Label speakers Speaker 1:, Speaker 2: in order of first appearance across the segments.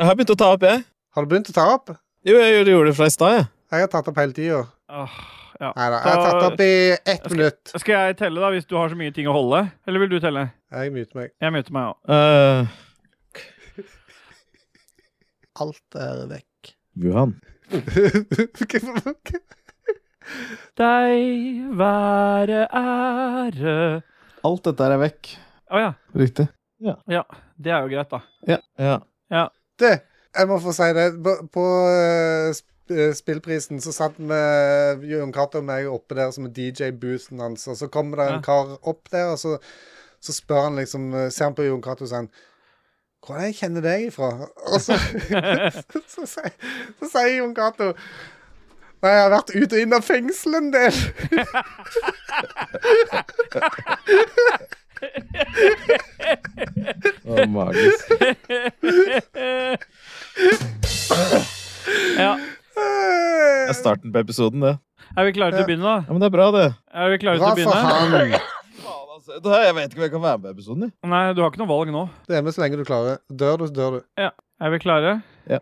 Speaker 1: Jeg har begynt å ta opp, jeg.
Speaker 2: Har du begynt å ta opp?
Speaker 1: Jo, jeg gjorde- gjorde det fra i stad, jeg.
Speaker 2: Jeg har tatt opp hele tida.
Speaker 3: Åh, ja.
Speaker 2: Nei da. Jeg har tatt opp i ett minutt.
Speaker 3: Skal jeg telle, da, hvis du har så mye ting å holde? Eller vil du telle?
Speaker 2: Jeg muter meg.
Speaker 3: Jeg møter meg òg.
Speaker 1: Eh,
Speaker 4: Alt er vekk.
Speaker 1: Wuhan.
Speaker 2: Hvorfor-
Speaker 3: Deg være ære
Speaker 4: Alt dette er vekk.
Speaker 3: Å ja.
Speaker 4: Riktig.
Speaker 3: Det er jo greit, da.
Speaker 1: Ja.
Speaker 2: Du, jeg må få si det. På- På eh, sp- eh, Spillprisen så satt vi Jon Cato og meg oppe der som DJ-boothen hans, og så kommer det en
Speaker 3: Ja.
Speaker 2: kar opp der, og så, så spør han liksom eh, Ser han på Jon Cato og sier han, hvor er det jeg kjenner deg ifra? Og så, så, så, sier- så sier Jon Cato Nei, jeg har vært ut og inn av fengsel en del.
Speaker 4: Å, magisk.
Speaker 3: Ja.
Speaker 1: Det er starten på episoden, det.
Speaker 3: Er vi klare til å begynne,
Speaker 1: Ja, Men det er bra, det.
Speaker 3: da? Er vi klare til
Speaker 2: Bra
Speaker 3: å
Speaker 2: for
Speaker 3: begynne?
Speaker 2: han.
Speaker 1: Faen, altså. Det her, jeg vet ikke om jeg kan være med i episoden. Jeg.
Speaker 3: Nei, du har ikke noe valg nå.
Speaker 2: Det er med så lenge du klarer. Dør du, så dør du.
Speaker 3: Er vi klare?
Speaker 2: Ja.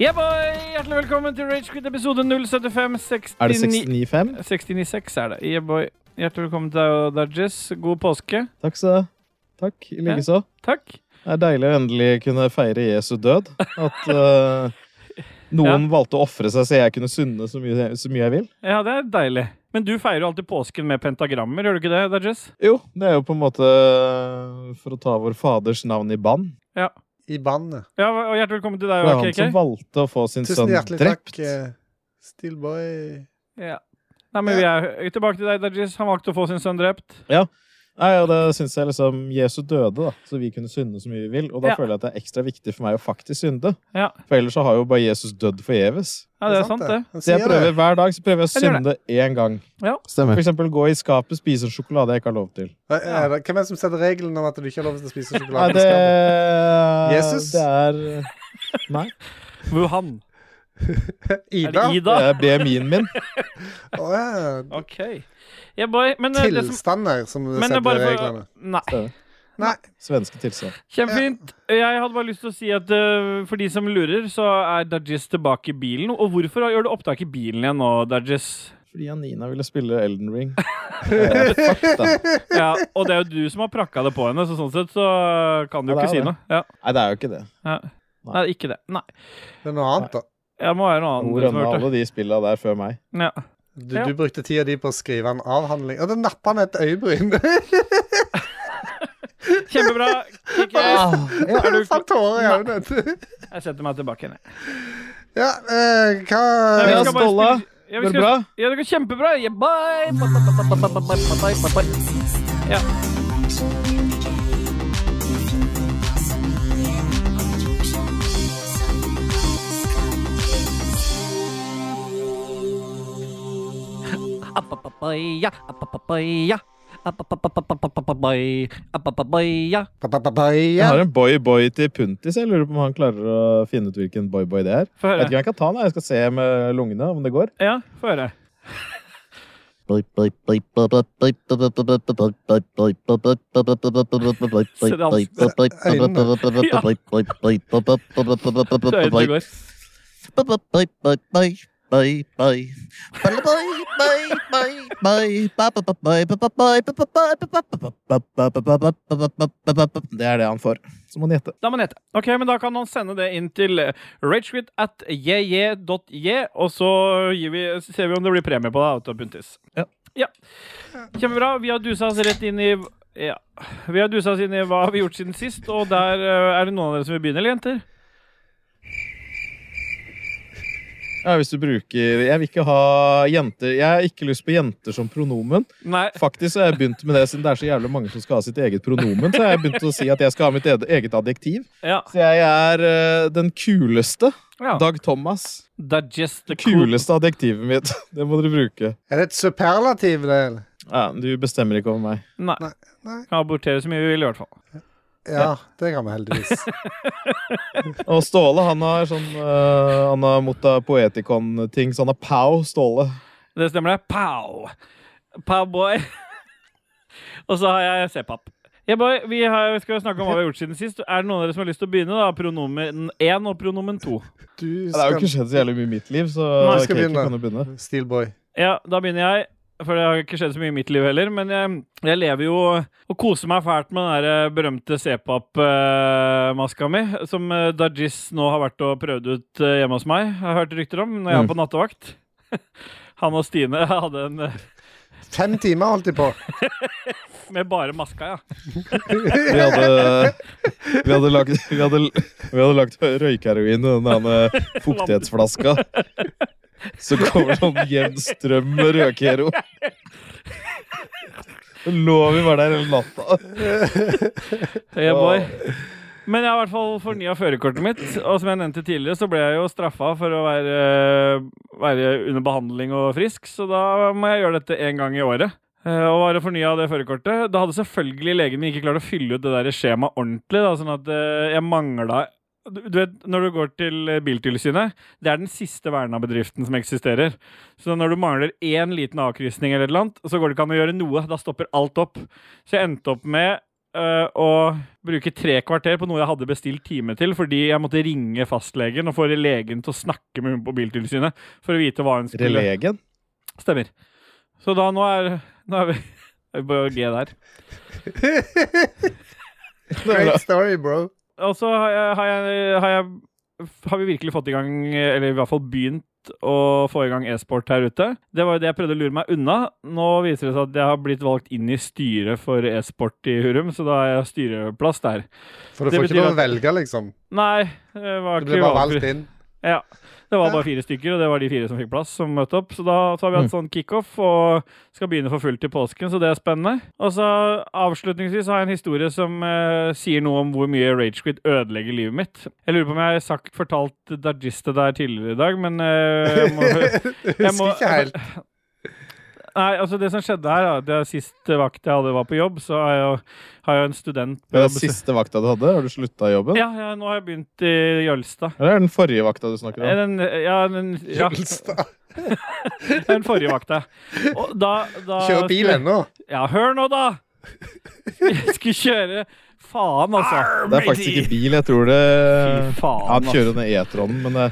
Speaker 3: Yeah, boy! Hjertelig velkommen til Ragequit episode 07569.
Speaker 1: Er det 695?
Speaker 3: 69,6 er det. Yeah, boy. Hjertelig velkommen til deg og Dajis. God påske.
Speaker 1: Takk skal du ha. Takk. I like så.
Speaker 3: Takk.
Speaker 1: Det er deilig å endelig kunne feire Jesu død. At eh, noen valgte å ofre seg så jeg kunne sunne så mye, så mye jeg vil.
Speaker 3: Ja, det er deilig. Men du feirer jo alltid påsken med pentagrammer, gjør du ikke det, Dajis?
Speaker 1: Jo, det er jo på en måte eh, for å ta vår faders navn i bann.
Speaker 2: I bannet.
Speaker 3: Ja, og hjertelig velkommen til
Speaker 1: Det
Speaker 3: deg
Speaker 1: var
Speaker 3: og
Speaker 1: han som
Speaker 3: KK.
Speaker 1: valgte å få sin
Speaker 2: Tusen
Speaker 1: sønn
Speaker 2: hjertelig
Speaker 1: sånn drept.
Speaker 2: takk, eh, Steelboy.
Speaker 3: Ja. Nei, men vi er tilbake til deg, Dajis. Han valgte å få sin sønn drept.
Speaker 1: Nei, og det syns jeg liksom Jesu døde, da, så vi kunne synde så mye vi vil. Og da
Speaker 3: Ja.
Speaker 1: føler jeg at det er ekstra viktig for meg å faktisk synde.
Speaker 3: Ja.
Speaker 1: For ellers så har jo bare Jesus dødd forgjeves.
Speaker 3: Ja, det er sant, det.
Speaker 2: Han
Speaker 1: Så jeg
Speaker 2: sier
Speaker 1: prøver
Speaker 2: det.
Speaker 1: hver dag så prøver jeg å
Speaker 3: Jeg gjør
Speaker 1: synde én gang. For
Speaker 4: Stemmer.
Speaker 1: eksempel gå i skapet, spise en sjokolade jeg ikke har lov til.
Speaker 2: Hva- er det- Hvem er det som setter regelen om at du ikke har lov til å spise
Speaker 1: Nei,
Speaker 2: sjokolade?
Speaker 1: det
Speaker 2: Jesus?
Speaker 1: Det er Nei.
Speaker 3: Wuhan. Er det
Speaker 2: Ida?
Speaker 1: Det
Speaker 3: Ida?
Speaker 1: er BMI-en min.
Speaker 2: Å, ja.
Speaker 3: OK. Yeah, boy. Men eh, det som
Speaker 2: Tilstander som
Speaker 3: men
Speaker 2: setter
Speaker 3: det er bare for
Speaker 2: reglene.
Speaker 3: Nei.
Speaker 2: Nei.
Speaker 1: Svenske tilstand.
Speaker 3: Kjempefint. Jeg hadde bare lyst til å si at eh, for de som lurer, så er Dajis tilbake i bilen. Og hvorfor gjør du opptak i bilen igjen nå, Dajis?
Speaker 1: Fordi Anina ville spille Elden Ring. Eh, fuck, da.
Speaker 3: Ja, og det er jo du som har prakka det på henne, så sånn sett så kan du jo
Speaker 1: Ja, det
Speaker 3: ikke
Speaker 1: er det.
Speaker 3: si noe. Ja,
Speaker 1: Nei, det er jo ikke det.
Speaker 3: ja. Nei.
Speaker 1: Nei.
Speaker 3: ikke det. Nei.
Speaker 2: Det er noe annet, da.
Speaker 3: Jeg må være
Speaker 1: Hun
Speaker 3: noe annet som
Speaker 1: rønna
Speaker 3: har hørt
Speaker 1: alle de spilla der før meg.
Speaker 3: det. Ja.
Speaker 2: Du,
Speaker 3: Ja.
Speaker 2: du brukte tida di på å skrive en avhandling. Og da nappa han et øyebryn!
Speaker 3: Kjempebra. Kikki. Er du-
Speaker 2: Jeg fant tårer i øynene.
Speaker 3: Jeg setter meg tilbake igjen. jeg.
Speaker 2: Ja, eh, hva
Speaker 3: Nei, vi
Speaker 1: Ja,
Speaker 3: skal bare
Speaker 1: Ståle.
Speaker 3: spille- Ja, vi
Speaker 1: Går det
Speaker 3: skal-
Speaker 1: bra?
Speaker 3: Ja, det går kjempebra. Yeah, bye. Ba, ba, ba, ba, ba, ba, ba, ba, ba, ba. Ja. Apapapaya, apapapaya, apapapapapapapapaya, apapapaya.
Speaker 1: Jeg
Speaker 2: Ba-ba-ba-ba-ja.
Speaker 1: har en boy-boy til Puntis. Jeg lurer på om han klarer å finne ut hvilken boy-boy det er.
Speaker 3: Få
Speaker 1: Jeg vet
Speaker 3: høre.
Speaker 1: ikke om jeg kan ta den. Jeg skal se med lungene om det går.
Speaker 3: Ja, få høre. Så høyt det går.
Speaker 1: Det er det han får. Så må han gjette.
Speaker 3: Da må han gjette. Ok, men da kan han sende det inn til eh, ragequit at jj.j, og så gir vi, ser vi om det blir premie på deg, Otto Puntis.
Speaker 1: Ja.
Speaker 3: ja. Kjempebra. Vi har dusa oss rett inn i ja. Vi har dusa oss inn i hva har vi gjort siden sist, og der eh, er det noen av dere som vil begynne, eller jenter?
Speaker 1: Ja, hvis du bruker Jeg vil ikke ha jenter Jeg har ikke lyst på jenter som pronomen.
Speaker 3: Nei.
Speaker 1: Faktisk så har jeg begynt med det Siden det er så jævlig mange som skal ha sitt eget pronomen, så har jeg begynt å si at jeg skal ha mitt ed- eget adjektiv.
Speaker 3: Ja.
Speaker 1: Så jeg er eh, den kuleste.
Speaker 3: ja.
Speaker 1: Dag Thomas.
Speaker 3: Digest the
Speaker 1: Det kuleste adjektivet mitt. Det må dere bruke.
Speaker 2: Er det et superlativ, det? eller?
Speaker 1: Ja, du bestemmer ikke over meg.
Speaker 3: Nei.
Speaker 2: Nei, nei.
Speaker 3: Kan abortere så mye vi vil, i hvert fall.
Speaker 2: Ja, det kan vi heldigvis.
Speaker 1: Og Ståle han har sånn eh, Han har motta poetikon-ting, så han har pow, Ståle.
Speaker 3: Det stemmer, det. Pow! Powboy. Og så har jeg C-pap. Yeah, boy, vi, har, vi skal jo snakke om hva vi har gjort siden sist. Er det noen av dere som har lyst til å begynne? da? Pronomen 1 og pronomen 2.
Speaker 2: Du
Speaker 1: Ja, Det har jo
Speaker 2: skal
Speaker 1: ikke skjedd så jævlig mye i mitt liv, så
Speaker 3: Nei,
Speaker 2: skal
Speaker 1: Kaki
Speaker 2: begynne.
Speaker 1: kan jo begynne.
Speaker 2: Steelboy.
Speaker 3: Ja, da begynner jeg. For det har ikke skjedd så mye i mitt liv heller. Men jeg, jeg lever jo og koser meg fælt med den der eh, berømte C-pap-maska mi, som eh, Dajis nå har vært og prøvd ut eh, hjemme hos meg. Jeg har hørt rykter om når jeg var på nattevakt. Han og Stine hadde en eh,
Speaker 2: Fem timer holdt de på.
Speaker 3: med bare maska, ja.
Speaker 1: Vi hadde, vi hadde lagt, vi hadde, vi hadde lagt røykeheroin i den der fuktighetsflaska. Så kommer det sånn jevn strøm med røykero. Lå vi bare der hele natta.
Speaker 3: Yeah, boy. Men jeg har i hvert fall fornya førerkortet mitt, og som jeg nevnte tidligere, så ble jeg jo straffa for å være, eh, være under behandling og frisk, så da må jeg gjøre dette én gang i året. Eh, Og bare fornya det førerkortet. Da hadde selvfølgelig legen min ikke klart å fylle ut det der skjemaet ordentlig, da, sånn at eh, jeg mangla du du vet, Når du går til eh, Biltilsynet, det er den siste vernebedriften som eksisterer. Så når du mangler én liten avkrysning, eller et eller annet, så går det ikke an å gjøre noe. Da stopper alt opp. Så jeg endte opp med eh, å bruke tre kvarter på noe jeg hadde bestilt time til, fordi jeg måtte ringe fastlegen og få legen til å snakke med hun på Biltilsynet for å vite hva hun skulle
Speaker 1: Relegen.
Speaker 3: Stemmer. Så da nå er, nå er vi er vi på G der.
Speaker 2: Great story, bro.
Speaker 3: Og så har jeg, har, jeg, har jeg Har vi virkelig fått i gang Eller i hvert fall begynt å få i gang e-sport her ute. Det var jo det jeg prøvde å lure meg unna. Nå viser det seg at jeg har blitt valgt inn i styret for e-sport i Hurum, så da har jeg styreplass der.
Speaker 2: For du
Speaker 3: Det
Speaker 2: får ikke
Speaker 3: betyr
Speaker 2: lov å velge, liksom.
Speaker 3: Nei, eh, det var
Speaker 2: Du
Speaker 3: ikke
Speaker 2: blir bare
Speaker 3: valgfri.
Speaker 2: valgt inn.
Speaker 3: Ja. Det var bare fire stykker, og det var de fire som fikk plass, som møtte opp. Så da så har vi
Speaker 2: Mm.
Speaker 3: hatt sånn kickoff og skal begynne for fullt til påsken, så det er spennende. Og så avslutningsvis har jeg en historie som eh, sier noe om hvor mye Ragequid ødelegger livet mitt. Jeg lurer på om jeg har sagt, fortalt Dajis det der tidligere i dag, men eh, jeg må
Speaker 2: Jeg
Speaker 3: Jeg må-
Speaker 2: husker ikke helt.
Speaker 3: Nei, altså det som skjedde her, da, det er siste vakt jeg hadde var på jobb, så har jeg, jo- har jeg en student
Speaker 1: Det
Speaker 3: på
Speaker 1: var
Speaker 3: jobb.
Speaker 1: siste vakta du hadde. Har du slutta i jobben?
Speaker 3: Ja, ja, nå har jeg begynt i Jølstad.
Speaker 1: Eller er det den forrige vakta du snakker om?
Speaker 3: Den, ja, den, ja,
Speaker 2: Jølstad.
Speaker 3: den forrige vakta. Og da, da
Speaker 2: Kjører bil ennå.
Speaker 3: Ja, hør nå, da! Jeg skulle kjøre Faen, altså.
Speaker 1: Det er faktisk ikke bil. Jeg tror det
Speaker 3: Fy faen,
Speaker 1: Han
Speaker 3: ass.
Speaker 1: kjører ned E-tronen, men det,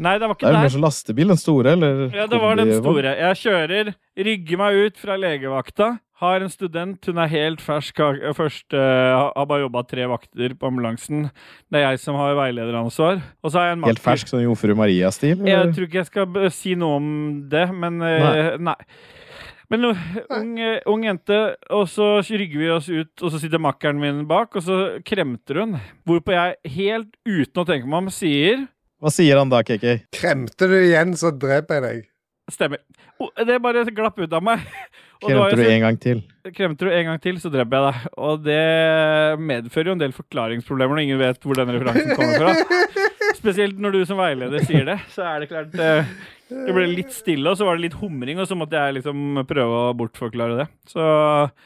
Speaker 3: Nei, det var
Speaker 1: det
Speaker 3: ikke
Speaker 1: er jo
Speaker 3: der.
Speaker 1: mer sånn som lastebil. Den store, eller?
Speaker 3: Ja, det var den
Speaker 1: kombivogn.
Speaker 3: store. Jeg kjører, rygger meg ut fra legevakta. Har en student, hun er helt fersk, har- først, eh, har bare jobba tre vakter på ambulansen. Det er jeg som har veilederansvar. Og så har jeg en makker.
Speaker 1: Helt fersk, sånn Jomfru Maria-stil?
Speaker 3: Jeg
Speaker 1: eller?
Speaker 3: tror ikke jeg skal b- si noe om det, men eh, nei. Men uh, ung, eh, ung jente, og så rygger vi oss ut, og så sitter makkeren min bak, og så kremter hun. Hvorpå jeg helt uten å tenke meg om sier
Speaker 1: Hva sier han da, KK?
Speaker 2: Kremte du igjen, så dreper jeg deg.
Speaker 3: Stemmer. Oh, det bare glapp ut av meg. Og det var
Speaker 1: Kremter
Speaker 3: jo
Speaker 1: du
Speaker 3: så-
Speaker 1: en gang til?
Speaker 3: kremter du en gang til, så dreper jeg deg. Og det medfører jo en del forklaringsproblemer når ingen vet hvor den referansen kommer fra. Spesielt når du som veileder sier det, så er det klart eh, Det ble litt stille, og så var det litt humring, og så måtte jeg liksom prøve å bortforklare det. Så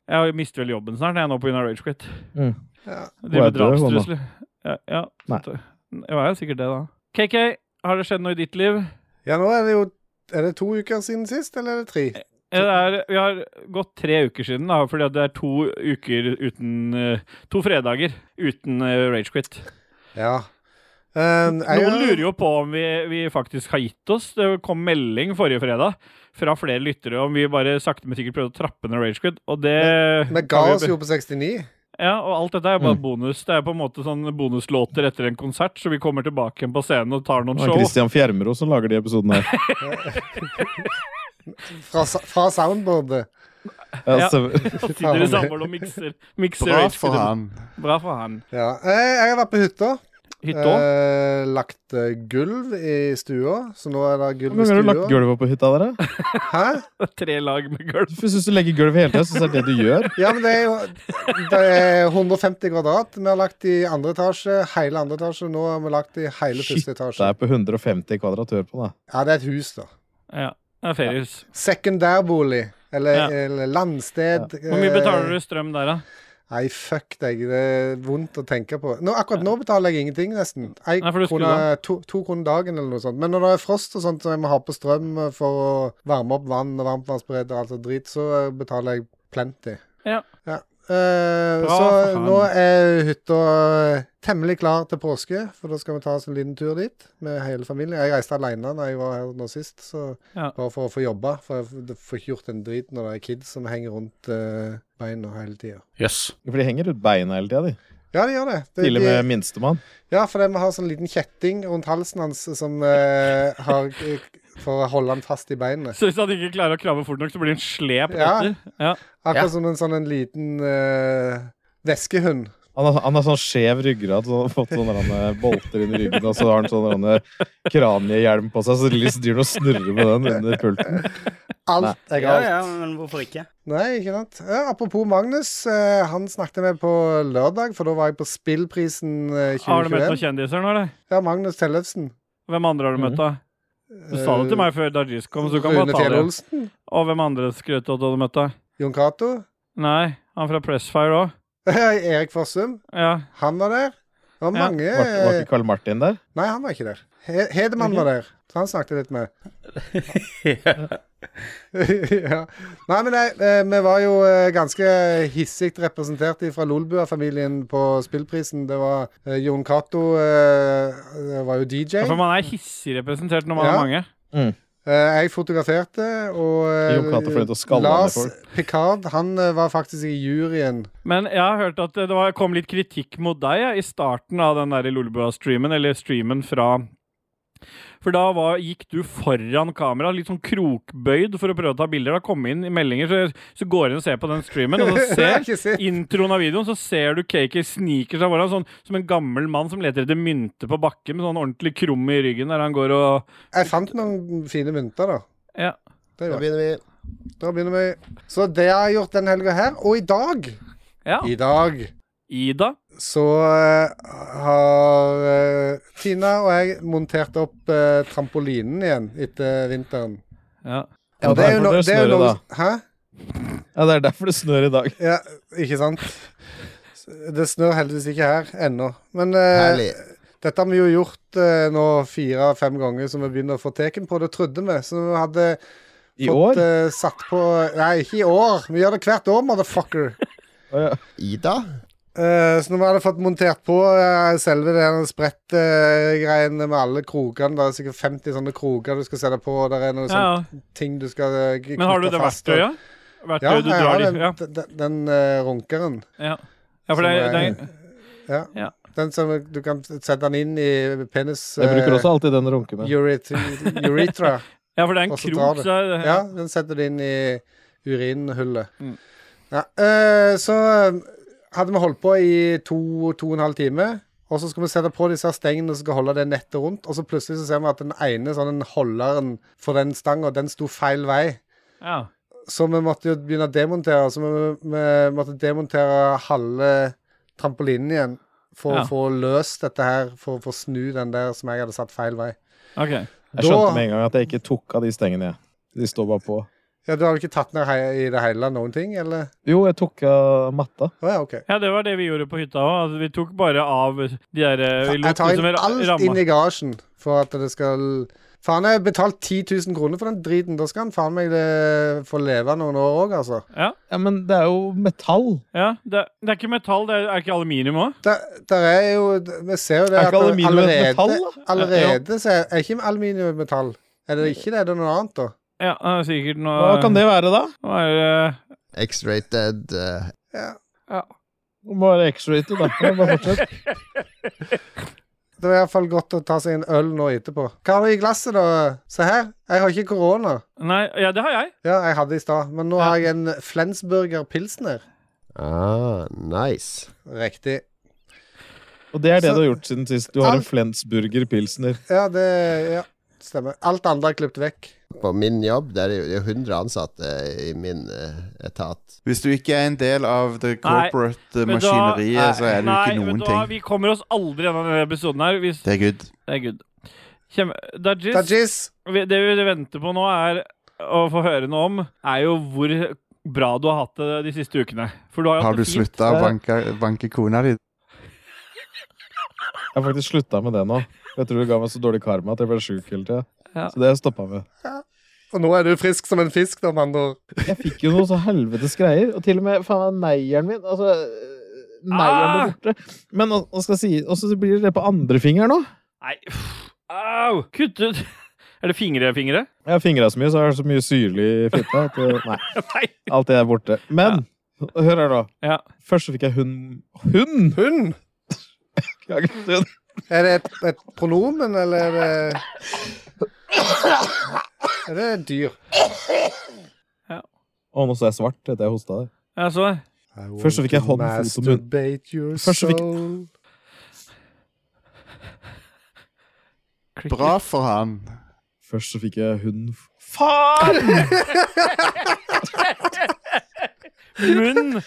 Speaker 3: jeg mister vel jobben snart, jeg nå pga. Ragequit.
Speaker 1: Mm.
Speaker 2: Ja.
Speaker 3: Driver med
Speaker 1: Hva er det, Håvard?
Speaker 3: drapstrusler. Ja, ja.
Speaker 1: Nei.
Speaker 3: Det var jo sikkert det, da. KK, har det skjedd noe i ditt liv?
Speaker 2: Ja, nå er det jo Er det to uker siden sist, eller er det tre?
Speaker 3: Ja, Det er, vi har gått tre uker siden, da, fordi at det er to uker uten eh, To fredager uten eh, Rage Ragequit.
Speaker 2: Ja. Um,
Speaker 3: Noen lurer jo på om vi, vi faktisk har gitt oss. Det kom melding forrige fredag fra flere lyttere om vi bare sakte, men sikkert prøvde å trappe ned Ragequit, og det
Speaker 2: Vi ga
Speaker 3: kan vi
Speaker 2: oss jo på 69.
Speaker 3: Ja, og alt dette er bare
Speaker 1: Mm.
Speaker 3: bonus. Det er på en måte sånn bonuslåter etter en konsert, så vi kommer tilbake igjen på scenen og tar noen
Speaker 1: Det er
Speaker 3: show.
Speaker 1: Christian Fjermero som lager de episodene her.
Speaker 2: Fra, sa- fra soundboardet.
Speaker 1: Ja,
Speaker 3: Ja.
Speaker 1: stemmer.
Speaker 3: Og sitter i samhold og mikser. mikser
Speaker 4: Bra
Speaker 3: Rage Quit.
Speaker 4: for han.
Speaker 3: Bra for han.
Speaker 2: Ja. Eh, Jeg har vært på hytta.
Speaker 3: Hytta òg.
Speaker 2: Eh, lagt eh, gulv i stua, så nå er det gulv i
Speaker 1: Men har du lagt
Speaker 2: stua.
Speaker 1: gulvet på hytta der, da?
Speaker 2: Hæ?
Speaker 3: Tre lag med gulv.
Speaker 1: Hvorfor syns du legger gulvet hele tida? Syns det er det du gjør?
Speaker 2: Ja, men det er jo det er 150 kvadrat. Vi har lagt i andre etasje, hele andre etasje. Nå har vi lagt i hele
Speaker 1: Shit,
Speaker 2: første
Speaker 1: Det
Speaker 2: etasje.
Speaker 1: er på 150 kvadrat hør på, da.
Speaker 2: Ja, det er et hus, da.
Speaker 3: Ja, det er feriehus.
Speaker 2: Sekundærbolig. Eller,
Speaker 3: Ja.
Speaker 2: eller landsted.
Speaker 3: Hvor mye betaler du i strøm der, da?
Speaker 2: Nei, fuck deg. Det er vondt å tenke på. Nå, akkurat nå betaler jeg ingenting, nesten. Ei
Speaker 3: Nei, for du skulle
Speaker 2: krone, to, to kroner dagen, eller noe sånt. Men når det er frost og sånt, så jeg må ha på strøm for å varme opp vann og varmtvannsberedd og alt sånt drit, så eh, betaler jeg plenty.
Speaker 3: Ja.
Speaker 2: Eh, så
Speaker 3: Bra, for faen.
Speaker 2: nå er hytta eh, temmelig klar til påske, for da skal vi ta oss en liten tur dit med hele familien. Jeg reiste alene da jeg var her nå sist, så
Speaker 3: Ja.
Speaker 2: bare for å få jobba. For jeg f- får ikke gjort en drit når det er kids som henger rundt eh, beina hele tida.
Speaker 5: Jøss.
Speaker 1: For de henger ut beina hele tida, de.
Speaker 2: Ja, de gjør det. det
Speaker 1: Til og
Speaker 2: de,
Speaker 1: med minstemann.
Speaker 2: Ja, fordi vi har sånn liten kjetting rundt halsen hans som eh, har For å holde han fast i beinet.
Speaker 3: Så hvis han ikke klarer å krabbe fort nok, så blir han slep
Speaker 2: Ja.
Speaker 3: etter? Ja.
Speaker 2: Akkurat som en sånn en liten eh, veskehund.
Speaker 1: Han har, han har sånn skjev ryggrad, så han har fått sånne rande bolter inn i ryggen, og så har han sånn rande kraniehjelm på seg, så det liksom driver han og snurrer med den under pulten.
Speaker 2: Alt jeg
Speaker 5: Ja,
Speaker 2: har.
Speaker 5: ja, men hvorfor ikke?
Speaker 2: Nei, ikke sant. Ja, apropos Magnus. eh, han snakket jeg med på lørdag, for da var jeg på Spillprisen eh,
Speaker 3: Har du møtt
Speaker 2: 2021.
Speaker 3: noen kjendiser nå, eller?
Speaker 2: Ja, Magnus Tellefsen.
Speaker 3: Hvem andre har du møtt, da? Du sa det til meg før Dajis kom, så du kan bare
Speaker 2: Eh, Rune
Speaker 3: ta
Speaker 2: Fjell
Speaker 3: det.
Speaker 2: Olsen.
Speaker 3: Og hvem andre skrøt du av at du hadde møtt, da?
Speaker 2: Jon Cato.
Speaker 3: Nei, han fra Pressfire òg.
Speaker 2: Erik Fossum.
Speaker 3: Ja.
Speaker 2: Han var der. Det var
Speaker 3: Ja.
Speaker 2: mange
Speaker 1: Var, var
Speaker 2: eh,
Speaker 1: ikke Carl Martin der?
Speaker 2: Nei, han var ikke der. He- Hedemann var der, så han snakket jeg litt med. ja. Nei, men nei, eh, vi var jo eh, ganske hissig representert fra Lolbua-familien på spillprisen. Det var eh, Jon Cato eh, var jo DJ.
Speaker 3: For man er hissig representert når man
Speaker 2: Ja.
Speaker 3: er mange.
Speaker 2: Eh, jeg fotograferte, og eh,
Speaker 1: Jon Cato fornøyd å skalle ned
Speaker 2: Lars
Speaker 1: folk.
Speaker 2: Picard han eh, var faktisk i juryen.
Speaker 3: Men jeg har hørt at det var, kom litt kritikk mot deg ja, i starten av den der Lolebua-streamen, eller streamen fra For da var, gikk du foran kamera, litt sånn krokbøyd for å prøve å ta bilder. Da kom inn i meldinger, så, så går jeg inn og ser på den streamen, og så
Speaker 2: Jeg har
Speaker 3: ser
Speaker 2: ikke sett.
Speaker 3: introen av videoen, så ser du Kaker sniker seg foran sånn, som en gammel mann som leter etter mynter på bakken, med sånn ordentlig krum i ryggen der han går og
Speaker 2: Jeg fant noen fine mynter, da.
Speaker 3: Ja.
Speaker 2: Det
Speaker 4: Da
Speaker 2: gjorde jeg.
Speaker 4: begynner vi.
Speaker 2: Da begynner vi. Så det har jeg gjort den helga her. Og i dag
Speaker 3: ja.
Speaker 2: I dag
Speaker 3: Ida.
Speaker 2: så eh, har eh, Tina og jeg montert opp eh, trampolinen igjen etter vinteren.
Speaker 3: Ja.
Speaker 1: Ja,
Speaker 2: Og
Speaker 1: det er
Speaker 2: jo
Speaker 1: derfor
Speaker 2: no-
Speaker 1: det
Speaker 2: er
Speaker 1: snør i
Speaker 2: jo noe-
Speaker 1: dag.
Speaker 2: Hæ?
Speaker 1: Ja, det er derfor det snør i dag.
Speaker 2: Ja, ikke sant? Det snør heldigvis ikke her ennå. Men eh,
Speaker 4: Herlig.
Speaker 2: dette har vi jo gjort eh, nå fire-fem ganger, så vi begynner å få teken på det, trodde vi. Så vi hadde
Speaker 1: I år?
Speaker 2: fått eh, satt på Nei, ikke i år. Vi gjør det hvert år, motherfucker.
Speaker 1: Å, ja.
Speaker 4: Ida?
Speaker 2: Eh, så når vi hadde fått montert på eh, selve den sprettgreiene med alle krokene Det er sikkert 50 sånne kroker du skal sette på, og der er noen
Speaker 3: ja, ja.
Speaker 2: sånne ting du skal eh, knytte Sånn fast.
Speaker 3: Men har du det
Speaker 2: og-
Speaker 3: verktøyet?
Speaker 2: Ja,
Speaker 3: Verktøyet du
Speaker 2: jeg har
Speaker 3: drar
Speaker 2: den,
Speaker 3: i? Ja.
Speaker 2: den, den eh, runkeren.
Speaker 3: Ja. ja, for det,
Speaker 2: Som
Speaker 3: det,
Speaker 2: er-
Speaker 3: er-
Speaker 2: Ja.
Speaker 3: Ja.
Speaker 2: Den som du kan sette den inn i penis
Speaker 1: Jeg bruker
Speaker 2: eh,
Speaker 1: også alltid den å runke med.
Speaker 2: uret- Urethra.
Speaker 3: ja, for det er en
Speaker 2: Og så drar
Speaker 3: krok,
Speaker 2: du.
Speaker 3: så er det,
Speaker 2: Ja, den setter du inn i urinhullet.
Speaker 3: Mm.
Speaker 2: Ja, eh, så eh, hadde vi holdt på i to, to og en halv time. Og så skal vi sette på disse her stengene som skal holde det nettet rundt. Og så plutselig så ser vi at den ene sånn, den holderen for den stanga, den sto feil vei.
Speaker 3: ja.
Speaker 2: Så vi måtte jo begynne å demontere. Så vi, vi måtte demontere halve trampolinen igjen for
Speaker 3: Ja.
Speaker 2: å få løst dette her. For å få snu den der som jeg hadde satt feil vei.
Speaker 3: OK.
Speaker 1: Jeg skjønte med en gang at jeg ikke tok av de stengene, jeg. De står bare på.
Speaker 2: Ja, Du har jo ikke tatt ned hei- i det hele noen ting, eller?
Speaker 1: Jo, jeg tok av matta.
Speaker 2: Å ja, OK.
Speaker 3: Ja, det var det vi gjorde på hytta òg. Altså, vi tok bare av de der eh, Vi
Speaker 2: Jeg
Speaker 3: lot
Speaker 2: tar
Speaker 3: liksom
Speaker 2: inn
Speaker 3: ra-
Speaker 2: alt inn
Speaker 3: ramma
Speaker 2: i garasjen for at det skal Faen, jeg har betalt 10 000 kroner for den driten. Da skal han faen meg eh, få leve noen år òg, altså.
Speaker 1: Ja, men det er jo metall.
Speaker 3: Ja, det, det er ikke metall, det er, er ikke aluminium òg?
Speaker 2: Der, der er jo Vi ser jo det
Speaker 1: Er ikke
Speaker 2: at det
Speaker 1: aluminium et
Speaker 2: allerede,
Speaker 1: metall, da?
Speaker 2: allerede så er, er ikke aluminium et metall. Er det ikke det? Er det noe annet, da?
Speaker 3: Ja, det er sikkert noe
Speaker 1: Hva kan det være, da?
Speaker 3: Hva er det?
Speaker 4: X-rated eh,
Speaker 2: Ja.
Speaker 1: Det må være X-rated, da. Ja, Bare fortsett.
Speaker 2: Det var i hvert fall godt å ta seg en øl nå etterpå. Hva har du i glasset, da? Se her. Jeg har ikke korona.
Speaker 3: Nei, ja, det har jeg.
Speaker 2: Ja, jeg hadde i stad, men nå
Speaker 3: Ja.
Speaker 2: har jeg en Flensburger pilsner.
Speaker 4: ah, Nice.
Speaker 2: Riktig.
Speaker 1: Og det er det
Speaker 2: Så-
Speaker 1: du har gjort siden sist. Du har
Speaker 2: Alt-
Speaker 1: en Flensburger pilsner.
Speaker 2: Ja, det ja, stemmer. Alt andre er klippet vekk.
Speaker 4: På min jobb der er jo- det er jo 100 ansatte i min eh, etat.
Speaker 5: Hvis du ikke er en del av det
Speaker 3: Nei,
Speaker 5: corporate eh,
Speaker 3: men da-
Speaker 5: maskineriet, så er du
Speaker 3: Nei,
Speaker 5: ikke
Speaker 3: vet
Speaker 5: noen
Speaker 3: du hva,
Speaker 5: ting.
Speaker 3: vi kommer oss aldri gjennom denne episoden her. Hvis
Speaker 5: Det er good.
Speaker 3: det er good. Kjempe... Dajis,
Speaker 2: Dajis!
Speaker 3: vi- det vi venter på nå, er å få høre noe om, er jo hvor bra du har hatt det de siste ukene. For du har jo
Speaker 5: Har
Speaker 3: hatt
Speaker 5: du
Speaker 3: det fint.
Speaker 5: slutta å banke, banke kona di?
Speaker 1: Jeg har faktisk slutta med det nå. Jeg tror det ga meg så dårlig karma at jeg ble sjuk hele tida.
Speaker 3: Ja.
Speaker 1: Så det har jeg stoppa med.
Speaker 2: Og nå er du frisk som en fisk, da, med andre ord.
Speaker 1: Jeg fikk jo noe så helvetes greier. Og til og med faen meg neieren min Altså, øh, neieren ble
Speaker 3: Ah!
Speaker 1: borte. Men nå- nå skal jeg si Og så blir det det på andre fingeren òg.
Speaker 3: Nei, pff, au! Kutt ut! Er det fingrefingre?
Speaker 1: Jeg har fingra så mye, så jeg har så mye syrlig i fitta. at det- Nei,
Speaker 3: Nei!
Speaker 1: alt det er borte. Men hør her, da.
Speaker 3: Ja.
Speaker 1: Først så fikk jeg hund Hund!
Speaker 2: Hund!
Speaker 1: Klager.
Speaker 2: Er det et, et pronomen, eller er det Er det et dyr?
Speaker 1: Å, nå så jeg svart etter jeg hosta der.
Speaker 3: Jeg så det.
Speaker 1: Først så fikk jeg hånd, fot og munn.
Speaker 2: Masturbate your
Speaker 1: Først så fikk-
Speaker 2: soul.
Speaker 5: Bra for han.
Speaker 1: Først så fikk jeg hund Faen!
Speaker 3: Munn!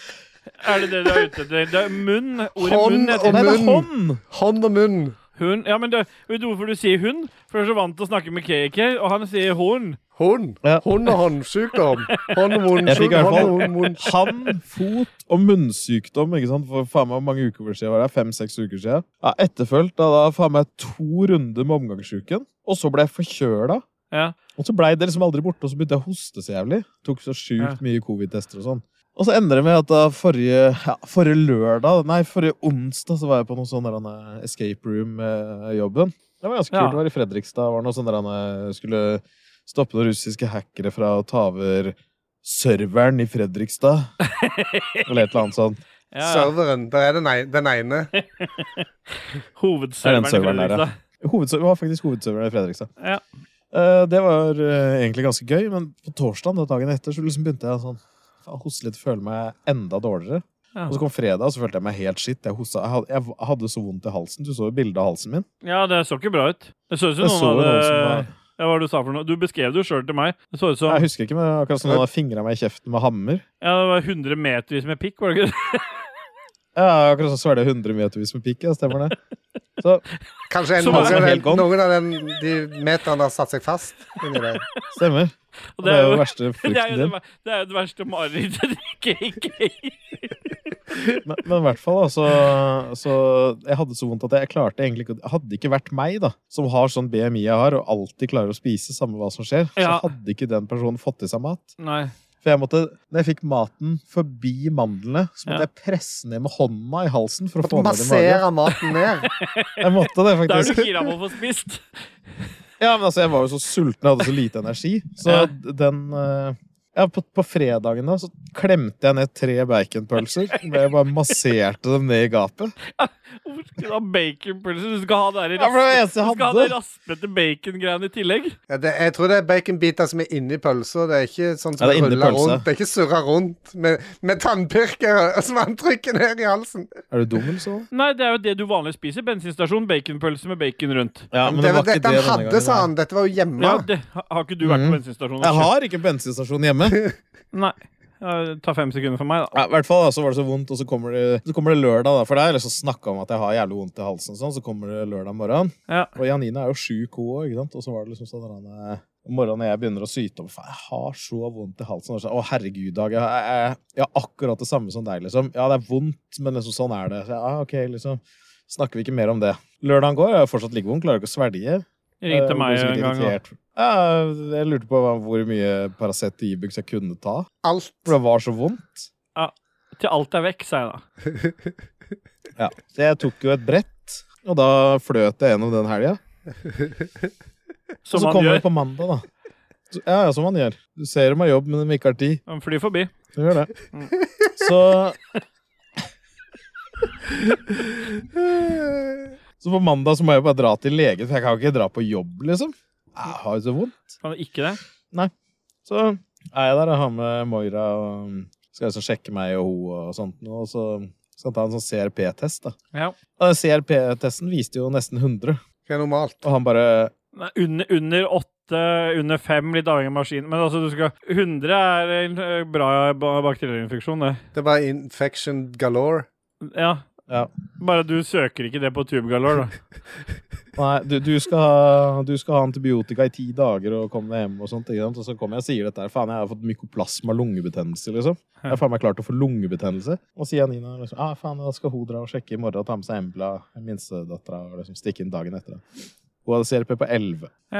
Speaker 3: Er det det du er ute etter? Det er munn. Ordet
Speaker 2: Hånd
Speaker 3: munn
Speaker 2: og
Speaker 3: heter
Speaker 1: Nei, det er
Speaker 2: Munn.
Speaker 1: hånd!
Speaker 2: Hånd og munn.
Speaker 3: hund. Ja, men det, vet du hvorfor du sier hund? For du er så vant til å snakke med KK, og han sier horn.
Speaker 2: Hund.
Speaker 1: Ja.
Speaker 2: Hund og håndsykdom. Hånd og munn.
Speaker 1: Jeg fikk i hvert
Speaker 2: hånd
Speaker 1: fall-
Speaker 2: og munn, munn.
Speaker 1: Hand, fot og munnsykdom. ikke sant? For faen meg hvor mange uker siden var det? Fem-seks uker siden. Ja, Etterfølgt av da faen meg to runder med omgangssjuken. Og så ble jeg forkjøla.
Speaker 3: Ja.
Speaker 1: Og så blei det liksom aldri borte, og så begynte jeg å hoste så jævlig. Tok så sjukt
Speaker 3: Ja.
Speaker 1: mye covid-tester og sånn. Og så ender det med at da forrige, ja, forrige lørdag, nei, forrige onsdag, så var jeg på noe sånn der han, eh, escape room-jobben. Det var ganske
Speaker 3: Ja.
Speaker 1: kult. Det var i Fredrikstad. var det noe sånn der han eh, skulle stoppe noen russiske hackere fra å ta over serveren i Fredrikstad. Eller et eller annet sånt.
Speaker 3: Ja,
Speaker 2: Serveren. Der er den ei- den ene.
Speaker 1: Det er den serveren
Speaker 3: Hovedserveren. i
Speaker 1: der, ja.
Speaker 3: Fredrikstad.
Speaker 1: Hovedserver, var faktisk hovedserveren i Fredrikstad.
Speaker 3: Ja.
Speaker 1: Eh, det var eh, egentlig ganske gøy, men på torsdagen da, dagen etter så liksom begynte jeg sånn faen, hoste litt, føle meg enda dårligere.
Speaker 3: Ja.
Speaker 1: Og så kom fredag, og så følte jeg meg helt shit. Jeg, hosta, jeg, hadde, jeg hadde så vondt i halsen. Du så jo bildet av halsen min.
Speaker 3: ja, det så ikke bra ut. Det så ut som
Speaker 1: Jeg så
Speaker 3: noen
Speaker 1: jo noen
Speaker 3: hadde
Speaker 1: som var-
Speaker 3: ja, Hva var det du sa for noe? Du beskrev det jo sjøl til meg. Det så ut som
Speaker 1: Jeg husker ikke, men akkurat som noen har fingra meg i kjeften med hammer.
Speaker 3: ja, det var 100 metervis med pikk, var det ikke det?
Speaker 1: Ja, akkurat sånn som svelge 100 metervis med pikk. Ja, stemmer det. Så
Speaker 2: Kanskje en,
Speaker 3: Som
Speaker 2: noen,
Speaker 3: er
Speaker 2: av den,
Speaker 1: helgon.
Speaker 2: noen av den, de meterne har satt seg fast inni deg.
Speaker 1: stemmer.
Speaker 3: Og
Speaker 1: Det er jo den verste
Speaker 3: Det er jo
Speaker 1: frykten
Speaker 3: det,
Speaker 1: din.
Speaker 3: ver- det, er jo det verste marerittet til KK.
Speaker 1: Men, men i hvert fall, da, så, så Jeg hadde så vondt at jeg klarte egentlig ikke å- Hadde ikke vært meg, da, som har sånn BMI jeg har, og alltid klarer å spise samme hva som skjer, så
Speaker 3: Ja.
Speaker 1: hadde ikke den personen fått i seg mat.
Speaker 3: Nei.
Speaker 1: For jeg måtte, når jeg fikk maten forbi mandlene, så måtte
Speaker 3: Ja.
Speaker 1: jeg presse ned med hånda i halsen for å få ned
Speaker 2: Måtte
Speaker 1: i magen.
Speaker 2: massere maten ned.
Speaker 1: Jeg måtte det,
Speaker 3: Da er du
Speaker 1: faktisk.
Speaker 3: gira på å få spist.
Speaker 1: Ja, men altså, jeg var jo så sulten, jeg hadde så lite energi. Så
Speaker 3: Ja.
Speaker 1: den eh, ja, på, på fredagen da, så klemte jeg ned tre baconpølser. Jeg bare masserte dem ned i gapet.
Speaker 3: Hvorfor skal du ha baconpølse? Du skal ha det der
Speaker 1: Ja, for det var det eneste
Speaker 3: Du
Speaker 1: jeg
Speaker 3: skal ha det
Speaker 1: hadde.
Speaker 3: raspete bacongreiene i tillegg.
Speaker 2: Ja, det, jeg tror det er baconbiter som er inni pølsa. Det er ikke sånn som
Speaker 1: Ja, det er inni
Speaker 2: ruller
Speaker 1: pølsa.
Speaker 2: rundt. Det er ikke surra rundt med, med tannpirkere som han trykker ned i halsen.
Speaker 1: Er du dum, eller så?
Speaker 3: Nei, det er jo det du vanlig spiser. Bensinstasjon, baconpølse med bacon rundt.
Speaker 1: Ja,
Speaker 2: det, var dette han hadde, sa han. Dette var jo hjemme.
Speaker 3: Ja, det, ha- har ikke du vært på
Speaker 1: Mhm.
Speaker 3: bensinstasjon? og
Speaker 1: Jeg
Speaker 3: kjøpt-
Speaker 1: har ikke bensinstasjon hjemme.
Speaker 3: Nei. Ja, Ta fem sekunder for meg,
Speaker 1: Ja,
Speaker 3: da.
Speaker 1: I hvert fall da, så var det så vondt, og så kommer det, så kommer det lørdag. da, For det er liksom snakka om at jeg har jævlig vondt i halsen, og sånn, så kommer det lørdag morgen.
Speaker 3: Ja.
Speaker 1: Og Janine er jo sjuk, hun òg, ikke sant. Og så var det liksom sånn at han, eh, om morgenen når jeg begynner å syte om Faen, jeg har så vondt i halsen. Og så, å, herregud, Dag. Jeg, jeg, jeg, jeg har akkurat det samme som deg, liksom. Ja, det er vondt, men liksom sånn er det. Så, jeg, ja, ok, liksom. Snakker vi ikke mer om det. Lørdagen går, jeg er fortsatt like vond, klarer ikke å svelge.
Speaker 3: Ring
Speaker 1: Eh,
Speaker 3: til meg
Speaker 1: ble sikkert
Speaker 3: en gang. da.
Speaker 1: irritert. Ja, jeg lurte på hva- hvor mye Paracet og Ibux jeg kunne ta.
Speaker 2: Alt.
Speaker 1: For det var så vondt.
Speaker 3: Til alt er vekk, sa jeg da.
Speaker 1: Ja. Så jeg tok jo et brett, og da fløt jeg gjennom den helga. Og
Speaker 3: Som
Speaker 1: så
Speaker 3: han
Speaker 1: kommer det
Speaker 3: gjør.
Speaker 1: på mandag, da. Så- Ja, ja, som man gjør. Du ser dem har jobb, men de ikke har tid.
Speaker 3: Han flyr forbi.
Speaker 1: Du gjør det. Så, så på mandag så må jeg bare dra til legen, for jeg kan jo ikke dra på jobb, liksom. Jeg har jo så vondt.
Speaker 3: Kan det ikke det?
Speaker 1: Så mm, er jeg der og har med Moira og skal liksom sjekke meg og hun og sånt. nå, Og så Skal ta en sånn CRP-test, da.
Speaker 3: Ja.
Speaker 1: Og den CRP-testen viste jo nesten 100,
Speaker 2: Hva er normalt?
Speaker 1: og han bare
Speaker 3: Nei, Under, under åtte, under fem, litt avhengig av maskinen. Men altså, du skal 100 er en eh, bra ba- bakterieinfeksjon, det.
Speaker 2: Det er bare infection galore.
Speaker 3: Ja.
Speaker 1: Ja.
Speaker 3: Bare du søker ikke det på Tubegalore, da.
Speaker 1: Nei, du, du, skal ha, du skal ha antibiotika i ti dager og komme deg hjem og sånt. Ikke sant? Og så kommer jeg og sier dette her. Faen, jeg har fått mykoplasma lungebetennelse, liksom. Jeg har faen meg klart å få lungebetennelse. Og sier Nina liksom ah, faen, da skal hun dra og sjekke i morgen og ta med seg Embla, minstedattera, og liksom stikke inn dagen etter. da. Hun hadde CRP på 11.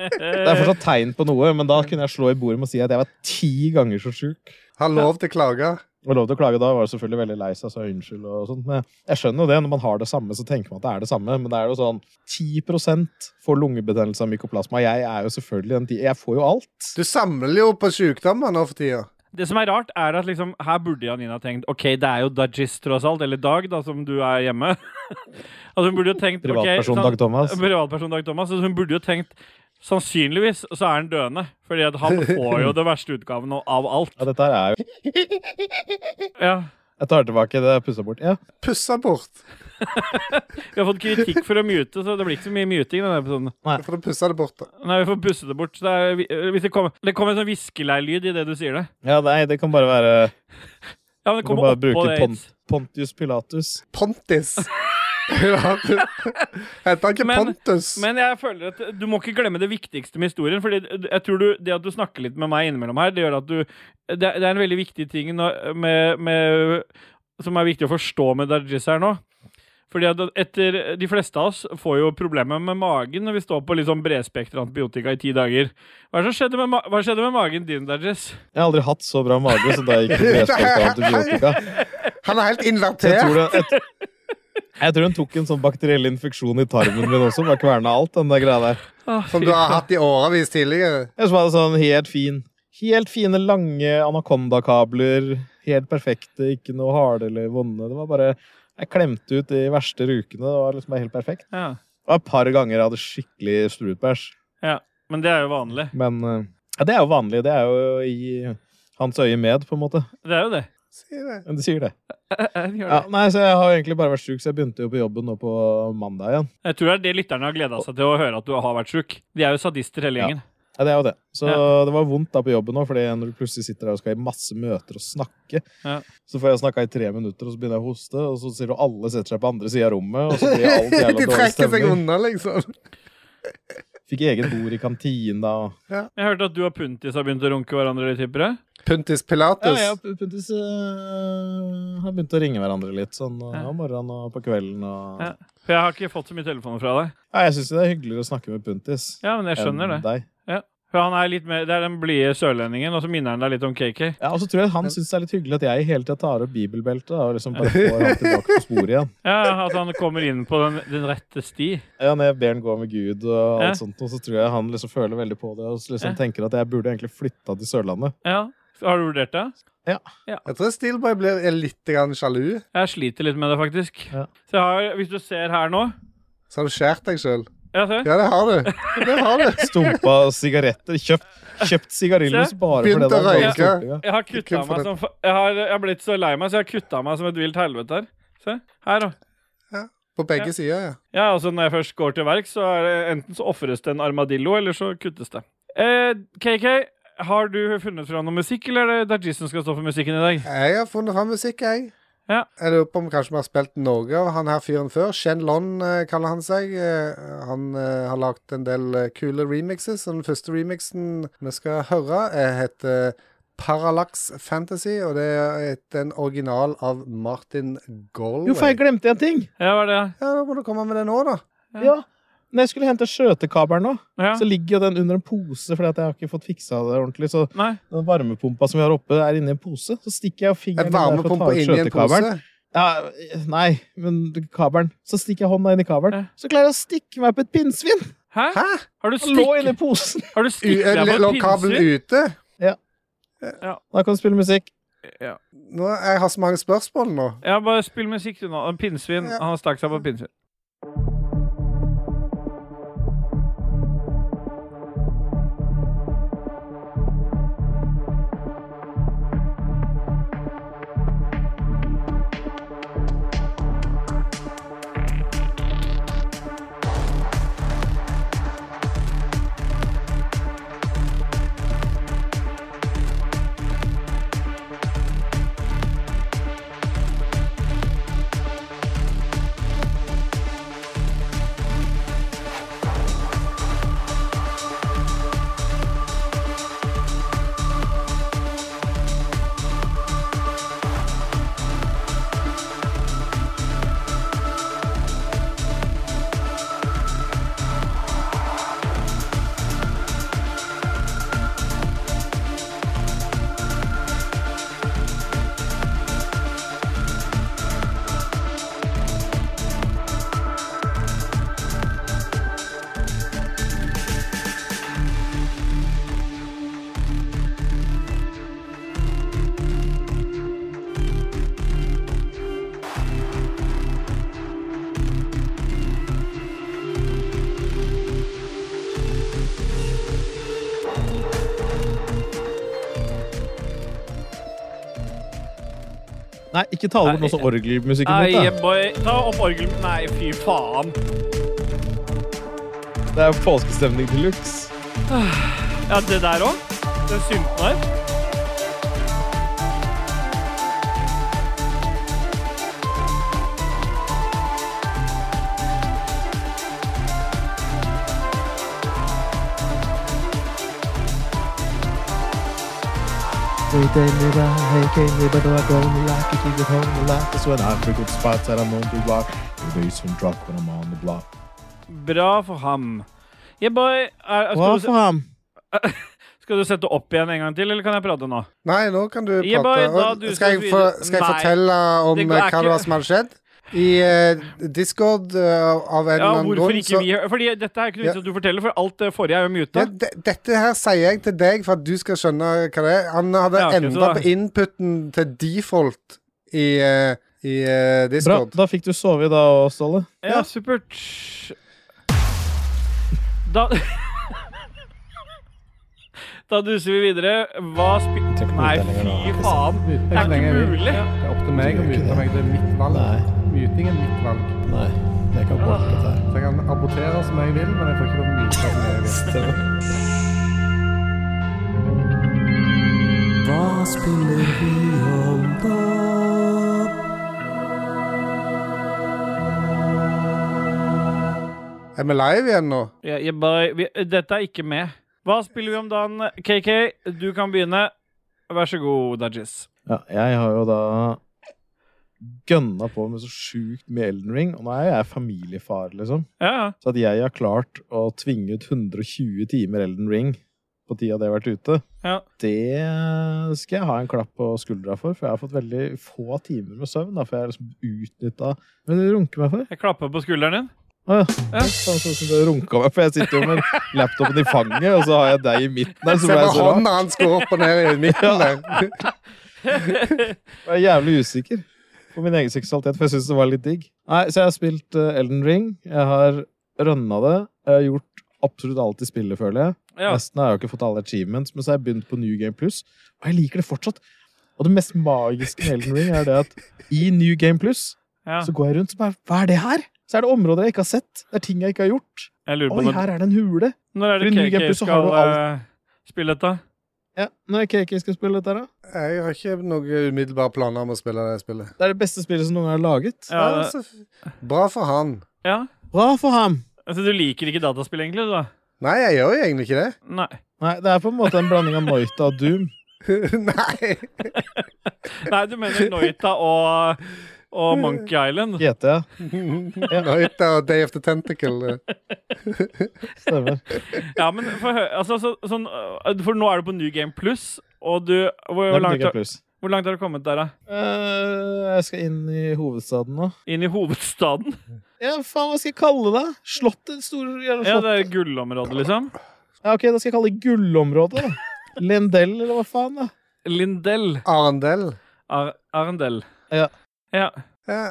Speaker 1: Det er fortsatt tegn på noe, men da kunne jeg slå i bordet med å si at jeg var ti ganger så sjuk.
Speaker 2: Har lov til å klage.
Speaker 1: Og lov til å klage da var jeg selvfølgelig veldig lei seg, sa unnskyld og sånt. Men jeg skjønner jo det, når man har det samme, så tenker man at det er det samme. Men det er jo sånn 10 får lungebetennelse av mykoplasma. Jeg er jo selvfølgelig den ti... Jeg får jo alt.
Speaker 2: Du samler jo på sykdommer nå for tida.
Speaker 3: Det som er rart, er at liksom, her burde Janina tenkt OK, det er jo Dajis, tross alt, eller Dag, da, som du er hjemme. altså, hun burde jo tenkt ok,
Speaker 1: Privatperson
Speaker 3: sånn-
Speaker 1: Dag Thomas.
Speaker 3: Privatperson Dag Thomas. Så hun burde jo tenkt Sannsynligvis så er han døende, fordi at han får jo det verste utgaven av alt.
Speaker 1: Ja, dette her er jo
Speaker 3: Ja.
Speaker 1: Jeg tar tilbake det jeg pussa bort. Ja.
Speaker 2: Pussa bort.
Speaker 3: Vi har fått kritikk for å mute, så det blir ikke så mye muting. i denne episoden
Speaker 2: For å pusse det bort. da.
Speaker 3: Nei, vi får pusse det bort. så Det, er, vi- øh, hvis det, kommer, det kommer en sånn hviskeleirlyd i det du sier det.
Speaker 1: ja, nei, det kan bare være
Speaker 3: Ja, men
Speaker 1: Du
Speaker 3: det
Speaker 1: kan
Speaker 3: kommer
Speaker 1: bare
Speaker 3: oppå
Speaker 1: bruke
Speaker 3: det.
Speaker 1: pon
Speaker 3: aids.
Speaker 1: Pontius Pilatus.
Speaker 2: Pontis. Heter han ikke
Speaker 3: Men-
Speaker 2: Pontus?
Speaker 3: Men jeg føler at du må ikke glemme det viktigste med historien. Fordi jeg tror du, det at du snakker litt med meg innimellom her, det gjør at du Det, det er en veldig viktig ting nå, med, med, som er viktig å forstå med Dajis her nå. Fordi at etter, De fleste av oss får jo problemer med magen når vi står på litt sånn bredspektra antibiotika i ti dager. Hva, er det som skjedde, med, ma- hva skjedde med magen din, Dajis?
Speaker 1: Jeg har aldri hatt så bra mage som da jeg gikk på medspilt av antibiotika.
Speaker 2: Han er helt
Speaker 1: Så Jeg tror,
Speaker 2: invertert.
Speaker 1: det, jeg, t- jeg tror hun tok en sånn bakteriell infeksjon i tarmen min også. Bare kverna alt, den der greia der.
Speaker 3: Å,
Speaker 2: Som
Speaker 3: fy
Speaker 2: du har hatt i årevis tidligere.
Speaker 1: Jeg så var det sånn helt fin. Helt fine, lange anakondakabler. Helt perfekte, ikke noe harde eller vonde. Det var bare Jeg klemte ut de verste rukene. Det var liksom bare helt perfekt.
Speaker 3: faen. Ja.
Speaker 1: Det var et par ganger jeg hadde skikkelig strupebæsj.
Speaker 3: Men det er jo vanlig.
Speaker 1: Men eh, ja, det er jo vanlig. Det er jo i hans øye med, på en måte.
Speaker 3: Det er jo det.
Speaker 2: Si det.
Speaker 1: Men det sier det.
Speaker 3: Jeg,
Speaker 1: Ja, nei, så jeg har jo egentlig bare vært sjuk, så jeg begynte jo på jobben nå på mandag igjen.
Speaker 3: tror det er det lytterne har gleda seg til å høre at du har vært sjuk. De er jo sadister hele
Speaker 1: Ja.
Speaker 3: gjengen.
Speaker 1: Ja, det er jo det. Så det var vondt da på jobben òg, fordi når du plutselig sitter der og skal i masse møter og snakke,
Speaker 3: Ja.
Speaker 1: så får jeg snakka i tre minutter, og så begynner jeg å hoste, og så ser du alle setter seg på andre sida av rommet, og så blir alt jævla
Speaker 2: De
Speaker 1: dårlig
Speaker 2: trekker seg
Speaker 1: stemning.
Speaker 2: unna, liksom.
Speaker 1: Fikk eget bord i kantina. og-
Speaker 3: Jeg hørte at du og Puntis har begynt å runke hverandre, tipper jeg.
Speaker 2: Puntis
Speaker 1: Ja,
Speaker 2: Pilatus.
Speaker 1: jeg og Puntis øh, har begynt å ringe hverandre litt, sånn øh,
Speaker 3: Ja.
Speaker 1: om morgenen og på kvelden og
Speaker 3: Ja. For jeg har ikke fått så mye telefoner fra deg.
Speaker 1: ja, Jeg syns det er hyggeligere å snakke med Puntis
Speaker 3: Ja, men jeg skjønner det.
Speaker 1: deg.
Speaker 3: For han er litt mer, Det er den blide sørlendingen, og så minner han deg litt om KK.
Speaker 1: Ja, og så tror jeg han syns det er litt hyggelig at jeg hele tida tar opp bibelbeltet da, og liksom bare får han tilbake på sporet igjen.
Speaker 3: Ja, At han kommer inn på den, den rette sti.
Speaker 1: Ja, når jeg ber han gå med Gud og alt
Speaker 3: Ja.
Speaker 1: sånt, og så tror jeg han liksom føler veldig på det og så liksom
Speaker 3: Ja.
Speaker 1: tenker at jeg burde egentlig flytta til Sørlandet.
Speaker 3: Ja. Har du vurdert det?
Speaker 2: Jeg tror Steelboy blir er litt grann sjalu.
Speaker 3: Jeg sliter litt med det, faktisk.
Speaker 1: Ja.
Speaker 3: Så jeg har, Hvis du ser her nå
Speaker 2: Så har du skåret deg sjøl.
Speaker 3: Ja, se.
Speaker 2: Ja, det har du. Det har du.
Speaker 1: Stumpa sigaretter. Kjøpt, kjøpt sigarillos
Speaker 3: Se.
Speaker 1: bare
Speaker 2: Begynte
Speaker 1: for det.
Speaker 2: å
Speaker 1: der.
Speaker 2: røyke.
Speaker 1: Stumpa, ja.
Speaker 3: Jeg har
Speaker 2: Kun for
Speaker 3: kutta meg
Speaker 2: den.
Speaker 3: som fa- jeg har, jeg har blitt så lei meg, så jeg har kutta meg som et vilt helvete her. Se. Her, da.
Speaker 2: På begge sider, ja.
Speaker 3: Ja, altså Når jeg først går til verk, så er det enten så ofres det en armadillo, eller så kuttes det. Eh, KK, har du funnet fram noe musikk, eller er det Dajis som skal stå for musikken i dag?
Speaker 2: Jeg har funnet fram musikk, jeg.
Speaker 3: Ja.
Speaker 2: Jeg lurer på om kanskje vi har spilt noe av han her fyren før. Shen Lon eh, kaller han seg. Eh, han eh, har lagd en del eh, kule remixes. og Den første remixen vi skal høre, eh, heter Parallax Fantasy, og det er et, en original av Martin Galway.
Speaker 1: Jo, faen, jeg glemte en ting!
Speaker 3: Ja, var det
Speaker 2: Ja, da må du komme med det nå, da.
Speaker 3: Ja.
Speaker 1: Ja. Når jeg skulle hente skjøtekabelen nå,
Speaker 3: ja.
Speaker 1: så ligger jo den under en pose fordi at jeg har ikke fått fiksa det ordentlig. Så
Speaker 3: Nei.
Speaker 1: den varmepumpa som vi har oppe, er inni en pose. Så stikker jeg fingeren
Speaker 2: En
Speaker 1: inn der for å ta
Speaker 2: varmepumpe
Speaker 1: ut
Speaker 2: inni en
Speaker 1: skjøtekabelen.
Speaker 2: pose.
Speaker 1: Ja, nei, men kabelen. Så stikker jeg hånda inn i kabelen.
Speaker 3: Ja.
Speaker 1: Så klarer jeg å stikke meg på et pinnsvin!
Speaker 3: Hæ?
Speaker 2: Hæ?
Speaker 3: Har du
Speaker 1: Han lå inni
Speaker 3: stikk?
Speaker 1: posen!
Speaker 3: Har du
Speaker 2: U
Speaker 3: stikk deg på
Speaker 2: lå
Speaker 3: et
Speaker 2: kabelen
Speaker 3: pinnsvin?
Speaker 2: ute?
Speaker 1: Da kan du spille musikk.
Speaker 2: Nå, jeg har så mange spørsmål nå.
Speaker 3: Ja, bare spill musikk, du nå. En Pinnsvin.
Speaker 2: Ja.
Speaker 3: Han stakk seg på et pinnsvin.
Speaker 1: Nei, ikke ta over
Speaker 3: Nei.
Speaker 1: noe sånn orgelmusikk.
Speaker 3: Nei,
Speaker 1: imot,
Speaker 3: yeah, boy. Ta opp orgel... Nei, fy faen.
Speaker 1: da. Det er påskestemning til luks.
Speaker 3: Ja, det der òg? Den synten her?
Speaker 1: They tell me why, hey, can you but I don't like it, you home a lot. That's when I frequent spots that I'm known to walk. The bass and drop when I'm on the block.
Speaker 3: Bra for ham. Yeah, boy. Er,
Speaker 1: Hva
Speaker 3: skal, du,
Speaker 1: for ham?
Speaker 3: skal du sette opp igjen en gang til, eller kan jeg prate nå?
Speaker 2: Nei, nå kan du
Speaker 3: Ja,
Speaker 2: prate.
Speaker 3: bare da
Speaker 2: Og
Speaker 3: du
Speaker 2: skal,
Speaker 3: skal
Speaker 2: jeg for,
Speaker 3: videre-
Speaker 2: skal jeg
Speaker 3: Nei.
Speaker 2: fortelle om
Speaker 3: Det går
Speaker 2: eh, hva
Speaker 3: ikke.
Speaker 2: det var som hadde skjedd? I eh, Discord eh, av en
Speaker 3: Ja,
Speaker 2: eller annen
Speaker 3: hvorfor
Speaker 2: grunn
Speaker 3: ikke vi? Fordi dette er ikke noe vits at du forteller, for alt det forrige er
Speaker 2: ja,
Speaker 3: jo muta.
Speaker 2: de, Dette her sier jeg til deg for at du skal skjønne hva det er. Han hadde
Speaker 3: Ja, ok, så
Speaker 2: endret
Speaker 3: da-
Speaker 2: på inputen til default i, eh, i eh,
Speaker 1: Bra,
Speaker 2: Discord.
Speaker 1: da fikk du sove i dag også, Ståle.
Speaker 3: Ja,
Speaker 2: Ja.
Speaker 3: supert. Da Da duser vi videre. Hva spil...
Speaker 1: Tenk på
Speaker 3: Nei,
Speaker 1: utdelingen nå.
Speaker 3: fy faen. Det er ikke mulig.
Speaker 6: Det er opp til meg å mute meg. Det er mitt valg. Muting er mitt valg.
Speaker 1: nei. Det kan gå akkurat her.
Speaker 6: Så jeg kan abortere som jeg vil, men jeg får ikke lov til å mute som jeg vil.
Speaker 2: Er vi live igjen nå?
Speaker 3: Ja, jeg bare, vi, dette er ikke med. Hva spiller vi om dagen, KK? Du kan begynne. Vær så god, Dajis.
Speaker 1: Ja, jeg har jo da gønna på med så sjukt med Elden Ring, og nå er jeg familiefar, liksom.
Speaker 3: Ja, ja.
Speaker 1: Så at jeg har klart å tvinge ut 120 timer Elden Ring på tida det har vært ute,
Speaker 3: Ja.
Speaker 1: det skal jeg ha en klapp på skuldra for, for jeg har fått veldig få timer med søvn. Da, for jeg har liksom utnytta Hva er det du runker meg for?
Speaker 3: Jeg klapper på skulderen din.
Speaker 1: Å ja. Sånn som du runka meg, for jeg sitter jo med laptopen i fanget, og så har jeg deg i midten der.
Speaker 2: Se
Speaker 1: Så ble
Speaker 2: bare
Speaker 1: jeg så rar.
Speaker 2: hånda hans går opp og ned i midten der.
Speaker 1: Jeg er jævlig usikker på min egen seksualitet, for jeg syns det var litt digg. Nei, Så jeg har spilt eh, Elden Ring. Jeg har rønna det. Jeg har gjort absolutt alt i spillet, føler jeg.
Speaker 3: Ja.
Speaker 1: Nesten har jeg jo ikke fått alle achievements, men så har jeg begynt på New Game Plus, og jeg liker det fortsatt. Og det mest magiske med Elden Ring er det at i New Game Plus
Speaker 3: Ja.
Speaker 1: så går jeg rundt og bare Hva er det her? Så er det områder jeg ikke har sett. Det er ting jeg ikke har gjort.
Speaker 3: Jeg lurer på
Speaker 1: Oi,
Speaker 3: når,
Speaker 1: her er det en hule.
Speaker 3: når er
Speaker 1: Fordi
Speaker 3: det
Speaker 1: New Game
Speaker 3: KK
Speaker 1: Plus så har
Speaker 3: skal
Speaker 1: du alt.
Speaker 3: eh, spille dette?
Speaker 1: Ja, Når er det KK skal spille dette, her, da?
Speaker 2: Jeg har ikke noen umiddelbare planer om å spille det spillet.
Speaker 1: Det er det beste spillet som noen gang er laget.
Speaker 3: Ja,
Speaker 2: Ja, altså.
Speaker 3: det-
Speaker 2: så f- Bra for han.
Speaker 3: ja.
Speaker 1: Bra for ham!
Speaker 3: Altså, du liker ikke dataspill, egentlig? du da?
Speaker 2: Nei, jeg gjør jo egentlig ikke det.
Speaker 3: Nei.
Speaker 1: Nei, det er på en måte en blanding av Noita og Doom.
Speaker 2: Nei.
Speaker 3: Nei, du mener Noita og, og Monkey Island?
Speaker 1: GT, ja.
Speaker 2: Noita og Day of the Tentacle. eh.
Speaker 1: Stemmer.
Speaker 3: Ja, men for, hø- altså, så, sånn, øh, for nå er du på New Game Plus, og du hvor,
Speaker 1: Det
Speaker 3: hvor,
Speaker 1: er
Speaker 3: langt,
Speaker 1: Mega
Speaker 3: har-
Speaker 1: Plus.
Speaker 3: hvor langt har du kommet der, da?
Speaker 1: Eh, jeg skal inn i hovedstaden nå.
Speaker 3: Inn i hovedstaden?
Speaker 1: Ja, faen, hva skal jeg kalle det? Slottet? Store jævla
Speaker 3: Ja,
Speaker 1: slott.
Speaker 3: det er gullområdet, liksom?
Speaker 1: Ja, ok, da skal jeg kalle det Gullområdet. da. Lendell, eller hva faen, da.
Speaker 3: Lindell.
Speaker 2: Arendel.
Speaker 3: Ar Arendel.
Speaker 1: Ja.
Speaker 3: Ja.
Speaker 2: Ja.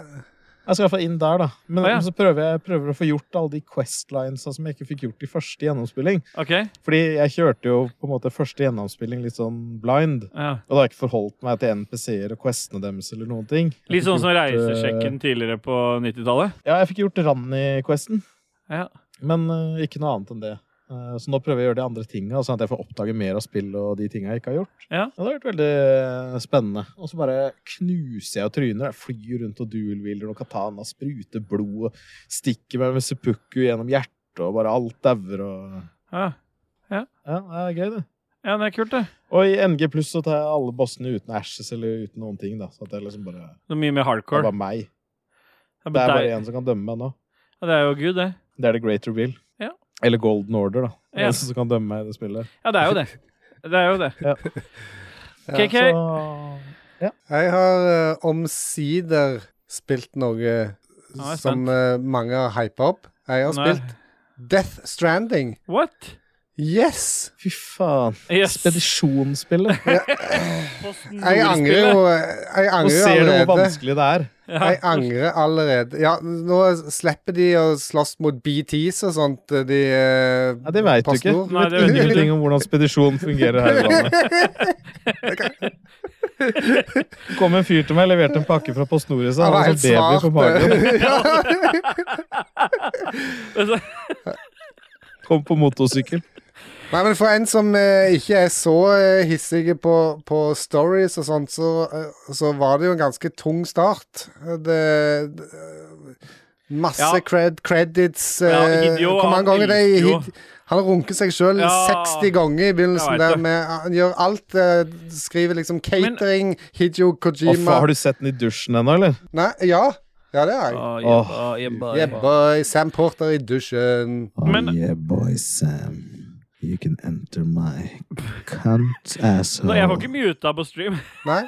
Speaker 1: Jeg skal i hvert fall inn der, da. Men
Speaker 3: Å, ja.
Speaker 1: men så prøver jeg prøver å få gjort alle de questlinesa som jeg ikke fikk gjort i første gjennomspilling.
Speaker 3: OK.
Speaker 1: Fordi jeg kjørte jo på en måte første gjennomspilling litt sånn blind.
Speaker 3: Ja.
Speaker 1: Og da har jeg ikke forholdt meg til NPC-er og questene deres eller noen ting. Jeg
Speaker 3: Litt
Speaker 1: fikk
Speaker 3: sånn som
Speaker 1: gjort, eh,
Speaker 3: reisesjekken tidligere på 90-tallet?
Speaker 1: Ja, jeg fikk gjort Ranni-questen,
Speaker 3: Ja.
Speaker 1: men eh, ikke noe annet enn det. Eh, så nå prøver jeg å gjøre de andre tinga, sånn at jeg får oppdage mer av spill og de tinga jeg ikke har gjort.
Speaker 3: Ja.
Speaker 1: det har vært veldig eh, spennende. Og så bare knuser jeg og tryner. Jeg flyr rundt og duelwheeler og katana, spruter blod, og stikker meg med seppuku gjennom hjertet, og bare alt dauer og
Speaker 3: Ja.
Speaker 1: Ja, det er gøy, det.
Speaker 3: ja, det er kult, det.
Speaker 1: Og i NG pluss så tar jeg alle bossene uten ashes eller uten noen ting, da. Så at det er liksom bare
Speaker 3: Det er mye mer
Speaker 1: Det er
Speaker 3: hardcore.
Speaker 1: bare meg.
Speaker 3: Ja, men
Speaker 1: Det er
Speaker 3: deg-
Speaker 1: bare én som kan dømme meg nå.
Speaker 3: Ja, det er jo gud, det.
Speaker 1: Det er The Greater Will.
Speaker 3: Ja.
Speaker 1: Eller Golden Order, da. Det er
Speaker 3: Ja.
Speaker 1: eneste som kan dømme meg i det spillet.
Speaker 3: Ja, det er jo det. Det er jo det.
Speaker 1: Ja.
Speaker 3: KK,
Speaker 1: Så
Speaker 2: Jeg har eh, omsider spilt noe
Speaker 3: jeg er
Speaker 2: som
Speaker 3: spent.
Speaker 2: eh, mange har hypa opp. Jeg har
Speaker 3: Nei.
Speaker 2: spilt Death Stranding.
Speaker 3: what?
Speaker 2: Yes!
Speaker 1: Fy faen.
Speaker 3: Yes.
Speaker 1: Spedisjonsspillet.
Speaker 2: Jeg angrer jo eh, Jeg
Speaker 1: Nå
Speaker 2: angrer jo
Speaker 1: ser du hvor
Speaker 2: allerede.
Speaker 1: vanskelig det er.
Speaker 2: Jeg angrer allerede. Ja, nå slipper de å slåss mot BTs og sånt, de eh,
Speaker 1: Nei, det veit du ikke.
Speaker 2: PostNord.
Speaker 1: Du vet
Speaker 3: Nei, det vet jeg ikke.
Speaker 1: ingenting om hvordan spedisjon fungerer her i landet. Det kom en fyr til meg, leverte en pakke fra PostNord i seg. Han
Speaker 2: Han var
Speaker 1: hadde
Speaker 2: helt eh,
Speaker 1: sånn baby på magen.
Speaker 2: svart.
Speaker 3: Men så-
Speaker 1: Kom på motorsykkel.
Speaker 2: Nei, men for en som eh, ikke er så eh, hissig på, på stories og sånt, så, eh, så var det jo en ganske tung start. Det, det Masse
Speaker 3: Ja.
Speaker 2: cred, credits eh,
Speaker 3: Ja, Hideo,
Speaker 2: Hvor mange
Speaker 3: han
Speaker 2: ganger det er i
Speaker 3: elsker jo-
Speaker 2: Hid- Han har runket seg sjøl
Speaker 3: Ja,
Speaker 2: 60 ganger i
Speaker 3: jeg vet
Speaker 2: begynnelsen. der
Speaker 3: det.
Speaker 2: med, Han gjør alt. eh, skriver liksom
Speaker 3: Men-
Speaker 2: catering, Hideo
Speaker 1: Å, faen,
Speaker 2: Kojima
Speaker 1: har du sett den i dusjen ennå, eller?
Speaker 2: Nei, ja. Ja, det er jeg.
Speaker 3: Å,
Speaker 1: Åh.
Speaker 3: jebba, jebba,
Speaker 2: Yeah,
Speaker 3: jebba.
Speaker 2: boy. Sam Porter i dusjen.
Speaker 3: Men-
Speaker 1: Oh, yeah, boy Sam. You can enter my cunt asshole.
Speaker 3: Nå, jeg får ikke muta på stream.
Speaker 2: Nei?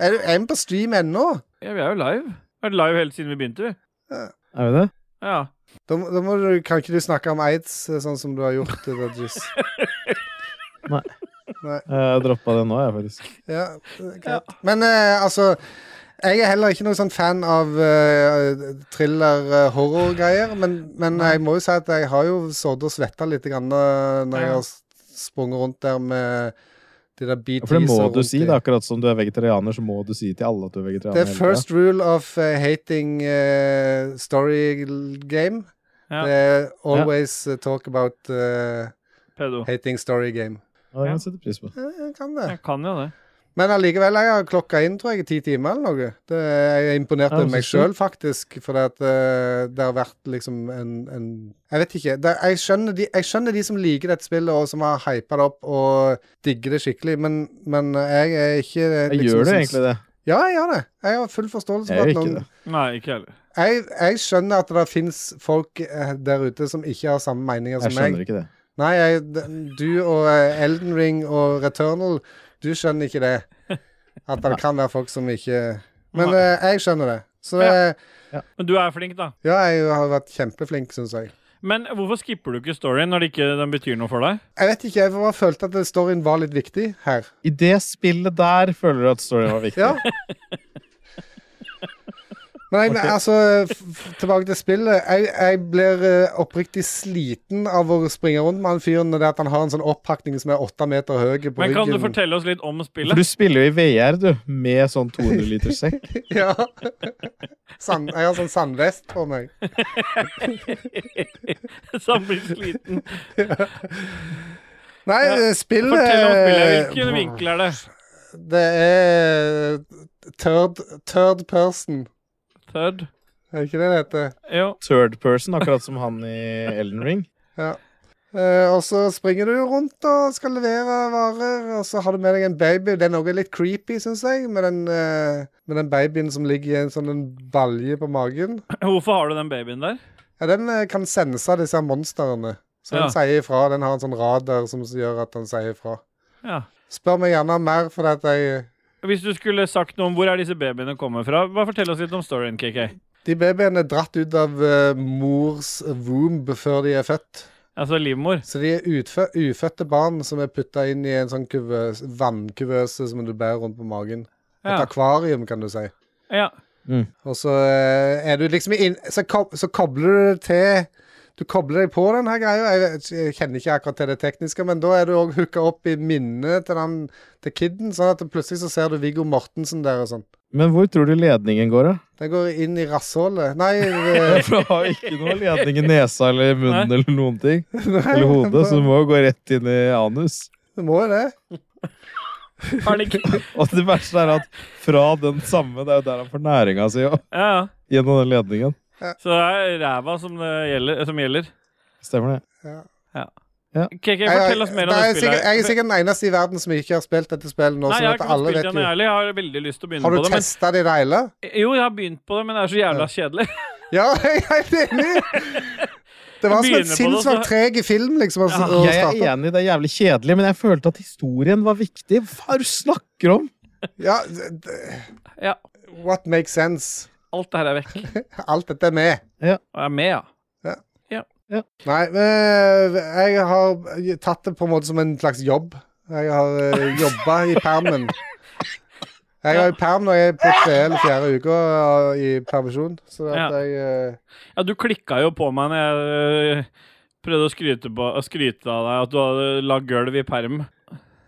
Speaker 2: Er, du- er vi på stream ennå?
Speaker 3: Ja, vi er jo live. Vi har vært live hele siden vi begynte, vi.
Speaker 1: Er vi det?
Speaker 3: Ja.
Speaker 2: Da, må- da må du, kan ikke du snakke om aids eh, sånn som du har gjort, eh, Dodges.
Speaker 1: Jeg droppa det nå, jeg, faktisk.
Speaker 2: Ja, eh, greit. Men eh, altså jeg er heller ikke noen sånn fan av eh, thriller-horror-greier, men, men jeg må jo si at jeg har jo sådd og svetta litt grann, eh, når jeg har s- sprunget rundt der med de
Speaker 1: Ja,
Speaker 2: der BTs.
Speaker 1: For det må
Speaker 2: og
Speaker 1: du
Speaker 2: rundt
Speaker 1: si.
Speaker 2: i-
Speaker 1: det er Akkurat som du er vegetarianer, så må du si til alle at du er
Speaker 2: The
Speaker 1: vegetarianer. hele tiden.
Speaker 2: first rule of eh, hating eh, story game.
Speaker 3: Ja.
Speaker 2: Det er always eh, talk about eh,
Speaker 3: Pedo.
Speaker 2: hating story game.
Speaker 1: Ja, jeg setter pris på.
Speaker 2: Eh, Jeg kan det.
Speaker 3: Jeg kan jo det.
Speaker 2: Men allikevel, jeg har klokka inn tror jeg, i ti timer eller noe. Det, jeg er imponert
Speaker 1: Ja,
Speaker 2: over
Speaker 1: så
Speaker 2: meg sjøl,
Speaker 1: sykt.
Speaker 2: faktisk. For det, at, eh, det har vært liksom en, en Jeg vet ikke. Det, jeg, skjønner de, jeg skjønner de som liker dette spillet, og som har hypa det opp og digger det skikkelig, men, men jeg er ikke eh,
Speaker 1: Jeg
Speaker 2: liksom
Speaker 1: gjør du
Speaker 2: som-
Speaker 1: egentlig det?
Speaker 2: Ja, jeg gjør det. Jeg har full forståelse
Speaker 1: Jeg
Speaker 2: for
Speaker 1: gjør
Speaker 2: at
Speaker 1: ikke
Speaker 2: noen
Speaker 1: det.
Speaker 3: Nei, ikke heller.
Speaker 2: jeg, jeg skjønner at det fins folk eh, der ute som ikke har samme meninger
Speaker 1: Jeg
Speaker 2: som meg.
Speaker 1: skjønner ikke det.
Speaker 2: Nei, jeg, d- du og eh, Elden Ring og Returnal, du skjønner ikke det. At det kan være folk som ikke Men
Speaker 3: Nei.
Speaker 2: eh, jeg skjønner det. Så det,
Speaker 3: Ja. Men du er flink, da.
Speaker 2: ja, jeg har vært kjempeflink, syns jeg.
Speaker 3: Men hvorfor skipper du ikke storyen når det ikke, den betyr noe for deg?
Speaker 2: Jeg vet ikke, jeg bare følte at storyen var litt viktig her.
Speaker 1: I det spillet der føler du at storyen var viktig.
Speaker 2: Ja. Men jeg, altså, f- f- tilbake til spillet. Jeg, jeg blir eh, oppriktig sliten av å springe rundt med han fyren og det at han har en sånn opphakning som er åtte meter høy på
Speaker 3: Men kan du
Speaker 2: ryggen.
Speaker 3: fortelle oss litt om spillet?
Speaker 1: For du spiller jo i VR, du, med sånn 200 liter sekk.
Speaker 2: Ja. Sand, jeg har sånn sandvest på meg.
Speaker 3: Så han blir sliten.
Speaker 2: Nei,
Speaker 3: Ja.
Speaker 2: eh, spillet
Speaker 3: Fortell om spillet. Hvilken vinkel er det?
Speaker 2: Det er eh, third, third person.
Speaker 3: Third?
Speaker 2: Er det ikke det det heter?
Speaker 3: Jo.
Speaker 1: Third person, akkurat som han i Elden Ring.
Speaker 2: Ja. Eh, og så springer du rundt og skal levere varer, og så har du med deg en baby. Det er noe litt creepy, syns jeg, med den, eh, med den babyen som ligger i en sånn en balje på magen.
Speaker 3: Hvorfor har du den babyen der?
Speaker 2: Ja, den eh, kan sense disse her monstrene. Så den
Speaker 3: Ja.
Speaker 2: sier ifra. Den har en sånn radar som gjør at den sier ifra.
Speaker 3: Ja.
Speaker 2: Spør meg gjerne mer, for at jeg
Speaker 3: Hvis du skulle sagt noe om hvor er disse babyene kommer fra, bare fortell oss litt om storyen, KK.
Speaker 2: De babyene er dratt ut av eh, mors womb før de er født.
Speaker 3: Altså livmor.
Speaker 2: Så de er utfø ufødte barn som er putta inn i en sånn kuvøs, vannkuvøse som du bærer rundt på magen. Et
Speaker 3: Ja.
Speaker 2: akvarium, kan du si.
Speaker 3: ja.
Speaker 2: Og så eh, er du liksom inn... Så, kob så kobler du det til Du kobler deg på den her greia. Jeg, vet- jeg kjenner ikke akkurat til det tekniske, men da er du òg hooka opp i minnet til den til kiden, sånn at plutselig så ser du Viggo Mortensen der og sånn.
Speaker 1: Men hvor tror du ledningen går, da?
Speaker 2: Den går inn i rasshålet. Nei, eh,
Speaker 1: For du har jo ikke noe ledning i nesa eller i munnen
Speaker 3: Nei.
Speaker 1: eller noen ting.
Speaker 2: nei
Speaker 1: Eller hodet, så du må jo gå rett inn i anus.
Speaker 2: Det må jo det.
Speaker 3: Har det ikke
Speaker 1: Og det verste er at fra den samme, det er jo der han får næringa si òg.
Speaker 3: Ja, ja.
Speaker 1: Gjennom den ledningen.
Speaker 3: Så det er ræva som, det gjelder, som gjelder.
Speaker 1: Stemmer det?
Speaker 3: KK, fortell oss mer om
Speaker 2: Nei,
Speaker 3: det
Speaker 2: jeg, er sikkert,
Speaker 3: spillet.
Speaker 2: jeg er sikkert den eneste i verden som ikke har spilt dette spillet nå.
Speaker 3: Nei,
Speaker 2: sånn
Speaker 3: jeg har
Speaker 2: at
Speaker 3: ikke fått
Speaker 2: alle
Speaker 3: spilt
Speaker 2: vet
Speaker 3: den,
Speaker 2: jo.
Speaker 3: jeg heller. Jeg har veldig lyst til å begynne
Speaker 2: Har
Speaker 3: på
Speaker 2: du
Speaker 3: det.
Speaker 2: testa det i deile?
Speaker 3: Men, jo, jeg har begynt på det, men det er så jævla kjedelig.
Speaker 2: Ja, jeg er helt enig! Det var som en
Speaker 3: Begynner på det, så-
Speaker 2: sinnssykt treg film, liksom. å-
Speaker 3: Ja.
Speaker 2: å
Speaker 1: Jeg er
Speaker 2: starte.
Speaker 1: enig, det er jævlig kjedelig, men jeg følte at historien var viktig. Hva er det du snakker om?
Speaker 2: Ja, d- d-
Speaker 3: Ja,
Speaker 2: what makes sense?
Speaker 3: alt det her er vekk.
Speaker 2: Alt dette er med.
Speaker 3: Og jeg er med, ja.
Speaker 2: Nei, men eh, jeg har tatt det på en måte som en slags jobb. Jeg har jobba i permen. Jeg har jo perm når jeg er på tre eller fjerde uke og- eh, i permisjon, så at
Speaker 3: Ja.
Speaker 2: jeg eh,
Speaker 3: Ja, du klikka jo på meg når jeg øh, prøvde å skryte, på, å skryte av deg at du hadde lagd gulv i perm.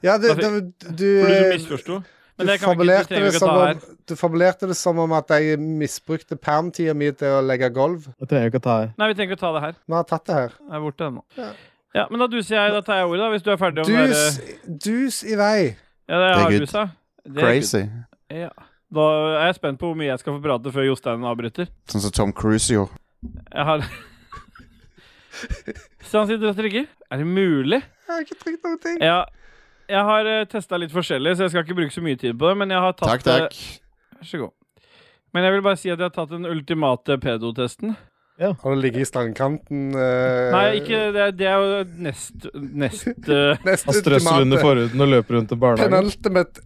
Speaker 2: Ja, det,
Speaker 3: Da
Speaker 2: det, du
Speaker 3: Fordi du
Speaker 2: eh,
Speaker 3: misforsto. Men Men
Speaker 2: du
Speaker 3: det kan vi ikke,
Speaker 2: formulerte
Speaker 3: det trenger vi
Speaker 2: det
Speaker 3: ikke
Speaker 2: som
Speaker 3: å ta her.
Speaker 2: om, du formulerte det som om at jeg misbrukte permtida mi til å legge gulv.
Speaker 1: Jeg trenger jo ikke å ta her.
Speaker 3: Nei, vi trenger ikke å ta det her.
Speaker 2: Vi har tatt det her.
Speaker 3: Jeg er borte ennå.
Speaker 2: Ja.
Speaker 3: Ja, men da duser jeg. Da tar jeg ordet, da, hvis du er ferdig om det
Speaker 2: Dus,
Speaker 3: der-
Speaker 2: dus i vei.
Speaker 3: Ja, det
Speaker 5: Det er
Speaker 3: har
Speaker 5: good.
Speaker 3: dusa. Det er good.
Speaker 5: Crazy.
Speaker 3: Ja. Da er jeg spent på hvor mye jeg skal få prate før Jostein avbryter.
Speaker 5: Sånn som Tom Cruise gjorde.
Speaker 3: Jeg har Så han sitter og trygger. Er det mulig?
Speaker 2: Jeg har ikke trykt noen ting.
Speaker 3: Ja. Jeg har testa litt forskjellig, så jeg skal ikke bruke så mye tid på det. Men jeg har tatt
Speaker 5: Takk, takk.
Speaker 3: eh, Vær så god. Men jeg vil bare si at jeg har tatt den ultimate pedotesten.
Speaker 2: Har du ligget i strandkanten eh,
Speaker 3: Nei, ikke det. er- Det er jo nest Nest eh,
Speaker 2: Nest
Speaker 1: Han strøsser under
Speaker 2: ultimate.
Speaker 1: forhuden og løper rundt i barnehagen.
Speaker 2: Penultimate.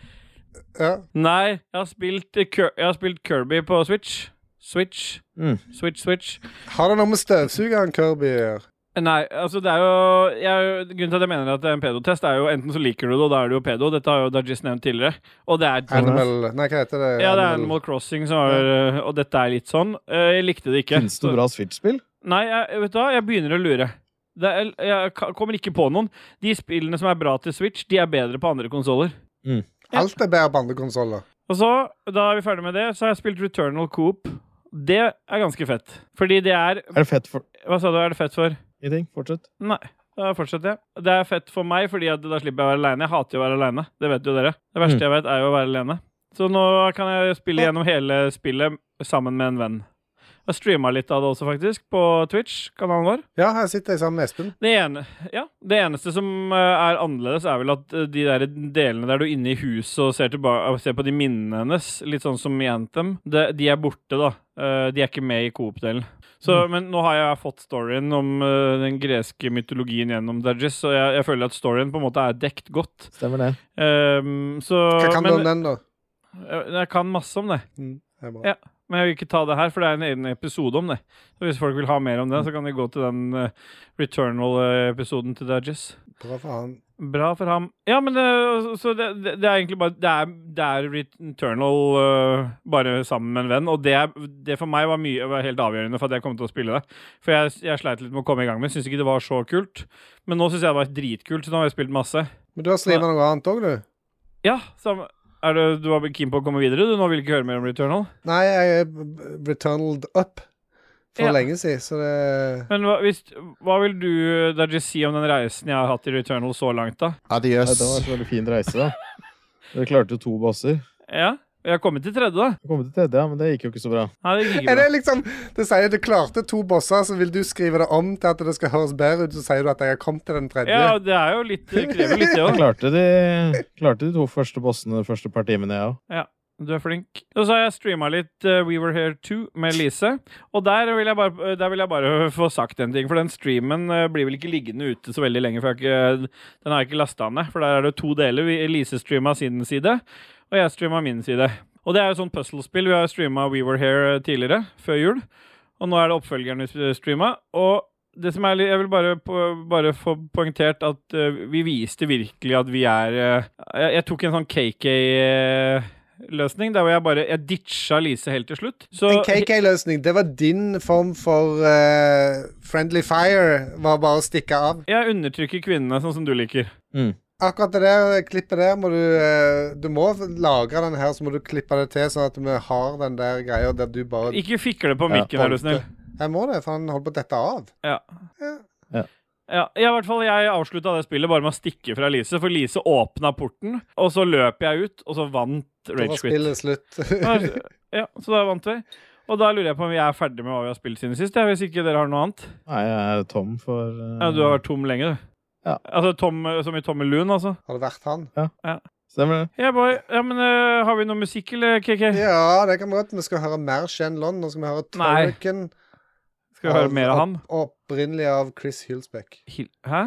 Speaker 2: Ja.
Speaker 3: Nei, jeg har spilt, eh, Ker- jeg har spilt Kirby på Switch. Switch.
Speaker 1: Mm.
Speaker 3: Switch, Switch.
Speaker 2: Har det noe med støvsugeren Kirby å gjøre?
Speaker 3: Nei, altså det er jo jeg, Grunnen til at jeg mener at det er en pedotest, er jo enten så liker du det, og da er du jo pedo. Dette har jo Dajis nevnt tidligere. Og det er
Speaker 2: Animal Nei, hva heter det?
Speaker 3: Ja, det er Animal Crossing som er øh, Og dette er litt sånn. Øh, Jeg likte det ikke.
Speaker 1: Finnes det noe bra Switch-spill?
Speaker 3: Nei, jeg, vet du hva, jeg begynner å lure. Det er, jeg ka- kommer ikke på noen. De spillene som er bra til Switch, de er bedre på andre konsoller.
Speaker 2: Alt er bedre på andre konsoller.
Speaker 3: Og så, da er vi ferdig med det, så har jeg spilt Returnal Coop. Det er ganske fett. Fordi det er
Speaker 1: Er det fett for
Speaker 3: Hva sa du er det fett for?
Speaker 1: ingenting? Fortsett.
Speaker 3: Nei. Da fortsetter jeg. Det er fett for meg, fordi at da slipper jeg å være aleine. Jeg hater jo å være aleine. Det vet jo dere. Det verste
Speaker 1: Mm.
Speaker 3: jeg vet, er jo å være alene. Så nå kan jeg spille gjennom hele spillet sammen med en venn. Jeg streama litt av det også, faktisk, på Twitch, kanalen vår.
Speaker 2: Ja, her sitter jeg sammen med Espen.
Speaker 3: Det, ene, ja, det eneste som eh, er annerledes, er vel at eh, de der delene der du er inne i huset og ser, tilba- og ser på de minnene hennes, litt sånn som i Anthem, det, de er borte, da. Eh, De er ikke med i Coop-delen. Så,
Speaker 2: Mm.
Speaker 3: Men nå har jeg fått storyen om eh, den greske mytologien gjennom Dajis, så jeg, jeg føler at storyen på en måte er dekt godt.
Speaker 1: Stemmer det.
Speaker 3: Ehm, så,
Speaker 2: Hva kan du om den,
Speaker 3: men,
Speaker 2: da?
Speaker 3: jeg, jeg kan masse om det.
Speaker 2: Mm, det er bra.
Speaker 3: Ja. Men jeg vil ikke ta det her, for det er en egen episode om det. Så Hvis folk vil ha mer om det, så kan de gå til den eh, Returnal-episoden til Dajis.
Speaker 2: Bra for han.
Speaker 3: Bra for ham. Ja, men det, så det, det, det er egentlig bare Det er, det er Returnal øh, bare sammen med en venn, og det, det for meg var, mye, var helt avgjørende for at jeg kom til å spille det. For jeg, jeg sleit litt med å komme i gang med Syns ikke det var så kult. Men nå syns jeg det var dritkult, så nå har jeg spilt masse.
Speaker 2: Men du har streama noe annet òg, du?
Speaker 3: Ja, så er du, du var keen på å komme videre, du? Nå vil du ikke høre mer om Returnal?
Speaker 2: Nei, jeg er b- b- returned up for
Speaker 3: Ja.
Speaker 2: lenge siden, så det
Speaker 3: Men hva, hvis, hva vil du, Dajis, si om den reisen jeg har hatt i Returnal så langt, da?
Speaker 1: Nei,
Speaker 5: Adios.
Speaker 1: det var en veldig fin reise, da. Dere klarte jo to bosser.
Speaker 3: Ja? Jeg har kommet til tredje, da.
Speaker 1: Jeg kom til tredje, ja, men det gikk jo ikke så bra.
Speaker 3: Nei, det gikk ikke
Speaker 2: er det
Speaker 3: bra.
Speaker 2: liksom, Du sier du klarte to bosser, så vil du skrive det om til at det skal høres bedre ut. Så sier du at jeg har kommet til den tredje.
Speaker 3: Ja, det er jo litt Det krever litt, det òg.
Speaker 1: Jeg klarte de, klarte de to første bossene de første par timene, jeg òg.
Speaker 3: Du er flink. Og så har jeg streama litt eh, We Were Here 2 med Lise. Og der vil, jeg bare, der vil jeg bare få sagt en ting, for den streamen eh, blir vel ikke liggende ute så veldig lenge. For jeg har ikke, den har jeg ikke lasta ned. For der er det to deler. Vi- Lise streama sin side, og jeg streama min side. Og det er jo sånn puzzlespill. Vi har streama We Were Here eh, tidligere, før jul. Og nå er det oppfølgeren vi streama. Og det som er, litt- jeg vil bare, på, bare få poengtert at eh, vi viste virkelig at vi er eh, jeg, jeg tok en sånn KK-løsning, der hvor jeg bare Jeg ditcha Lise helt til slutt. Så
Speaker 2: En KK-løsning, det var din form for eh, friendly fire. Var bare å stikke av.
Speaker 3: jeg undertrykker kvinnene sånn som du liker.
Speaker 2: Akkurat det der klippet der må du eh, Du må lagre den her, så må du klippe det til, sånn at vi har den der greia der du bare
Speaker 3: Ikke fikle på
Speaker 1: Ja,
Speaker 3: mikken, er du snill.
Speaker 2: Jeg må det, for han holder på å dette av.
Speaker 3: Ja.
Speaker 2: Ja.
Speaker 1: Ja.
Speaker 3: Ja, i hvert fall Jeg avslutta det spillet bare med å stikke fra Lise, for Lise åpna porten, og så løp jeg ut, og så vant
Speaker 2: Da var
Speaker 3: Rage Quit.
Speaker 2: spillet slutt.
Speaker 3: Ja, så da vant vi. Og da lurer jeg på om vi er ferdig med hva vi har spilt siden sist. Jeg, hvis ikke dere har noe annet.
Speaker 1: Nei, jeg er tom for eh,
Speaker 3: Ja, du har vært tom lenge, du.
Speaker 1: Ja.
Speaker 3: Altså tom, som i Tommelun, altså.
Speaker 2: har det vært han?
Speaker 1: Stemmer det.
Speaker 3: Ja, boy. ja, men øh, har vi noe musikk, eller, KK?
Speaker 2: Ja, det kan vi godt. Vi skal høre mer Shenlon. Nå skal vi høre
Speaker 3: Nei.
Speaker 2: Trolken.
Speaker 3: Skal vi høre mer av han?
Speaker 2: Opp, opprinnelig av Chris Hulsbeck.
Speaker 3: Hil- Hæ?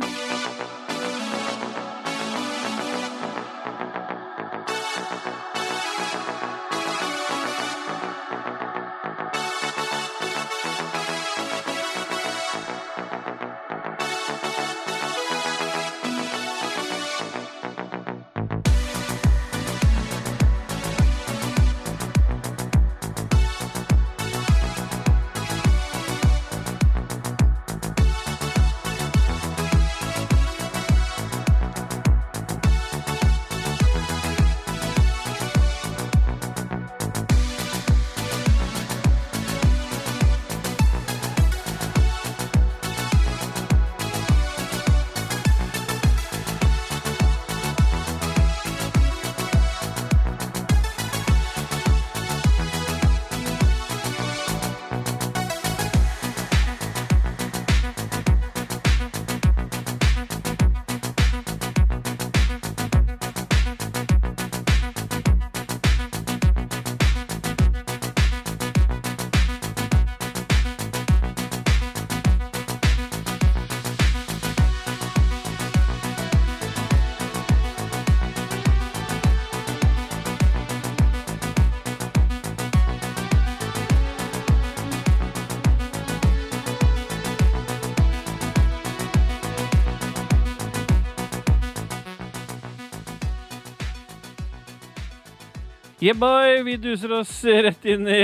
Speaker 3: Yeah, boy, vi duser oss rett inn i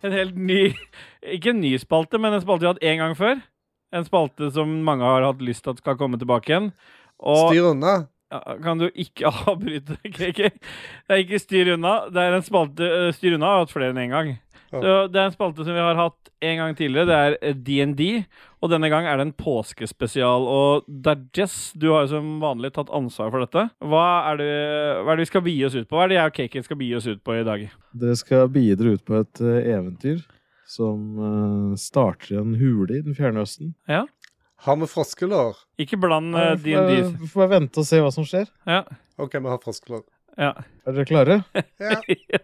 Speaker 3: en helt ny Ikke en ny spalte, men en spalte vi har hatt én gang før. En spalte som mange har hatt lyst til at skal komme tilbake igjen. Og
Speaker 2: Styr unna.
Speaker 3: ja, kan du ikke avbryte, KK? Det er ikke styr unna. Det er en spalte øh, Styr unna har jeg hatt flere enn én gang.
Speaker 2: Ja.
Speaker 3: Så det er en spalte som vi har hatt en gang tidligere. Det er eh, DND. Og denne gang er det en påskespesial. Og det er Jess, du har jo som vanlig tatt ansvar for dette. Hva er det, hva er det vi skal begi oss ut på? Hva er det jeg og KK skal begi oss ut på i dag?
Speaker 1: Dere skal bidra ut på et eh, eventyr som eh, starter i en hule i den fjerne østen.
Speaker 2: Har vi froskelår?
Speaker 3: Ikke bland eh,
Speaker 1: Vi får-
Speaker 3: D&D.
Speaker 1: vi får bare vente og se hva som skjer.
Speaker 3: Ja.
Speaker 2: OK, vi har froskelår.
Speaker 3: ja.
Speaker 1: Er dere klare?
Speaker 2: Ja.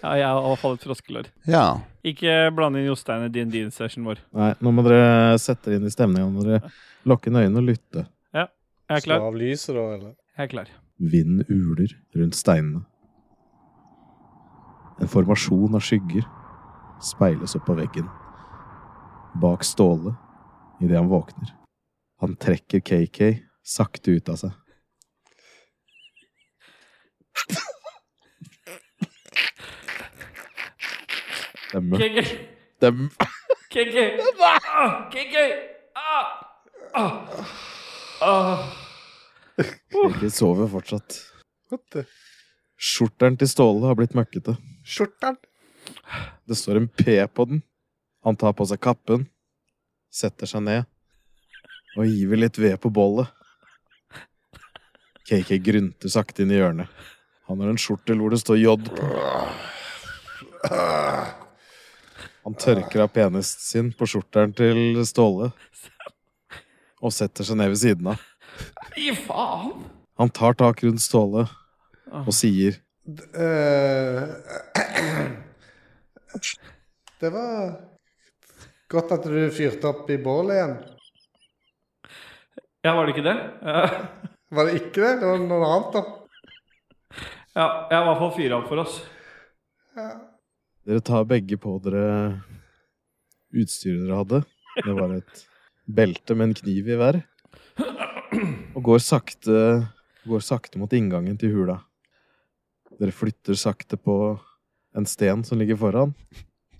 Speaker 3: Ja, jeg har fallet froskelår.
Speaker 5: Ja.
Speaker 3: Ikke blande inn Jostein i D&D-sessionen vår.
Speaker 1: Nei, nå må dere sette dere inn i stemninga når dere lukker inn øynene og lytter.
Speaker 3: Jeg er
Speaker 2: Slå
Speaker 3: klar.
Speaker 2: av lyset, da, eller?
Speaker 3: Jeg er klar.
Speaker 1: Vinden uler rundt steinene. En formasjon av skygger speiles opp på veggen. Bak Ståle idet han våkner. Han trekker KK sakte ut av seg. Det er mørkt.
Speaker 3: KK!
Speaker 1: Det er mørkt.
Speaker 3: KK! Ah, KK! Ah! Ah! Ah!
Speaker 1: KK sover fortsatt.
Speaker 2: What the?
Speaker 1: Skjorteren til Ståle har blitt møkkete.
Speaker 2: Skjorten?
Speaker 1: Det står en P på den. Han tar på seg kappen, setter seg ned og hiver litt ved på bollet. KK grynter sakte inn i hjørnet. Han har en skjortel hvor det står J på. Han tørker av penisen sin på skjorteren til Ståle og setter seg ned ved siden av.
Speaker 3: Gi faen!
Speaker 1: Han tar tak rundt Ståle og sier
Speaker 2: Eh, Det var godt at du fyrte opp i bålet igjen.
Speaker 3: Ja, var det ikke det? Eh, Ja,
Speaker 2: Var det ikke det? Det var noe annet, da.
Speaker 3: ja jeg har i hvert fall fyra opp for oss.
Speaker 1: Dere tar begge på dere utstyret dere hadde. Det var et belte med en kniv i hver. Og går sakte, går sakte mot inngangen til hula. Dere flytter sakte på en sten som ligger foran,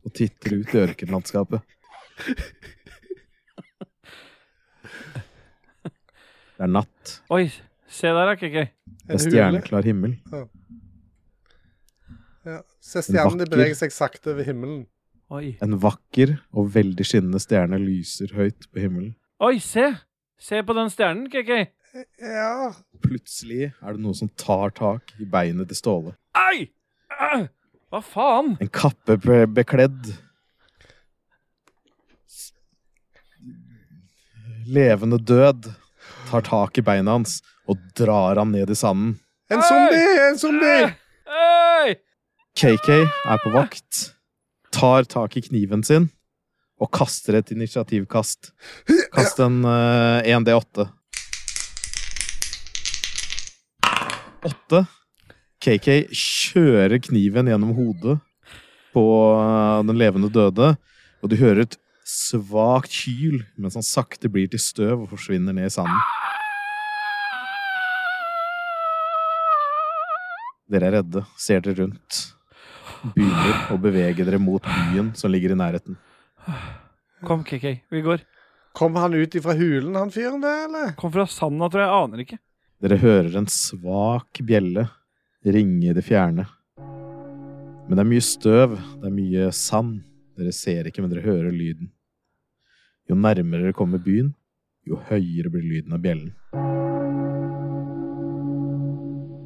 Speaker 1: og titter ut i ørkenlandskapet. Det er natt.
Speaker 3: Oi, se der, da, KK.
Speaker 1: Det er
Speaker 2: En hule.
Speaker 1: stjerneklar himmel.
Speaker 2: Ja. Se stjernene
Speaker 1: vakker-
Speaker 2: beveger seg sakte over himmelen.
Speaker 3: Oi.
Speaker 1: En vakker og veldig skinnende stjerne lyser høyt på himmelen.
Speaker 3: Oi, se! Se på den stjernen, KK.
Speaker 2: Ja.
Speaker 1: Plutselig er det noe som tar tak i beinet til Ståle.
Speaker 3: Ai! Ah! Hva faen?
Speaker 1: En kappe be- bekledd s- Levende død tar tak i beina hans og drar han ned i sanden.
Speaker 2: En
Speaker 3: Hei!
Speaker 2: zombie! En zombie!
Speaker 3: Oi!
Speaker 1: KK er på vakt, tar tak i kniven sin og kaster et initiativkast. Kast en eh, 1D8. 8. KK kjører kniven gjennom hodet på eh, den levende døde, og du hører et svakt hyl mens han sakte blir til støv og forsvinner ned i sanden. Dere er redde, ser dere rundt. Begynner å bevege dere mot byen som ligger i nærheten.
Speaker 3: Kom, KK. Vi går.
Speaker 2: Kom han ut ifra hulen, han fyren der, eller?
Speaker 3: Kom fra sanda, tror jeg. Jeg aner ikke.
Speaker 1: Dere hører en svak bjelle ringe i det fjerne. Men det er mye støv, det er mye sand. Dere ser ikke, men dere hører lyden. Jo nærmere dere kommer byen, jo høyere blir lyden av bjellen.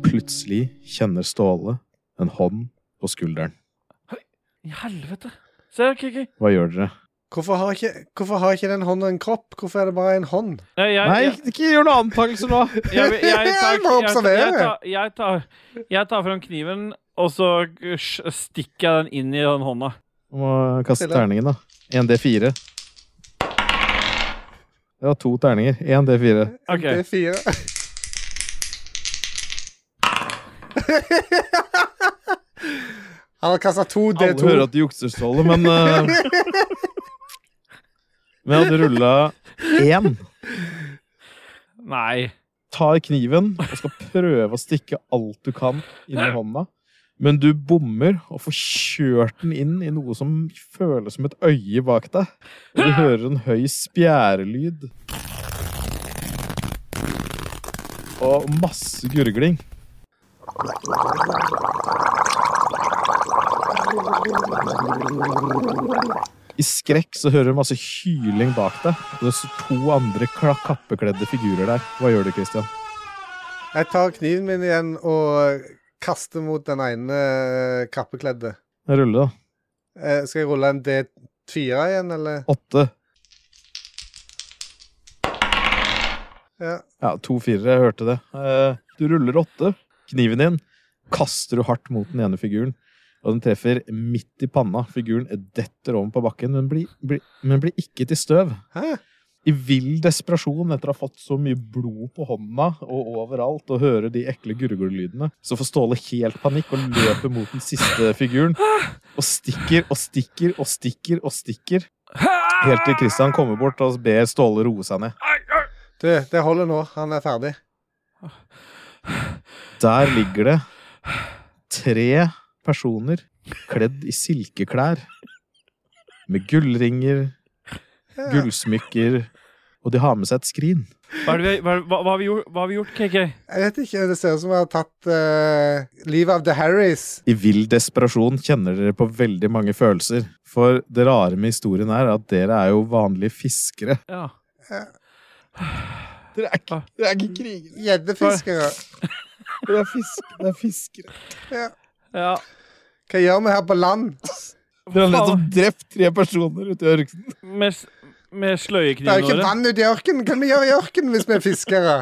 Speaker 1: Plutselig kjenner Ståle en hånd på skulderen.
Speaker 3: I helvete. Se, KK.
Speaker 1: Hva gjør dere?
Speaker 2: Hvorfor har ikke, hvorfor har ikke den hånda en kropp? Hvorfor er det bare en hånd?
Speaker 3: Nei, jeg,
Speaker 1: Nei,
Speaker 3: jeg-
Speaker 1: ikke gjør noen antakelser nå!
Speaker 3: jeg, vil- jeg, tar,
Speaker 2: Jeg må
Speaker 3: jeg,
Speaker 2: observere.
Speaker 3: jeg, tar, jeg, tar, jeg tar fram kniven, og så sj- stikker jeg den inn i den hånda.
Speaker 1: Du må kaste terningen, da. 1D4. Det var to terninger. 1D4.
Speaker 3: Ok,
Speaker 2: Det er fire. Han har kasta to
Speaker 1: Alle
Speaker 2: D2.
Speaker 1: hører at du jukser, Ståle, men eh, Men jeg hadde rulla én.
Speaker 3: Nei.
Speaker 1: Tar kniven og skal prøve å stikke alt du kan inn i hånda. Men du bommer og får kjørt den inn i noe som føles som et øye bak deg. Og du hører en høy spjærelyd. Og masse gurgling. I skrekk så hører du masse hyling bak deg. Og det står to andre kla- kappekledde figurer der. Hva gjør du, Christian?
Speaker 2: Jeg tar kniven min igjen og kaster mot den ene eh, kappekledde.
Speaker 1: Rulle, da.
Speaker 2: Eh, Skal jeg rulle en D4 igjen, eller?
Speaker 1: Åtte.
Speaker 2: Ja.
Speaker 1: Ja, to firere, jeg hørte det. Eh, Du ruller åtte. Kniven din kaster du hardt mot den ene figuren. Og den treffer midt i panna. Figuren detter over på bakken, men blir, blir, men blir ikke til støv.
Speaker 2: Hæ?
Speaker 1: I vill desperasjon etter å ha fått så mye blod på hånda og overalt, og høre de ekle gurglelydene, så får Ståle helt panikk og løper mot den siste figuren. Og stikker og stikker og stikker og stikker. Helt til Christian kommer bort og ber Ståle roe seg ned.
Speaker 2: Du, det holder nå. Han er ferdig.
Speaker 1: Der ligger det tre personer kledd i silkeklær. Med gullringer,
Speaker 2: Ja.
Speaker 1: gullsmykker, og de har med seg et skrin.
Speaker 3: Hva, er det vi, hva, hva, hva, har vi gjort, hva har vi gjort, KK?
Speaker 2: Jeg vet ikke, det ser ut som jeg har tatt eh, livet av The Harrys.
Speaker 1: I vill desperasjon kjenner dere på veldig mange følelser. For det rare med historien er at dere er jo vanlige fiskere.
Speaker 3: Ja.
Speaker 1: Dere er ikke, dere er ikke krigere,
Speaker 2: Gjeddefiskere.
Speaker 1: dere er, fisk, dere er fiskere.
Speaker 3: ja.
Speaker 2: Hva gjør vi her på land?
Speaker 1: Dere har nettopp drept tre personer ute i ørkenen.
Speaker 3: Med, s-
Speaker 2: Det
Speaker 3: med
Speaker 2: er jo
Speaker 3: sløyeknivene
Speaker 2: ikke
Speaker 3: våre.
Speaker 2: vann ute i ørkenen. Hva kan vi gjøre i ørkenen hvis vi er fiskere?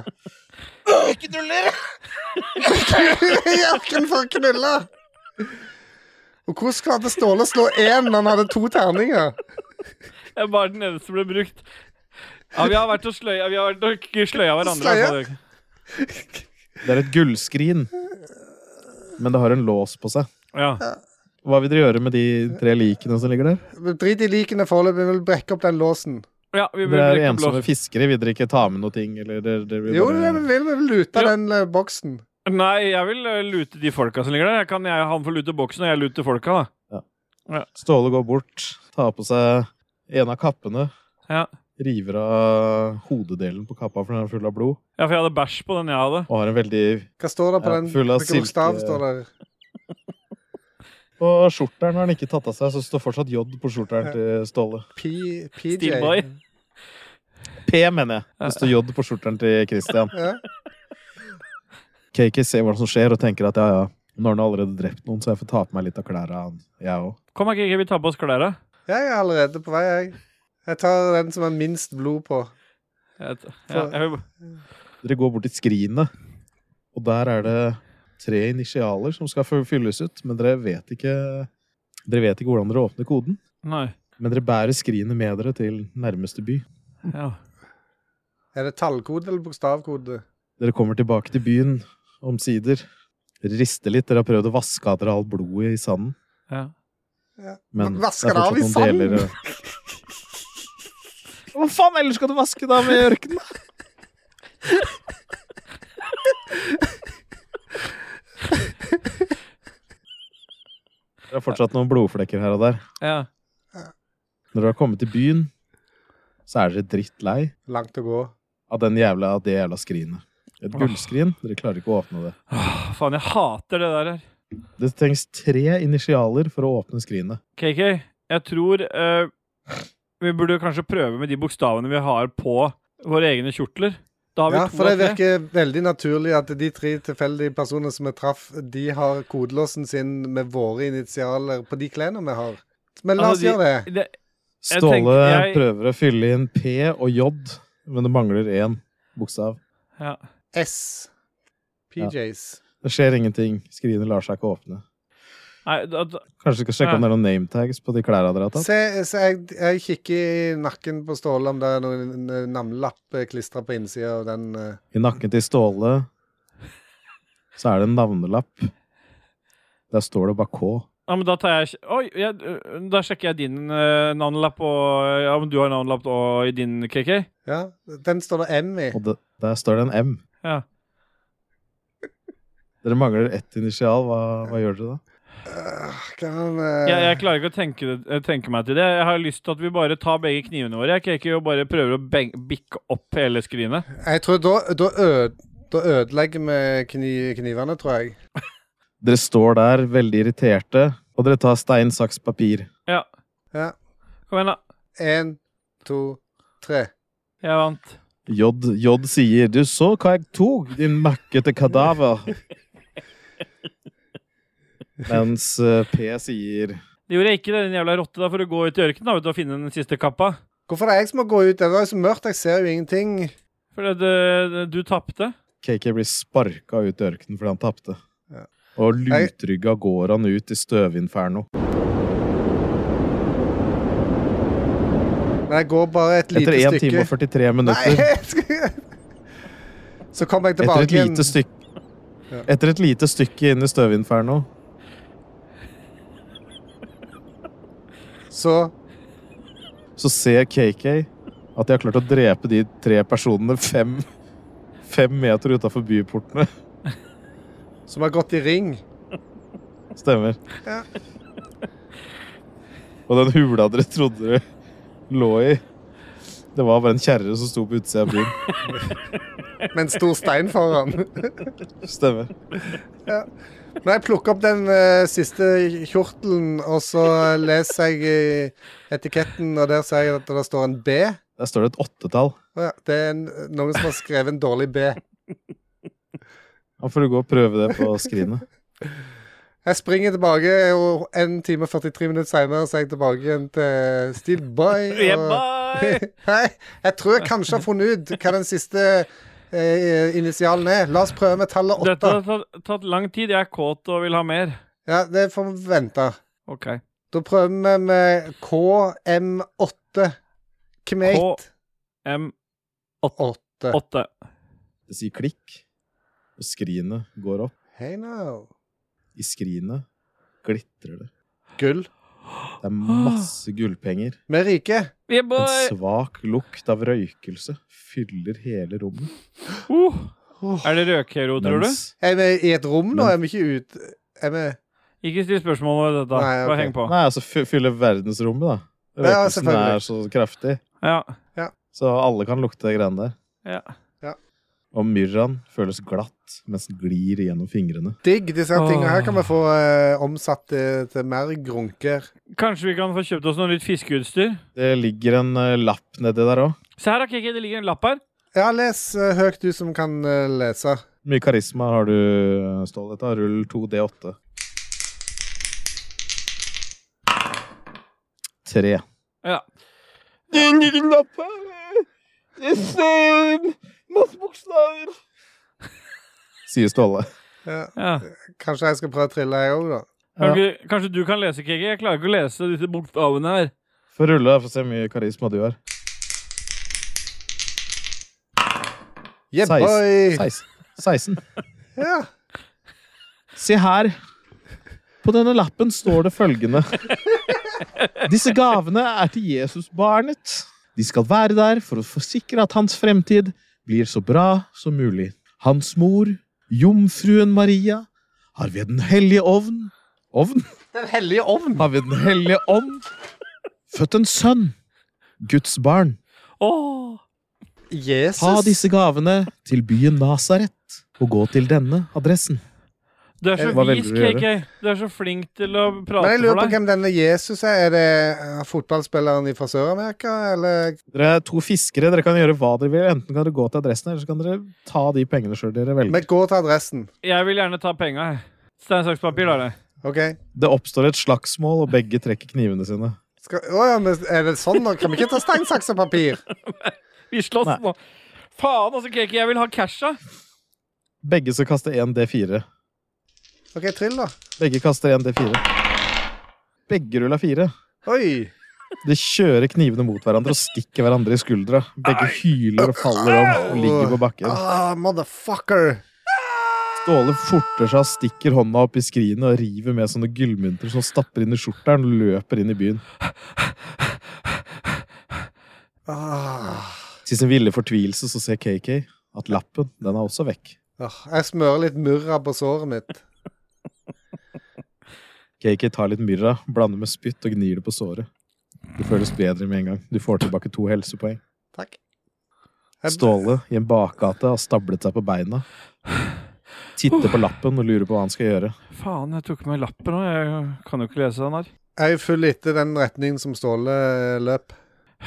Speaker 2: I ørkenen for å knulle! Og hvordan klarte Ståle å slå én når han hadde to terninger?
Speaker 3: Det er bare den eneste som ble brukt. Ja, vi har vært og sløya, vi har vært og k- sløya hverandre.
Speaker 2: Sløya?
Speaker 3: altså.
Speaker 1: Det er et gullskrin, men det har en lås på seg.
Speaker 3: Ja.
Speaker 1: Hva vil dere gjøre med de tre likene som ligger der?
Speaker 2: Men Drit i likene foreløpig, vi vil brekke opp den låsen.
Speaker 3: ja, vi burde
Speaker 1: Dere er
Speaker 3: rekke opp
Speaker 1: ensomme
Speaker 3: låsen.
Speaker 1: fiskere, vil dere ikke ta med noe ting? Eller dere, dere vil
Speaker 2: Jo,
Speaker 1: bare...
Speaker 2: det vi vil, vi vil lute
Speaker 3: Ja.
Speaker 2: den eh, boksen.
Speaker 3: Nei, jeg vil eh, lute de folka som ligger der. Jeg kan, jeg, han får lute boksen, og jeg luter folka, da.
Speaker 1: Ståle går bort, tar på seg en av kappene,
Speaker 3: Ja.
Speaker 1: river av hodeddelen på kappa, for den er full av blod,
Speaker 3: Ja, for jeg hadde bæsj på den jeg hadde.
Speaker 1: og har en veldig
Speaker 2: Hva står det på
Speaker 1: Ja,
Speaker 2: den?
Speaker 1: full av eh,
Speaker 2: Hvilken bokstav
Speaker 1: silke-
Speaker 2: står der?
Speaker 1: På skjorteren har han ikke tatt av seg, så det står fortsatt J på skjorteren til Ståle.
Speaker 2: P, PJ.
Speaker 3: Steamboy.
Speaker 1: P, mener jeg. Det står J på skjorteren til Christian.
Speaker 2: Ja.
Speaker 1: KK ser hva som skjer, og tenker at ja, ja, nå har han allerede drept noen, så jeg får ta på meg litt av klærne, han. jeg òg.
Speaker 3: Kom her, Kiki, vi tar på oss klærne.
Speaker 2: Jeg er allerede på vei, jeg. Jeg tar den som har minst blod på.
Speaker 3: Jeg vet- Ja, jeg vil-
Speaker 1: Dere går bort til skrinet, og der er det tre initialer som skal fy- fylles ut, men dere vet ikke Dere vet ikke hvordan dere åpner koden,
Speaker 3: Nei.
Speaker 1: men dere bærer skrinet med dere til nærmeste by.
Speaker 3: Ja.
Speaker 2: Er det tallkode eller bokstavkode?
Speaker 1: Dere kommer tilbake til byen omsider. Dere rister litt, dere har prøvd å vaske av dere all blodet i sanden.
Speaker 3: ja.
Speaker 1: Men
Speaker 2: Vasker
Speaker 1: det er
Speaker 2: det av i
Speaker 1: fortsatt noen deler- Hva faen ellers skal du vaske det av i ørkenen? Det er fortsatt noen blodflekker her og der.
Speaker 3: ja.
Speaker 1: Når dere har kommet til byen, så er dere drittlei
Speaker 2: Langt å gå.
Speaker 1: av den jævla, det jævla skrinet. Et gullskrin. Dere klarer ikke å åpne det.
Speaker 3: Åh, faen, jeg hater det der her.
Speaker 1: Det trengs tre initialer for å åpne skrinet.
Speaker 3: KK, jeg tror eh, vi burde kanskje prøve med de bokstavene vi har på våre egne kjortler. Da har vi
Speaker 2: Ja,
Speaker 3: to
Speaker 2: for det
Speaker 3: av tre.
Speaker 2: virker veldig naturlig at de tre tilfeldige personene som vi traff, de har kodelåsen sin med våre initialer på de klærne vi har. Men la
Speaker 3: Altså,
Speaker 2: oss gjøre det.
Speaker 3: Det, Jeg
Speaker 1: Ståle
Speaker 3: tenkte jeg-
Speaker 1: prøver å fylle inn P og J, men det mangler én bokstav.
Speaker 3: ja.
Speaker 2: S. PJs.
Speaker 1: Det skjer ingenting. Skrinet lar seg ikke åpne.
Speaker 3: Nei, da, da,
Speaker 1: Kanskje du skal sjekke om det er noen nametags på de klærne dere har tatt?
Speaker 2: Se, se jeg, jeg kikker i nakken på Ståle om det er noen eh, navnelapp klistra på innsida av den. eh.
Speaker 1: I nakken til Ståle så er det en navnelapp. Der står det bare K.
Speaker 3: ja, men da tar jeg Oi, jeg, øh, da sjekker jeg din øh, navnelapp og Ja, om du har navnelapp og i din, KK.
Speaker 2: Ja, den står det M i.
Speaker 1: Og det, der står det en M.
Speaker 3: Ja.
Speaker 1: Dere mangler ett initial. Hva, hva gjør dere da?
Speaker 2: Kan, eh,
Speaker 3: Jeg, jeg klarer ikke å tenke, det- tenke meg til det. Jeg har lyst til at vi bare tar begge knivene våre. Jeg ikke og bare prøver å beng- bikke opp hele skrinet.
Speaker 2: jeg tror da, da, ød, da ødelegger vi kni, knivene, tror jeg.
Speaker 1: Dere står der veldig irriterte, og dere tar stein, saks, papir.
Speaker 2: Ja.
Speaker 3: Kom igjen, da.
Speaker 2: Én, to, tre.
Speaker 3: Jeg vant.
Speaker 1: J, J sier 'du så hva jeg tok, din makkete kadaver'. Mens eh, P sier
Speaker 3: Det gjorde jeg ikke, det, din jævla rotte, da, for å gå ut i ørkenen da, vet du, og finne den siste kappa.
Speaker 2: Hvorfor er det jeg som må gå ut? Det var jo så mørkt, jeg ser jo ingenting.
Speaker 3: For det, det, du tapte.
Speaker 1: KK blir sparka ut i ørkenen fordi han tapte.
Speaker 2: Ja.
Speaker 1: Og lutrygga går han ut i støvinferno.
Speaker 2: Men jeg går bare et lite
Speaker 1: Etter 1
Speaker 2: stykke.
Speaker 1: time og 43 minutter.
Speaker 2: Nei, jeg skal... Så kommer jeg
Speaker 1: Etter
Speaker 2: tilbake
Speaker 1: et lite stykke
Speaker 2: Ja.
Speaker 1: Etter et lite stykke inn i støvinferno
Speaker 2: Så
Speaker 1: så ser KK at de har klart å drepe de tre personene fem, fem meter utafor byportene.
Speaker 2: Som har gått i ring.
Speaker 1: Stemmer.
Speaker 2: Ja.
Speaker 1: Og den hula dere trodde dere lå i, det var bare en kjerre som sto på utsida av byen.
Speaker 2: Med en stor stein foran.
Speaker 1: Stemmer.
Speaker 2: Når jeg plukker opp den eh, siste kjortelen, og så leser jeg i etiketten, og der ser jeg at det står en B.
Speaker 1: Der står det et åttetall.
Speaker 2: Å ja, Det er en, noen som har skrevet en dårlig B.
Speaker 1: Da får du gå og prøve det på skrinet.
Speaker 2: Jeg springer tilbake, og 1 time og 43 minutter seinere er jeg tilbake igjen til Steel Boy.
Speaker 3: Yeah,
Speaker 2: og-
Speaker 3: bye!
Speaker 2: Nei, jeg tror jeg kanskje har funnet ut hva den siste eh, initialen er. La oss prøve med tallet
Speaker 3: Dette
Speaker 2: åtte.
Speaker 3: har tatt, tatt lang tid. Jeg er kåt og vil ha mer.
Speaker 2: Ja, det får vi vente.
Speaker 3: OK.
Speaker 2: Da prøver vi med KM8. Kmate
Speaker 3: M8.
Speaker 2: 8.
Speaker 1: Det sier klikk, og skrinet går opp.
Speaker 2: Hei nå.
Speaker 1: I skrinet glitrer det.
Speaker 2: Gull.
Speaker 1: Det er masse gullpenger.
Speaker 2: Vi er rike.
Speaker 3: Yeah, boy!
Speaker 1: En svak lukt av røykelse fyller hele rommet.
Speaker 3: Uh. Er det røkhero, tror du?
Speaker 1: mens-
Speaker 2: Er vi i et rom nå? Er vi ikke ute Er vi
Speaker 3: Ikke still spørsmål om dette.
Speaker 2: Nei, ok.
Speaker 3: Bare heng på.
Speaker 1: Nei, altså fy- fyller verdensrommet, da.
Speaker 2: Ja,
Speaker 1: Røykelsen
Speaker 2: selvfølgelig.
Speaker 1: er så kraftig,
Speaker 3: Ja.
Speaker 1: så alle kan lukte de greiene der.
Speaker 3: Ja.
Speaker 2: Ja.
Speaker 1: Og myrraen føles glatt mens den glir gjennom fingrene.
Speaker 2: digg? Disse her tingene her kan vi
Speaker 3: Åh.
Speaker 2: få eh, omsatt til, til mer grunker.
Speaker 3: Kanskje vi kan få kjøpt oss noe nytt fiskeutstyr?
Speaker 1: Det ligger en eh, lapp nedi der òg.
Speaker 3: Se her, da, Kiki. Det ligger en lapp her.
Speaker 2: Ja, les eh, høyt, du som kan eh, lese.
Speaker 1: Mye karisma har du, Stål. Dette er rull 2D8. Tre.
Speaker 3: Ja.
Speaker 1: Den lille lappen eh, Det er masse bokstaver. Sier Ståle.
Speaker 2: Ja,
Speaker 3: ja.
Speaker 2: kanskje jeg skal prøve å trille, jeg òg, da.
Speaker 3: Kan ikke- Kanskje du kan lese, Kiki? Jeg klarer ikke å lese disse bokstavene her.
Speaker 1: Få rulle for å se hvor mye karisma du har.
Speaker 2: Yeah,
Speaker 1: Seis-
Speaker 2: boy!
Speaker 1: 16. 16.
Speaker 2: Ja.
Speaker 1: Se her. På denne lappen står det følgende. Disse gavene er til Jesusbarnet. De skal være der for å forsikre at hans fremtid blir så bra som mulig. Hans mor, jomfruen Maria, har ved Den hellige ovn Ovn?
Speaker 2: Den hellige ovn.
Speaker 1: Har ved Den hellige ånd født en sønn. Guds barn.
Speaker 3: Åh.
Speaker 2: Jesus.
Speaker 1: Ta disse gavene til byen Nasaret og gå til denne adressen.
Speaker 3: Du er så
Speaker 1: Eh, Hva velger
Speaker 3: vis,
Speaker 1: du å gjøre?
Speaker 3: KK. Du er så flink til å
Speaker 2: Men
Speaker 3: prate
Speaker 2: jeg lurer på
Speaker 3: for deg.
Speaker 2: hvem denne Jesus er. Er det eh, fotballspilleren fra Sør-Amerika, eller
Speaker 1: Dere er to fiskere, dere kan gjøre hva dere vil. Enten kan dere gå til adressen, eller så kan dere ta de pengene sjøl dere
Speaker 2: Vi
Speaker 1: velger.
Speaker 2: går til adressen.
Speaker 3: Jeg vil gjerne ta penga, jeg. Stein, saks, papir, da. det.
Speaker 2: OK?
Speaker 1: Det oppstår et slagsmål, og begge trekker knivene sine.
Speaker 2: Skal, å, ja, men er det sånn nå? Kan vi ikke ta stein, saks og papir?
Speaker 3: Vi slåss
Speaker 1: Nei.
Speaker 3: nå. Faen, altså, KK. Jeg vil ha casha.
Speaker 1: Begge skal kaste 1 D4.
Speaker 2: OK, trill, da.
Speaker 1: Begge kaster 1 D4. Begge ruller fire.
Speaker 2: Oi.
Speaker 1: De kjører knivene mot hverandre og stikker hverandre i skuldra. Begge hyler og faller om og ligger på bakken.
Speaker 2: Ah, motherfucker.
Speaker 1: Ståle forter seg, stikker hånda opp i skrinet og river med sånne gullmynter som han stapper inn i skjorteren og løper inn i byen.
Speaker 2: Ah. Ah.
Speaker 1: Til sin ville fortvilelse så ser KK at lappen den er også vekk.
Speaker 2: Å, Åh, Ah, Jeg smører litt murra på såret mitt.
Speaker 1: Cakey tar litt myrra, blander med spytt og gnir det på såret. Det føles bedre med en gang. Du får tilbake to helsepoeng.
Speaker 2: Takk.
Speaker 1: Ståle i en bakgate har stablet seg på beina. Titter på lappen og lurer på hva han skal gjøre.
Speaker 3: Faen, jeg tok med lappen òg. Jeg kan jo ikke lese den her.
Speaker 2: Jeg følger etter den retningen som Ståle eh, løp.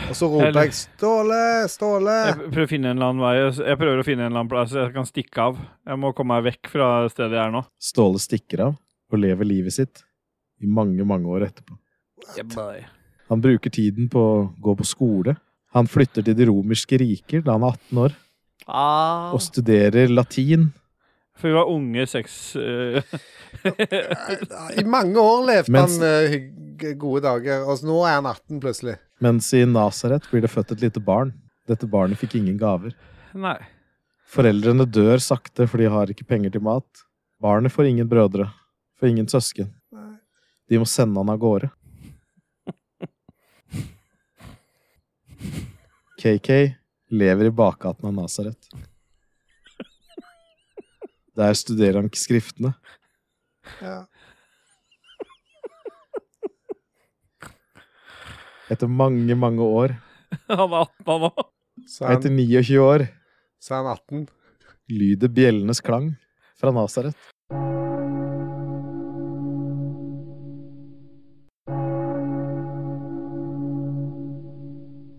Speaker 2: Og så roper
Speaker 3: Eller-
Speaker 2: jeg 'Ståle!
Speaker 3: Jeg
Speaker 2: Ståle!'
Speaker 3: prøver å finne en eller annen vei. Jeg prøver å finne en eller annen plass jeg kan stikke av. Jeg må komme meg vekk fra stedet jeg er nå.
Speaker 1: Ståle stikker av og lever livet sitt i mange, mange år etterpå. Han bruker tiden på å gå på skole. Han flytter til de romerske riker da han er 18 år,
Speaker 3: Ah.
Speaker 1: og studerer latin.
Speaker 3: For vi var unge seks... eh,
Speaker 2: Eh, I mange år levde
Speaker 1: Mens-
Speaker 2: han eh, hygg- gode dager, og så nå er han 18 plutselig.
Speaker 1: Mens i Nasaret blir det født et lite barn. Dette barnet fikk ingen gaver.
Speaker 3: nei.
Speaker 1: Foreldrene dør sakte, for de har ikke penger til mat. Barnet får ingen brødre, får ingen søsken. De må sende han av gårde. KK lever i bakgaten av Nasaret. Der studerer han skriftene.
Speaker 2: Ja.
Speaker 1: Etter mange, mange år,
Speaker 3: Han var 18 han òg.
Speaker 2: Så er
Speaker 1: etter
Speaker 2: han,
Speaker 1: 29 år,
Speaker 2: så er han 18.
Speaker 1: lyder bjellenes klang fra Nasaret.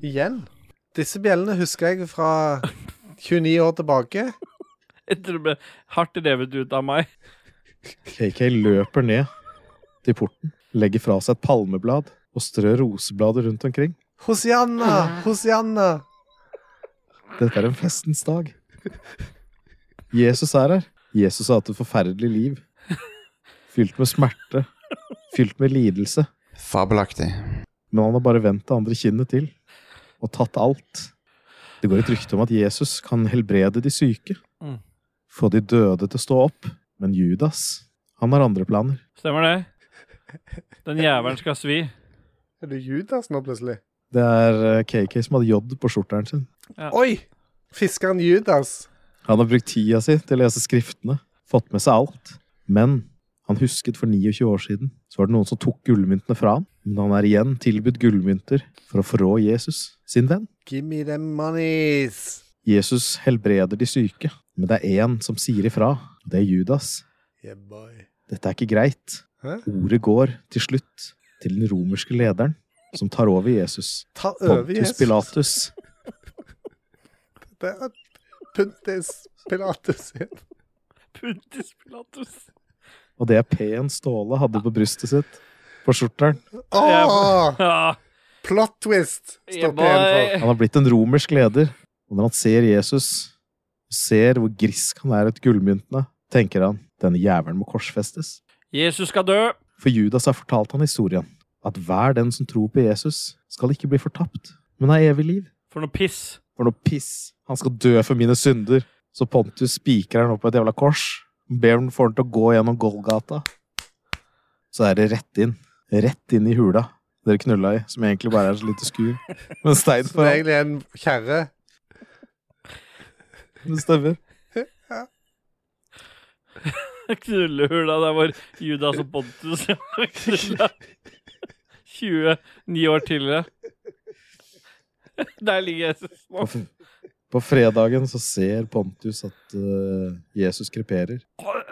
Speaker 2: Igjen. Disse bjellene husker jeg fra 29 år tilbake.
Speaker 3: Jeg tror det ble hardt revet ut av meg.
Speaker 1: KK løper ned til porten, legger fra seg et palmeblad og strør roseblader rundt omkring.
Speaker 2: Hosianna! Hosianna!
Speaker 1: Dette er en festens dag. Jesus er her. Jesus har hatt et forferdelig liv. Fylt med smerte. Fylt med lidelse.
Speaker 5: Fabelaktig.
Speaker 1: Men han har bare vendt det andre kinnet til. Og tatt alt. Det går et rykte om at Jesus kan helbrede de syke.
Speaker 3: Mm.
Speaker 1: Få de døde til å stå opp. Men Judas, han har andre planer.
Speaker 3: Stemmer det? Den jævelen skal svi.
Speaker 2: Er det Judas nå, plutselig?
Speaker 1: Det er eh, KK som hadde J på skjorteren sin.
Speaker 2: Oi! Fiskeren Judas.
Speaker 1: Han har brukt tida si til å lese skriftene, fått med seg alt. Men han husket for 29 år siden, så var det noen som tok gullmyntene fra ham. Men han er igjen tilbudt gullmynter for å forrå Jesus, sin venn.
Speaker 2: Give me them monies.
Speaker 1: Jesus helbreder de syke, men det er én som sier ifra. og Det er Judas.
Speaker 2: Yeah, boy.
Speaker 1: Dette er ikke greit.
Speaker 2: Hæ?
Speaker 1: Ordet går til slutt til den romerske lederen, som tar over Jesus.
Speaker 2: Ta over
Speaker 1: Pontus
Speaker 2: Jesus.
Speaker 1: Pilatus.
Speaker 2: Det er Puntis Pilatus igjen.
Speaker 3: Puntis Pilatus.
Speaker 1: Og det er P-en Ståle hadde på brystet sitt, på skjorteren.
Speaker 2: Åh!
Speaker 3: Ja.
Speaker 2: Plot twist!
Speaker 3: Yeah,
Speaker 2: Står P-en for.
Speaker 3: boy.
Speaker 1: Han har blitt en romersk leder. Og når han ser Jesus, og ser hvor grisk han er etter gullmyntene, tenker han denne jævelen må korsfestes.
Speaker 3: Jesus skal dø.
Speaker 1: For Judas har fortalt han historien. At hver den som tror på Jesus, skal ikke bli fortapt, men har evig liv.
Speaker 3: For noe piss.
Speaker 1: For noe piss! Han skal dø for mine synder. Så Pontus spiker han opp på et jævla kors. Ber han får han til å gå gjennom Golgata. Så er det rett inn. Rett inn i hula dere knulla i, som egentlig bare er et lite skur. Men stein
Speaker 2: Som
Speaker 1: for
Speaker 2: egentlig er en kjerre.
Speaker 1: Det stemmer.
Speaker 3: Knullehula der hvor Judas og Pontus knulla 29 år tidligere. Der ligger Jesus nå.
Speaker 1: På, f- på fredagen så ser Pontus at eh, Jesus kreperer.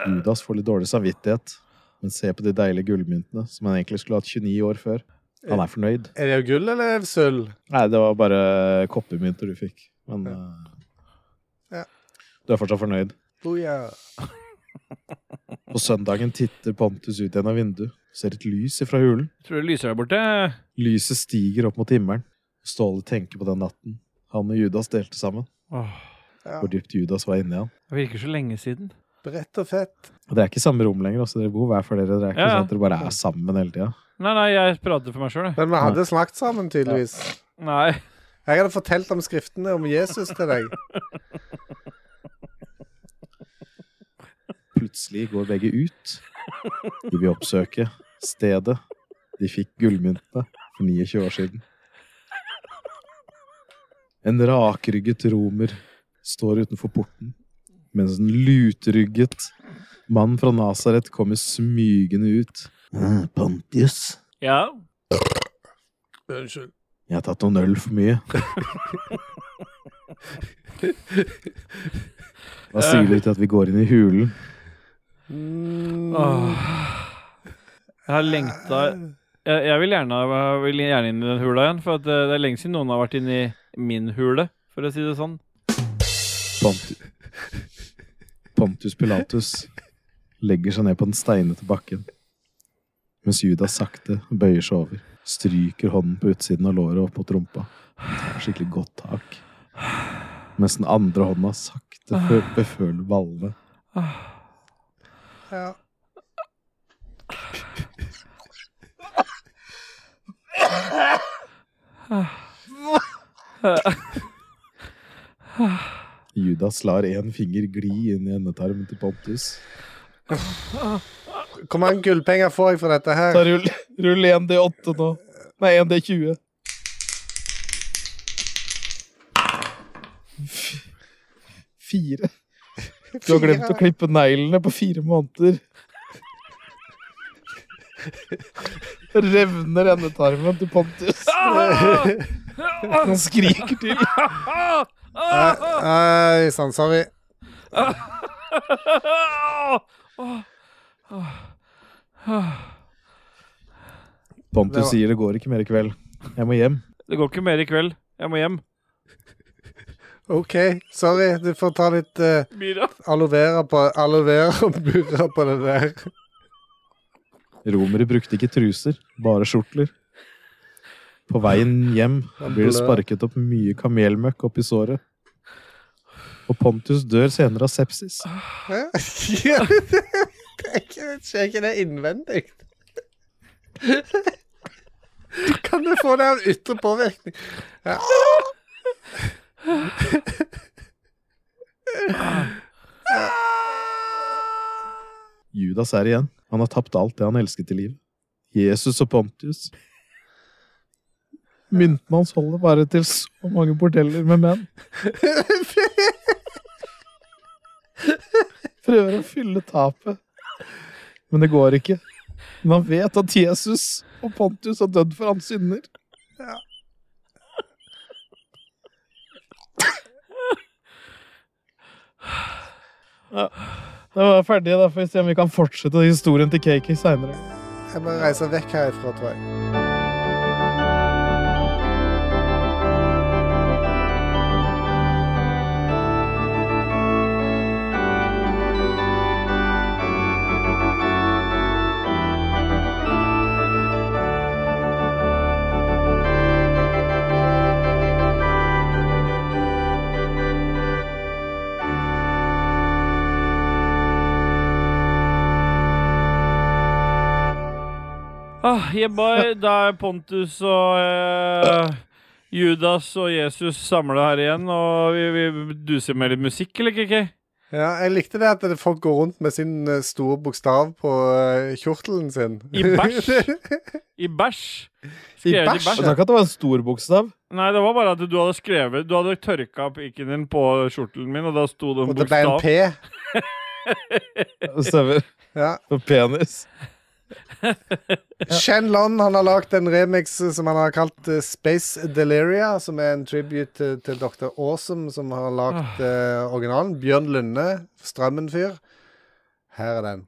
Speaker 1: Judas får litt dårlig samvittighet, men ser på de deilige gullmyntene som han egentlig skulle hatt 29 år før. Han er fornøyd.
Speaker 2: Er det av gull eller av sølv?
Speaker 1: Nei, det var bare koppermynter du fikk. Men eh,
Speaker 2: Ja.
Speaker 1: du er fortsatt fornøyd.
Speaker 2: Oh, ja.
Speaker 1: På søndagen titter Pontus ut gjennom vinduet, ser et lys ifra hulen.
Speaker 3: Tror det lyser der borte.
Speaker 1: Lyset stiger opp mot himmelen. Ståle tenker på den natten. Han og Judas delte sammen.
Speaker 3: Åh,
Speaker 2: ja.
Speaker 1: Hvor dypt Judas var inni han.
Speaker 3: det virker så lenge siden.
Speaker 2: Bredt og fett.
Speaker 1: Og Dere er ikke i samme rom lenger, altså dere bor hver for dere. Dere er ikke
Speaker 3: Ja, ja.
Speaker 1: sånn at dere bare er sammen hele tida.
Speaker 3: Nei, nei, jeg prater for meg sjøl, jeg.
Speaker 2: Men vi hadde snakket sammen, tydeligvis.
Speaker 3: Nei.
Speaker 2: Jeg hadde fortalt om skriftene om Jesus til deg.
Speaker 1: Plutselig går begge ut. De vil oppsøke stedet de fikk gullmyntene for 29 år siden. En rakrygget romer står utenfor porten mens en lutrygget mann fra Nasaret kommer smygende ut. Pantius,
Speaker 3: Ja.
Speaker 2: Unnskyld.
Speaker 1: jeg har tatt noen øl for mye. Hva sier du til at vi går inn i hulen?
Speaker 3: Åh. Jeg har lengta jeg, jeg, vil gjerne, jeg vil gjerne inn i den hula igjen, for at eh, det er lenge siden noen har vært inne i min hule, for å si det sånn.
Speaker 1: Ponti Pontus Pilatus legger seg ned på den steinete bakken, mens Judas sakte bøyer seg over, stryker hånden på utsiden av låret opp mot rumpa. Tar Skikkelig godt tak. Mens den andre hånda sakte fø- beføler ballene.
Speaker 2: Ja.
Speaker 1: Judas lar én finger gli inn i endetarmen til Pontus.
Speaker 2: Hvor mange gullpenger får jeg for dette her?
Speaker 1: rull, rull 1D8 nå. Nei, 1D20. Fire. Du har glemt å klippe neglene på fire måneder. Revner endetarmen til Pontius. Han skriker til.
Speaker 2: Nei, sann, sorry.
Speaker 1: Pontus sier det går ikke mer i kveld. Jeg må hjem.
Speaker 3: Det går ikke mer i kveld. Jeg må hjem.
Speaker 2: OK, sorry. Du får ta litt eh,
Speaker 3: Mira.
Speaker 2: aloe vera på aloe vera og burra på det der.
Speaker 1: Romere brukte ikke truser, bare skjortler. På veien hjem blir det sparket opp mye kamelmøkk oppi såret. Og Pontus dør senere av sepsis.
Speaker 2: Hæ? Ja, det er ikke- Skjer ikke det innvendig? Kan du få det av ytre påvirkning? Ja.
Speaker 1: Judas er igjen. Han har tapt alt det han elsket i livet. Jesus og Pontius. Myntene hans holder bare til så mange bordeller med menn. Prøver å fylle tapet, men det går ikke. Men han vet at Jesus og Pontius har dødd for hans synder. Ja. Da var jeg ferdig, da får vi se om vi kan fortsette historien til Kaki seinere.
Speaker 2: Jeg må reise vekk herifra, tror jeg.
Speaker 3: Ah, yeah, boy. Da er Pontus og eh, Judas og Jesus samla her igjen, og vi, vi duser med litt musikk, eller, Kiki?
Speaker 2: Ja, jeg likte det at det- folk går rundt med sin eh, store bokstav på eh, kjortelen sin.
Speaker 3: I bæsj. I bæsj.
Speaker 2: bæsj,
Speaker 3: Skrevet i bæsj.
Speaker 2: ja.
Speaker 1: Takk at det var en stor bokstav.
Speaker 3: Nei, det var bare at du hadde skrevet Du hadde tørka pikken din på skjortelen min, og da sto det en
Speaker 2: Og det ble en
Speaker 3: bokstav.
Speaker 2: P.
Speaker 1: Stemmer.
Speaker 2: Ja.
Speaker 1: For penis.
Speaker 2: Shenlon han har lagd en remix eh, som han har kalt eh, Space Deliria, som er en tribute til, til Dr. Awesome, som har lagd eh, originalen. Bjørn Lunde, Strømmen-fyr. Her er den.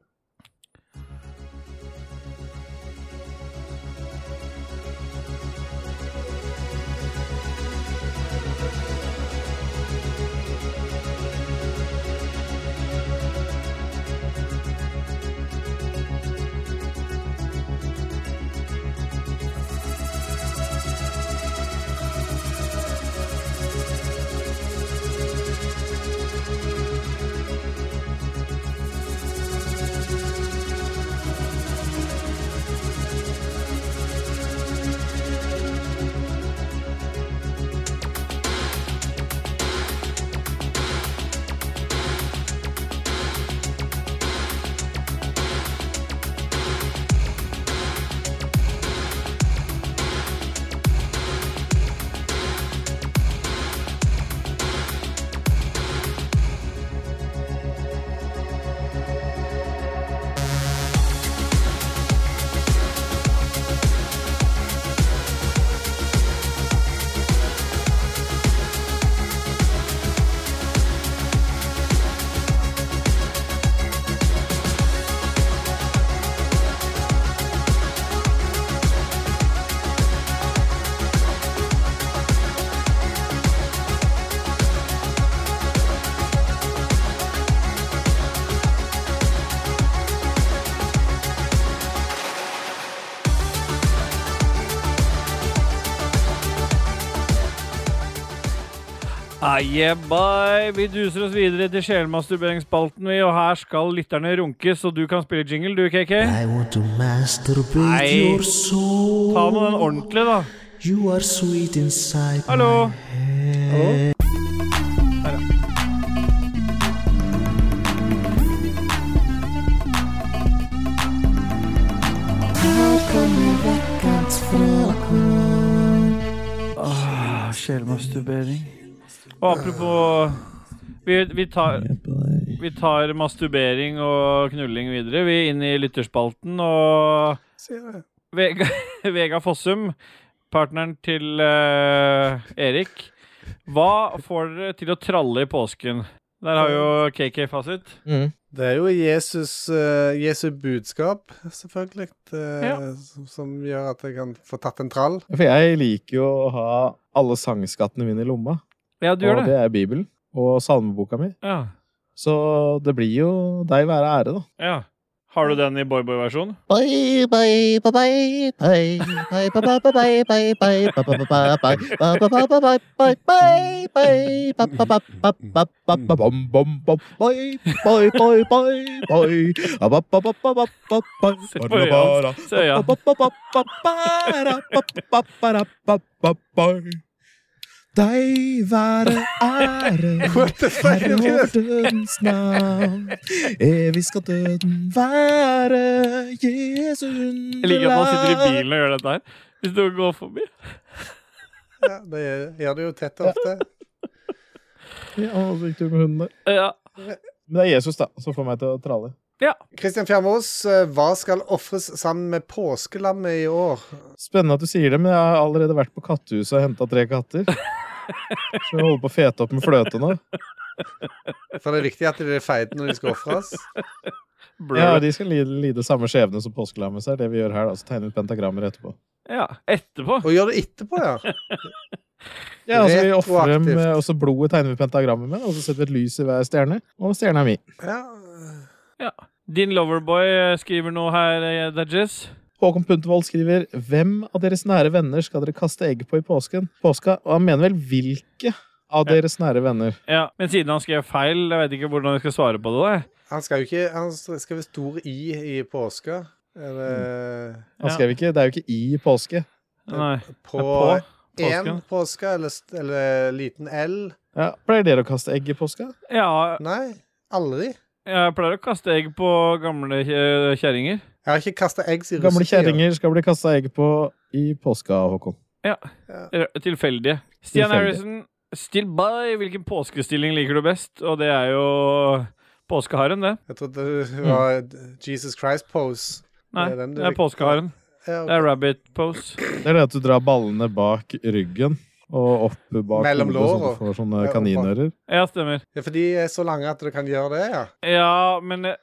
Speaker 3: Ah, yeah, bye. Vi duser oss videre til sjelmasturberingsspalten, vi, og her skal lytterne runkes, og du kan spille jingle, du, KK.
Speaker 7: I want to masturbate
Speaker 3: Nei.
Speaker 7: your soul.
Speaker 3: Ta med den ordentlig, da.
Speaker 7: You are sweet inside.
Speaker 3: Hallo. Ah, sjelmasturbering. Og apropos vi, vi, tar, vi tar masturbering og knulling videre. Vi er inne i lytterspalten, og Vega, Vega Fossum, partneren til eh, Erik. Hva får dere til å tralle i påsken? Der har jo KK fasit.
Speaker 1: Mm.
Speaker 2: Det er jo Jesus, eh, Jesu budskap, selvfølgelig, eh,
Speaker 3: Ja.
Speaker 2: som, som gjør at jeg kan få tatt en trall.
Speaker 1: For jeg liker jo å ha alle sangskattene mine i lomma.
Speaker 3: Ja, du
Speaker 1: og
Speaker 3: gjør det.
Speaker 1: det er Bibelen og salmeboka mi.
Speaker 3: Ja.
Speaker 1: Så det blir jo deg være ære, da.
Speaker 3: ja. Har du den i boyboy-versjon? Se, ja.
Speaker 1: Deg være ære.
Speaker 2: What the fuck?
Speaker 1: Herre over dødens navn, evig skal døden være Jesu
Speaker 3: Jeg liker at man sitter i
Speaker 1: underlag.
Speaker 3: bilen og gjør dette her. Hvis du går forbi.
Speaker 2: Ja, det gjør- gjør det jo tett og ofte.
Speaker 1: Ja, og så gikk du med hunden der.
Speaker 3: Ja.
Speaker 1: Men det er Jesus, da, som får meg til å trale.
Speaker 2: Kristian Fjermås, eh, hva skal ofres sammen med påskelammet i år?
Speaker 1: Spennende at du sier det, men jeg har allerede vært på kattehuset og henta tre katter. Så jeg holder på å fete opp med fløte nå.
Speaker 2: For det er viktig at de er feite når de skal ofres.
Speaker 3: Blur.
Speaker 1: Ja, De skal lide, lide samme skjebne som påskelammet. så er Det vi gjør her, da. Så tegner vi pentagrammer etterpå.
Speaker 3: Ja, etterpå.
Speaker 2: Og gjør det etterpå, ja.
Speaker 1: Ja, altså vi offrer dem,
Speaker 2: Retroaktivt.
Speaker 1: eh, og så blodet tegner vi pentagrammet med, og så setter vi et lys i hver stjerne. Og stjerna er mi.
Speaker 2: ja.
Speaker 3: Din loverboy eh, skriver noe her, eh, Dajis.
Speaker 1: Håkon Puntervold skriver Hvem av deres nære venner skal dere kaste egg på i påsken? Påska, og han mener vel hvilke av deres nære venner?
Speaker 3: Ja, men siden han skrev feil, jeg vet ikke hvordan jeg skal svare på det. da, jeg.
Speaker 2: Han skal jo ikke Han skal være stor i i påske. Eller
Speaker 1: Han
Speaker 3: Ja.
Speaker 1: skrev ikke, Det er jo ikke i påske.
Speaker 3: Nei. Eh,
Speaker 2: på
Speaker 3: På
Speaker 2: én
Speaker 3: påsken.
Speaker 2: påske, eller, st- eller liten L.
Speaker 1: Ja, Pleier dere å kaste egg i påska?
Speaker 3: Ja,
Speaker 2: Nei, aldri.
Speaker 3: jeg pleier å kaste egg på gamle eh, kjerringer.
Speaker 2: Jeg har ikke kasta egg i
Speaker 1: Gamle kjerringer skal bli kasta egg på i påska, Håkon.
Speaker 3: R- Tilfeldige.
Speaker 1: Tilfeldige.
Speaker 3: Stian Harrison, still by. Hvilken påskestilling liker du best? Og det er jo påskeharen, det.
Speaker 2: Jeg trodde det var
Speaker 3: Mm.
Speaker 2: Jesus Christ-pose.
Speaker 3: Nei,
Speaker 2: Det er
Speaker 3: det
Speaker 2: den du
Speaker 3: er
Speaker 2: liker.
Speaker 3: påskeharen.
Speaker 2: Ja,
Speaker 3: Det er rabbit pose.
Speaker 1: Det er det at du drar ballene bak ryggen og opp bak
Speaker 2: Mellom
Speaker 1: hodet, så
Speaker 2: låra.
Speaker 1: du får sånne
Speaker 2: Ja, opp bak.
Speaker 1: kaninører.
Speaker 3: Ja, stemmer.
Speaker 2: ja, for de er så lange at du kan gjøre det, ja.
Speaker 3: Ja, men eh,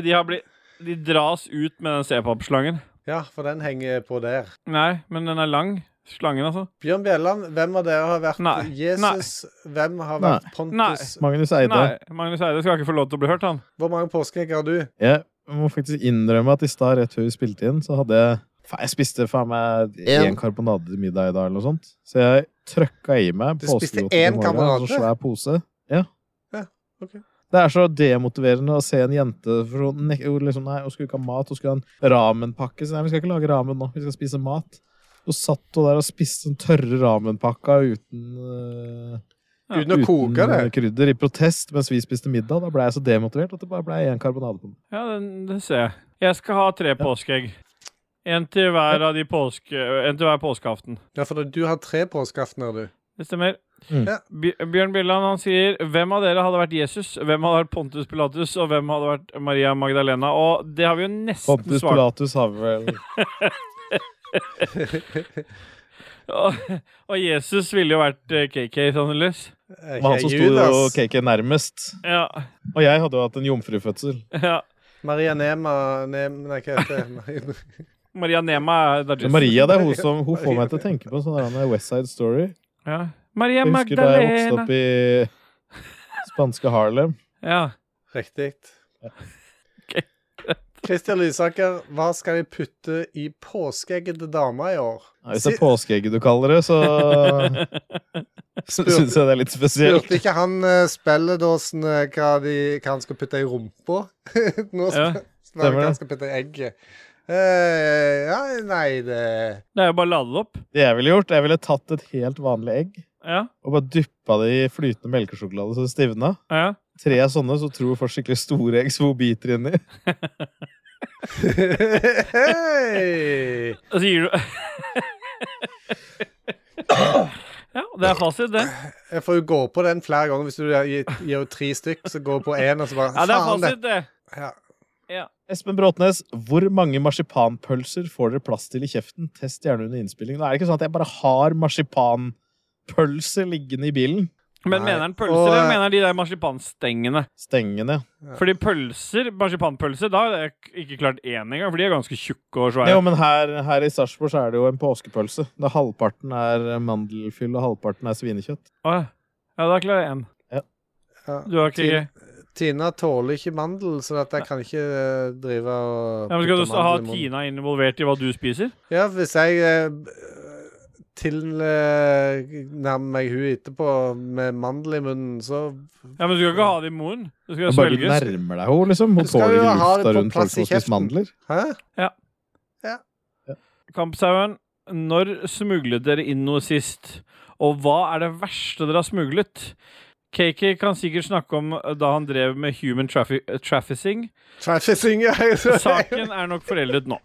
Speaker 3: de har blitt De dras ut med den C-pop-slangen.
Speaker 2: Ja, for den henger på der.
Speaker 3: Nei, men den er lang. Slangen, altså.
Speaker 2: Bjørn Bjelland, hvem av dere har vært
Speaker 3: Nei.
Speaker 2: Jesus? Hvem har vært Pontus?
Speaker 1: Magnus Eide,
Speaker 3: Nei, Magnus Eide skal ikke få lov til å bli hørt, han.
Speaker 2: Hvor mange påskeegg har du?
Speaker 1: jeg må faktisk innrømme at i stad, rett før vi spilte inn, så hadde jeg Faen, jeg spiste faen meg
Speaker 4: En.
Speaker 1: én karbonade til middag i dag, eller noe sånt. Så jeg trøkka i meg
Speaker 2: Du spiste
Speaker 1: påskegodteri
Speaker 2: én
Speaker 1: i morgen,
Speaker 2: karbonade?
Speaker 1: og Så svær pose. Ja.
Speaker 2: Ja, ok.
Speaker 1: Det er så demotiverende å se en jente for hun, nek- hun liksom, nei, hun skulle ikke ha mat, hun skulle ha en ramenpakke. Så nei, vi skal ikke lage ramen nå, vi skal spise mat. Så satt hun der og spiste den tørre ramenpakka uten øh,
Speaker 3: Ja.
Speaker 2: Uten å koke det?
Speaker 1: øh, krydder, i protest mens vi spiste middag. Da ble jeg så demotivert at det bare ble én karbonade på meg.
Speaker 3: Ja, den, det ser jeg. Jeg skal ha tre påskeegg. En til hver av de påske... En til hver påskeaften.
Speaker 2: Ja, for du har tre påskeaftener, du.
Speaker 3: Det stemmer.
Speaker 1: Mm.
Speaker 2: Ja.
Speaker 3: Bj- Bjørn Bjelland han sier hvem av dere hadde vært Jesus, hvem hadde vært Pontus Pilatus, og hvem hadde vært Maria Magdalena? Og det har vi jo nesten
Speaker 1: Pontus
Speaker 3: svart
Speaker 1: Pilatus har vel
Speaker 3: Og, og Jesus ville jo vært eh, KK, sannsynligvis.
Speaker 2: Er
Speaker 1: Men han som sto
Speaker 2: ikke
Speaker 1: jo
Speaker 2: Judas.
Speaker 1: KK nærmest.
Speaker 3: Ja.
Speaker 1: Og jeg hadde jo hatt en jomfrufødsel.
Speaker 3: ja.
Speaker 2: Maria Nema Nem, Nei, hva heter det?
Speaker 3: Maria Nema er da
Speaker 1: Men
Speaker 3: Jesus.
Speaker 1: Maria det er hun som hun får meg til å tenke på en sånn der West Side Story.
Speaker 3: Ja. Maria
Speaker 1: Jeg husker da jeg vokste
Speaker 3: Magdalena.
Speaker 1: opp i spanske Harlem.
Speaker 3: Ja.
Speaker 2: Riktig.
Speaker 3: Ok.
Speaker 2: Kristian Lysaker, hva skal vi putte i påskeegget til dama i år?
Speaker 1: Ja, Hvis det er påskeegget du kaller det, så Syns jeg det er litt spesielt.
Speaker 2: Spurte ikke han uh, spilledåsen eh, hva, de, hva han skal putte i rumpa? Nå
Speaker 3: Ja,
Speaker 2: spør spør
Speaker 1: stemmer
Speaker 2: han hva
Speaker 1: det.
Speaker 2: han skal putte i egget. Eh, ja, nei, det
Speaker 3: Det er jo bare å lade det opp.
Speaker 1: Det jeg ville gjort, jeg ville tatt et helt vanlig egg
Speaker 3: Ja,
Speaker 1: og bare dyppa det i flytende melkesjokolade så det stivna.
Speaker 3: ja.
Speaker 1: Tre sånne, så tror folk skikkelig store egg som hun biter inni.
Speaker 2: Hei!
Speaker 3: Og så gir du Ja, det er fasit, det.
Speaker 2: Jeg får jo gå på den flere ganger. Hvis du gir, gir jo tre stykk, så går jeg på én, og så bare
Speaker 3: Ja, det er
Speaker 2: Faen, det
Speaker 3: fasit, det.
Speaker 2: ja.
Speaker 1: Espen Bråtnes, hvor mange marsipanpølser får dere plass til i kjeften? Test gjerne under innspilling. Nå er det ikke sånn at jeg bare har marsipanpølser liggende i bilen.
Speaker 3: Men
Speaker 2: Nei.
Speaker 3: mener han pølser,
Speaker 2: Og,
Speaker 3: eller
Speaker 2: eh,
Speaker 3: mener han de der marsipanstengene?
Speaker 1: Stengende.
Speaker 3: Fordi pølser, marsipanpølser, da hadde jeg k- ikke klart én engang, for de er ganske tjukke og
Speaker 1: Jo,
Speaker 3: svære.
Speaker 1: men her, her i Sarpsborg så er det jo en påskepølse. Da halvparten er mandelfyll og halvparten er svinekjøtt.
Speaker 3: Åh, Ja, da klarer jeg én.
Speaker 2: Ja.
Speaker 3: Du har ikke
Speaker 2: Ti- Tina tåler ikke mandel, så dette kan ikke eh, drive og
Speaker 3: ja, men Skal
Speaker 2: putte
Speaker 3: du s- ha
Speaker 2: mandel i munnen.
Speaker 3: Tina involvert i hva du spiser?
Speaker 2: Ja, hvis jeg eh, tilnærmer meg hun etterpå med mandel i munnen, så
Speaker 3: Ja, Men du skal ikke ha det i munnen. Det skal
Speaker 1: Men Bare du
Speaker 3: svelges.
Speaker 1: nærmer deg henne, liksom. Hun
Speaker 2: Du skal
Speaker 1: tåler
Speaker 2: jo
Speaker 1: ikke
Speaker 2: ha det
Speaker 1: lufta
Speaker 2: på
Speaker 1: rundt folk
Speaker 2: plass
Speaker 1: som
Speaker 2: i
Speaker 1: har spist
Speaker 2: kjeften.
Speaker 1: mandler.
Speaker 2: Hæ?
Speaker 3: Kampsauen, når smuglet dere inn noe sist? Og hva er det verste dere har smuglet? KK kan sikkert snakke om eh, da han drev med human traffi trafficking.
Speaker 2: Trafficking, ja.
Speaker 3: Saken er nok foreldet nå.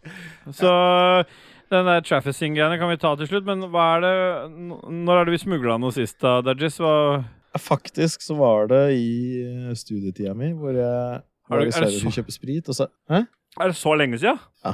Speaker 3: Så den der trafficking-greiene kan vi ta til slutt, men hva er det n- Når er det vi smugla noe sist, da, Dajis? Hva
Speaker 1: Faktisk så var det i eh, studietida mi hvor jeg var
Speaker 3: du-
Speaker 1: i
Speaker 3: er det
Speaker 1: Sverige
Speaker 3: så-
Speaker 1: og kjøpte sprit, og så Hæ?
Speaker 3: Er det så lenge sia?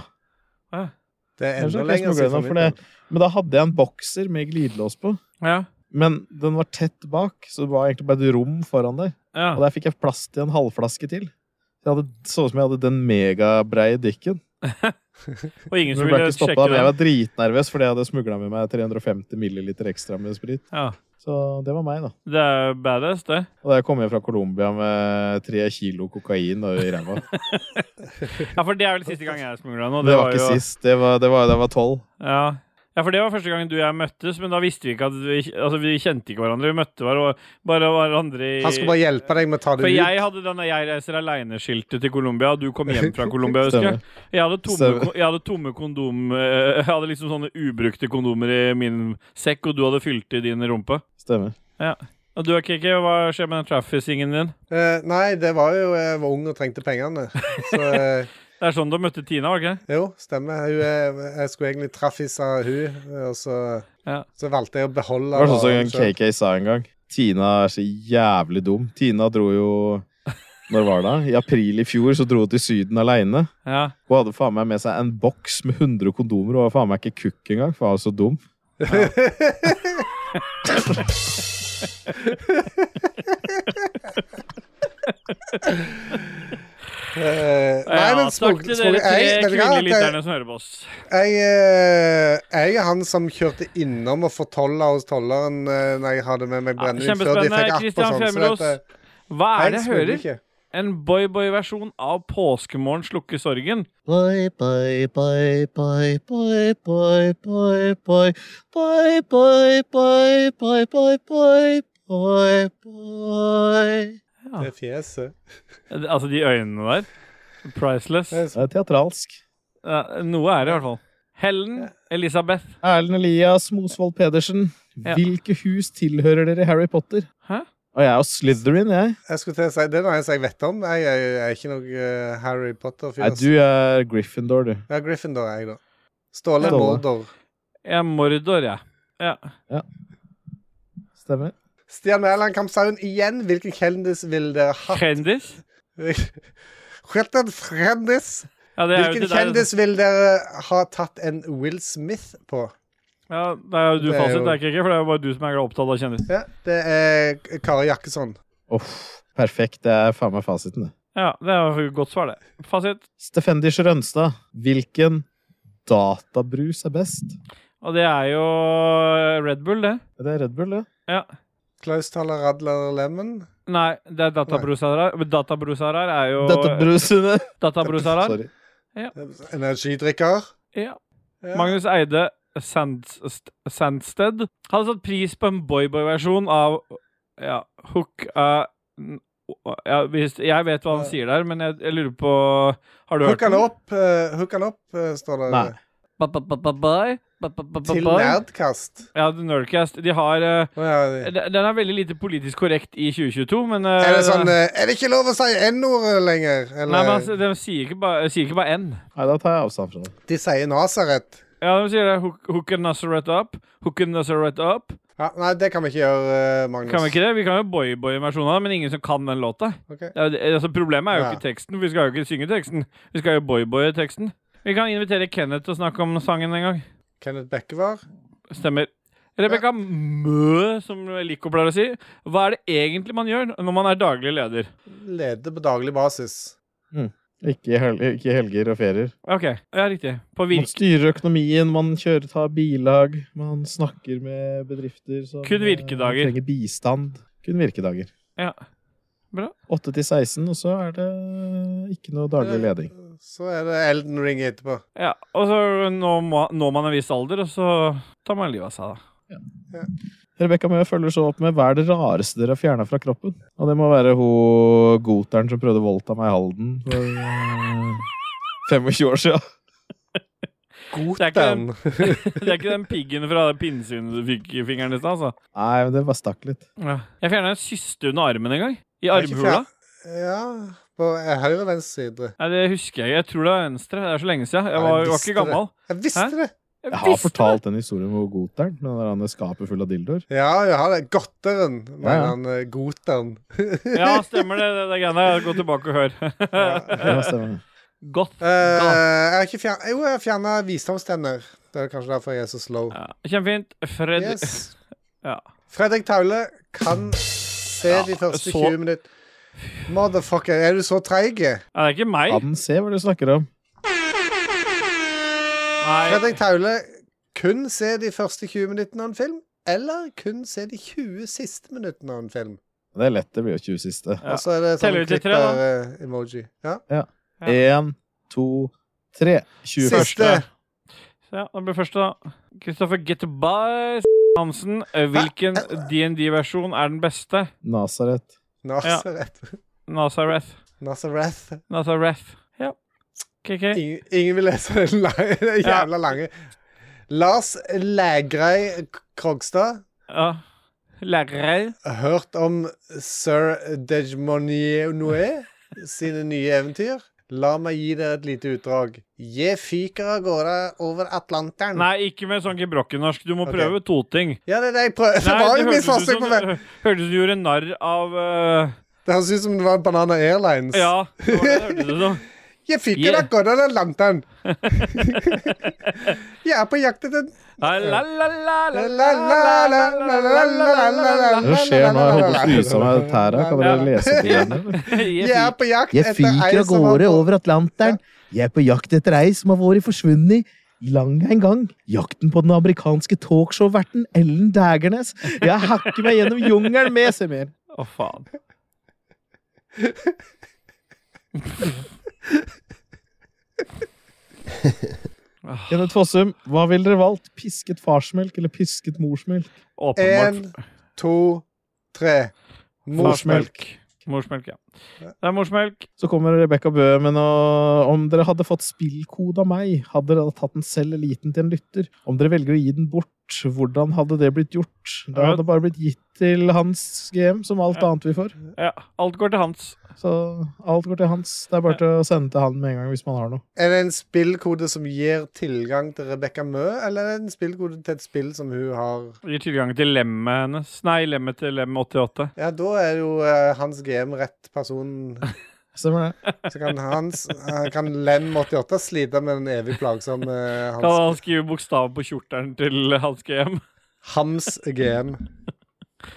Speaker 2: Det er
Speaker 1: Kanskje
Speaker 2: enda
Speaker 1: jeg
Speaker 2: lenger
Speaker 1: smugle
Speaker 2: siden
Speaker 1: den,
Speaker 2: for
Speaker 1: for
Speaker 2: min del.
Speaker 1: Men da hadde jeg en bokser med glidelås på.
Speaker 3: Ja.
Speaker 1: Men den var tett bak, så det var egentlig bare et rom foran der.
Speaker 3: ja.
Speaker 1: Og der fikk jeg plass til en halvflaske til. Jeg hadde, så ut som jeg hadde den megabreie dikken.
Speaker 3: Og ingen
Speaker 1: Men
Speaker 3: som
Speaker 1: jeg ble
Speaker 3: ville
Speaker 1: ikke stoppet,
Speaker 3: sjekke
Speaker 1: men jeg
Speaker 3: den?
Speaker 1: var dritnervøs fordi jeg hadde smugla med meg 350 milliliter ekstra med sprit.
Speaker 3: Ja.
Speaker 1: Så det var meg, da.
Speaker 3: Det er badass, det.
Speaker 1: Og da jeg kom hjem fra Colombia med tre kilo kokain da, i ræva.
Speaker 3: Ja, for det er vel siste gang jeg smugla nå.
Speaker 1: Det var ikke sist. Det var, det var, det var 12.
Speaker 3: Ja. ja, for det var første gangen du og jeg møttes, men da visste vi ikke at vi Altså, vi kjente ikke hverandre. Vi møtte hver- bare hverandre i
Speaker 2: Han skulle bare hjelpe deg med å ta det
Speaker 3: For
Speaker 2: ut.
Speaker 3: jeg hadde denne 'jeg reiser aleine'-skiltet til Colombia, og du kom hjem fra Colombia, husker jeg.
Speaker 1: Stemmer.
Speaker 3: Jeg hadde tomme,
Speaker 1: Stemmer.
Speaker 3: ko- jeg hadde tomme kondom eh, Jeg hadde liksom sånne ubrukte kondomer i min sekk, og du hadde fylt i din rumpe.
Speaker 1: Stemmer.
Speaker 3: Og du, Kiki, hva skjer med den trafficingen din?
Speaker 2: Eh, nei, det var jo jeg var ung og trengte pengene. Så eh,
Speaker 3: Det er sånn du møtte Tina, var det ikke?
Speaker 2: jo, stemmer. Hun, eh, jeg skulle egentlig traffise hun, og så,
Speaker 3: Ja.
Speaker 2: så valgte jeg å beholde
Speaker 1: Det var sånn som
Speaker 2: varen
Speaker 1: en
Speaker 2: selv.
Speaker 1: KK sa en gang. Tina er så jævlig dum. Tina dro jo Når var det? I april i fjor så dro hun til Syden aleine.
Speaker 3: Ja.
Speaker 1: Hun hadde faen meg med seg en boks med 100 kondomer og var faen meg ikke kukk engang. For hun var så dum.
Speaker 2: Eh, nei,
Speaker 3: ja,
Speaker 2: men
Speaker 3: takk
Speaker 2: smug-
Speaker 3: til
Speaker 2: smug-
Speaker 3: dere
Speaker 2: jeg-
Speaker 3: tre
Speaker 2: vet du hva?
Speaker 3: kvinnelige
Speaker 2: Jeg-
Speaker 3: lytterne som hører på oss.
Speaker 2: Jeg, eh, jeg er han som kjørte innom og fortolla hos tolleren eh, når jeg hadde med meg
Speaker 3: Ja,
Speaker 2: brennevin før de fikk
Speaker 3: kjempespennende.
Speaker 2: app og
Speaker 3: Christian
Speaker 2: sånn. Så
Speaker 3: Fjellros,
Speaker 2: dette,
Speaker 3: hva er det jeg
Speaker 2: smugler
Speaker 3: hører?
Speaker 2: ikke.
Speaker 3: En boy-boy-versjon av 'Påskemorgen slukker sorgen'.
Speaker 7: Boy, boy, boy, boy, boy, boy, boy, boy, boy, boy, boy, boy, boy, boy, boy, boy.
Speaker 3: Ja.
Speaker 2: Det er fjeset.
Speaker 3: Altså, de øynene der. Priceless.
Speaker 2: Det er så-
Speaker 1: Det er teatralsk.
Speaker 3: Ja, noe er det i hvert fall. Helen Elisabeth.
Speaker 1: Erlend Elias Mosvold Pedersen.
Speaker 3: Ja.
Speaker 1: Hvilke hus tilhører dere i Harry Potter?
Speaker 3: Hæ?
Speaker 1: Og jeg er jo Slytherin, jeg.
Speaker 2: Jeg skulle til å si, det er noe jeg vet om. Jeg, jeg, jeg er ikke noe eh, Harry Potter-fyr.
Speaker 1: Nei,
Speaker 2: ass.
Speaker 1: du er Gryffindor, du.
Speaker 2: Ja, Gryffindor er jeg, da.
Speaker 1: Ja.
Speaker 2: Ståle Mordor.
Speaker 3: Jeg er Mordor, jeg. Ja.
Speaker 1: Stemmer.
Speaker 2: Stian Mæland Kampsaun igjen. Hvilken kjendis vil dere ha?
Speaker 3: Kjendis?
Speaker 2: Hvilken kjendis?
Speaker 3: Ja, det er jo
Speaker 2: Hvilken
Speaker 3: til deg.
Speaker 2: kjendis vil dere ha tatt en Will Smith på?
Speaker 3: Ja, det er jo du
Speaker 2: Det er
Speaker 3: fasit,
Speaker 2: jo-
Speaker 3: det er ikke, ikke, for det er jo bare du som er opptatt av kjendis.
Speaker 2: Ja, det er Kari Jakkesson.
Speaker 1: Uff, perfekt. Det er faen meg fasiten, det.
Speaker 3: Ja, det er jo et godt svar, det. Fasit.
Speaker 1: Stefendis Rønstad. Hvilken databrus er best?
Speaker 3: Og det er jo Red Bull, det.
Speaker 1: Det er Red Bull, det.
Speaker 3: Ja.
Speaker 2: Klaus Thaler Radler Lemon.
Speaker 3: Nei, det er databrosara. Men Databrosara er jo
Speaker 1: Databrusene!
Speaker 3: Databrosara.
Speaker 1: Sorry.
Speaker 2: Energidrikker.
Speaker 3: Ja.
Speaker 2: Ja.
Speaker 3: Magnus Eide Sands- St- Sandsted hadde satt pris på en boyboy-versjon av ja, Hook eh, av ja, hvis, Jeg vet hva han sier der, men jeg, jeg lurer på Har du hørt
Speaker 2: Hook han
Speaker 3: den?
Speaker 2: opp, eh, hook han opp, eh, står det.
Speaker 1: Nei.
Speaker 3: Ba, ba, ba, ba, bye. Ba, ba, ba, ba,
Speaker 2: Til
Speaker 3: bye.
Speaker 2: Nerdcast.
Speaker 3: Ja, The Nerdcast. De har eh,
Speaker 2: Å, ja, det-
Speaker 3: d- Den er veldig lite politisk korrekt i 2022, men eh,
Speaker 2: Er det sånn eh, Er det ikke lov å si n-ordet lenger? Eller
Speaker 3: Nei, men altså, de sier ikke bare, sier ikke bare N.
Speaker 1: Nei, da tar jeg avstand fra det.
Speaker 2: de sier Nasaret?
Speaker 3: Ja, de sier det. Hook, hook and Nazareth up. Hook and Nazareth up.
Speaker 2: Ja, nei, det kan vi ikke gjøre, eh, Magnus.
Speaker 3: Kan vi ikke det? Vi kan jo boy-boy-versjonen av det, men ingen som kan den låta.
Speaker 2: Ok.
Speaker 3: Ja, det- altså, problemet er jo
Speaker 2: Ja.
Speaker 3: ikke teksten, for vi skal jo ikke synge teksten. Vi skal jo boy-boye teksten. Vi kan invitere Kenneth til å snakke om sangen en gang.
Speaker 2: Kenneth Bekkevar?
Speaker 3: Stemmer. Rebekka Mø, som Lico pleier å si. Hva er det egentlig man gjør når man er daglig leder?
Speaker 2: Leder på daglig basis.
Speaker 1: Ikke, i hel ikke i helger og ferier.
Speaker 3: OK, ja, riktig. På
Speaker 1: Man
Speaker 3: virk...
Speaker 1: styrer økonomien, man kjører, tar bilag, man snakker med bedrifter som
Speaker 3: Kun virkedager.
Speaker 1: eh, trenger bistand. Kun virkedager.
Speaker 3: Ja. Bra.
Speaker 1: 8 til 16, og så er det ikke noe daglig leding.
Speaker 2: Så er det Elden Ring etterpå.
Speaker 3: Ja, og så når ma- når man en viss alder, og så tar man livet av seg, da.
Speaker 1: Rebekka Møe følger så opp med hva er det rareste dere har fjerna fra kroppen? Og det må være hun goteren som prøvde voldta meg i Halden for eh, 25 år siden.
Speaker 3: Det er ikke den,
Speaker 2: Den.
Speaker 3: det er ikke den piggen fra det pinnsvinet du fikk i fingeren i stad, altså.
Speaker 1: Nei, men det bare stakk litt.
Speaker 3: Jeg fjerna en syste under armen en gang. I
Speaker 2: er ikke
Speaker 3: armhula.
Speaker 2: Ja På eh, høyre og venstre side.
Speaker 3: Nei, det husker jeg. Jeg tror det er venstre. Det er så lenge siden. Jeg var,
Speaker 2: jeg
Speaker 3: var ikke
Speaker 2: visste det.
Speaker 3: gammel.
Speaker 2: Jeg visste
Speaker 3: Hæ?
Speaker 2: det!
Speaker 3: Jeg
Speaker 1: Jeg har
Speaker 3: visste det.
Speaker 1: fortalt den historien om hun goteren med det der andre skapet fullt av dildoer.
Speaker 2: Ja, jeg har det. Gotteren,
Speaker 1: Ja,
Speaker 2: mener
Speaker 1: ja.
Speaker 2: han. eh, Goteren.
Speaker 3: Ja, stemmer det. det, det greiene der. Gå tilbake og hør.
Speaker 1: Ja, stemmer det.
Speaker 3: Godt.
Speaker 2: Eh, jeg har ikke fjerna Jo, jeg har fjerna visdomstenner. Det er kanskje derfor jeg er så slow.
Speaker 3: Ja, kjempefint. Fred
Speaker 2: Yes.
Speaker 3: Ja.
Speaker 2: Fredrik Taule kan se de første
Speaker 3: så-
Speaker 2: 20 minutter. Motherfucker, er du så treig?
Speaker 3: Ja, det er ikke meg.
Speaker 1: Kan se hva du snakker om.
Speaker 3: Nei.
Speaker 2: Fredrik Taule kun se de første 20 minuttene av en film, eller kun se de 20 siste minuttene av en film.
Speaker 1: Det er lett, det blir jo 20 siste.
Speaker 3: Ja.
Speaker 2: Og så er det sånn
Speaker 3: Teller vi til tre, da?
Speaker 2: klitter-emoji. Ja.
Speaker 3: Ja.
Speaker 1: Én, to, tre. 20
Speaker 2: Siste.
Speaker 1: første.
Speaker 3: Ja, det blir første, da. Kristoffer Getteberg Hansen. Eh, Hvilken
Speaker 2: Eh,
Speaker 3: DND-versjon er den beste?
Speaker 1: Nasaret.
Speaker 2: Nazareth.
Speaker 3: Nazareth.
Speaker 2: Nazareth.
Speaker 3: Nazareth. Ja. KK.
Speaker 2: Ingen, ingen vil lese den lange, den
Speaker 3: Ja.
Speaker 2: jævla lange. Lars Lægrei Krogstad.
Speaker 3: Ja. Lærer.
Speaker 2: Hørt om sir Dejmonier sine nye eventyr? La meg gi dere et lite utdrag. Jeg fyker av gårde over Atlanteren.
Speaker 3: Nei, ikke med sånn gebrokken-norsk. Du må
Speaker 2: Ok.
Speaker 3: prøve to ting.
Speaker 2: Ja, det er det jeg prøver. Det var jo
Speaker 3: hørtes
Speaker 2: mitt
Speaker 3: ut
Speaker 2: forsøk
Speaker 3: som-
Speaker 2: på meg.
Speaker 3: hø- Hørtes ut som du gjorde narr av eh,
Speaker 2: Det høres ut som det var Banana Airlines.
Speaker 3: Ja, det var det det hørtes ut som.
Speaker 2: Jeg fyker
Speaker 3: Yeah.
Speaker 2: av gårde over Atlanteren. jeg er på jakt etter
Speaker 3: Nei, la, la, la, la, la, la, la, la, la, la, la, la, la.
Speaker 1: Hva skjer nå? Jeg holder på å snuse meg i tæra. Kan dere lese på den? eller?
Speaker 3: Jeg
Speaker 2: Jeg er sånn på jakt
Speaker 7: Jeg
Speaker 2: etter
Speaker 7: fyker
Speaker 2: ei
Speaker 7: av
Speaker 2: som har
Speaker 7: gårde
Speaker 2: på-
Speaker 7: over Atlanteren. Jeg er på jakt etter ei som har vært forsvunnet lang en gang. Jakten på den amerikanske talkshow-verten Ellen Dægernes. Jeg hakker meg gjennom jungelen med Semir.
Speaker 3: Å, faen. Ah,
Speaker 1: Kenneth Fossum, hva ville dere valgt? Pisket farsmelk eller pisket morsmelk?
Speaker 3: Åpenbart.
Speaker 2: En, to, tre. Morsmelk.
Speaker 3: Morsmelk, ja. Det er morsmelk.
Speaker 1: Så kommer Rebekka Bø med noe Om dere hadde fått spillkode av meg, hadde dere tatt den selv eller gitt den til en lytter? Om dere velger å gi den bort, hvordan hadde det blitt gjort? Da hadde det bare blitt gitt til hans GM, som alt annet vi får.
Speaker 3: Ja, alt går til Hans.
Speaker 1: Så alt går til hans. Det er bare til å sende til han med en gang hvis man har noe.
Speaker 2: Er det en spillkode som gir tilgang til Rebekka Mø, eller er det en spillkode til et spill som hun har
Speaker 3: Gir tilgang til lemmet hennes. Nei, lemmet til lem 88.
Speaker 2: Ja, da er jo eh, hans GM rett person.
Speaker 1: Stemmer det?
Speaker 2: Så kan hans eh, Kan Lem88 slite med den evig plagsomme eh,
Speaker 3: Kan
Speaker 2: hans,
Speaker 3: han skrive bokstav på kjortelen til Hans GM?
Speaker 2: hans GM.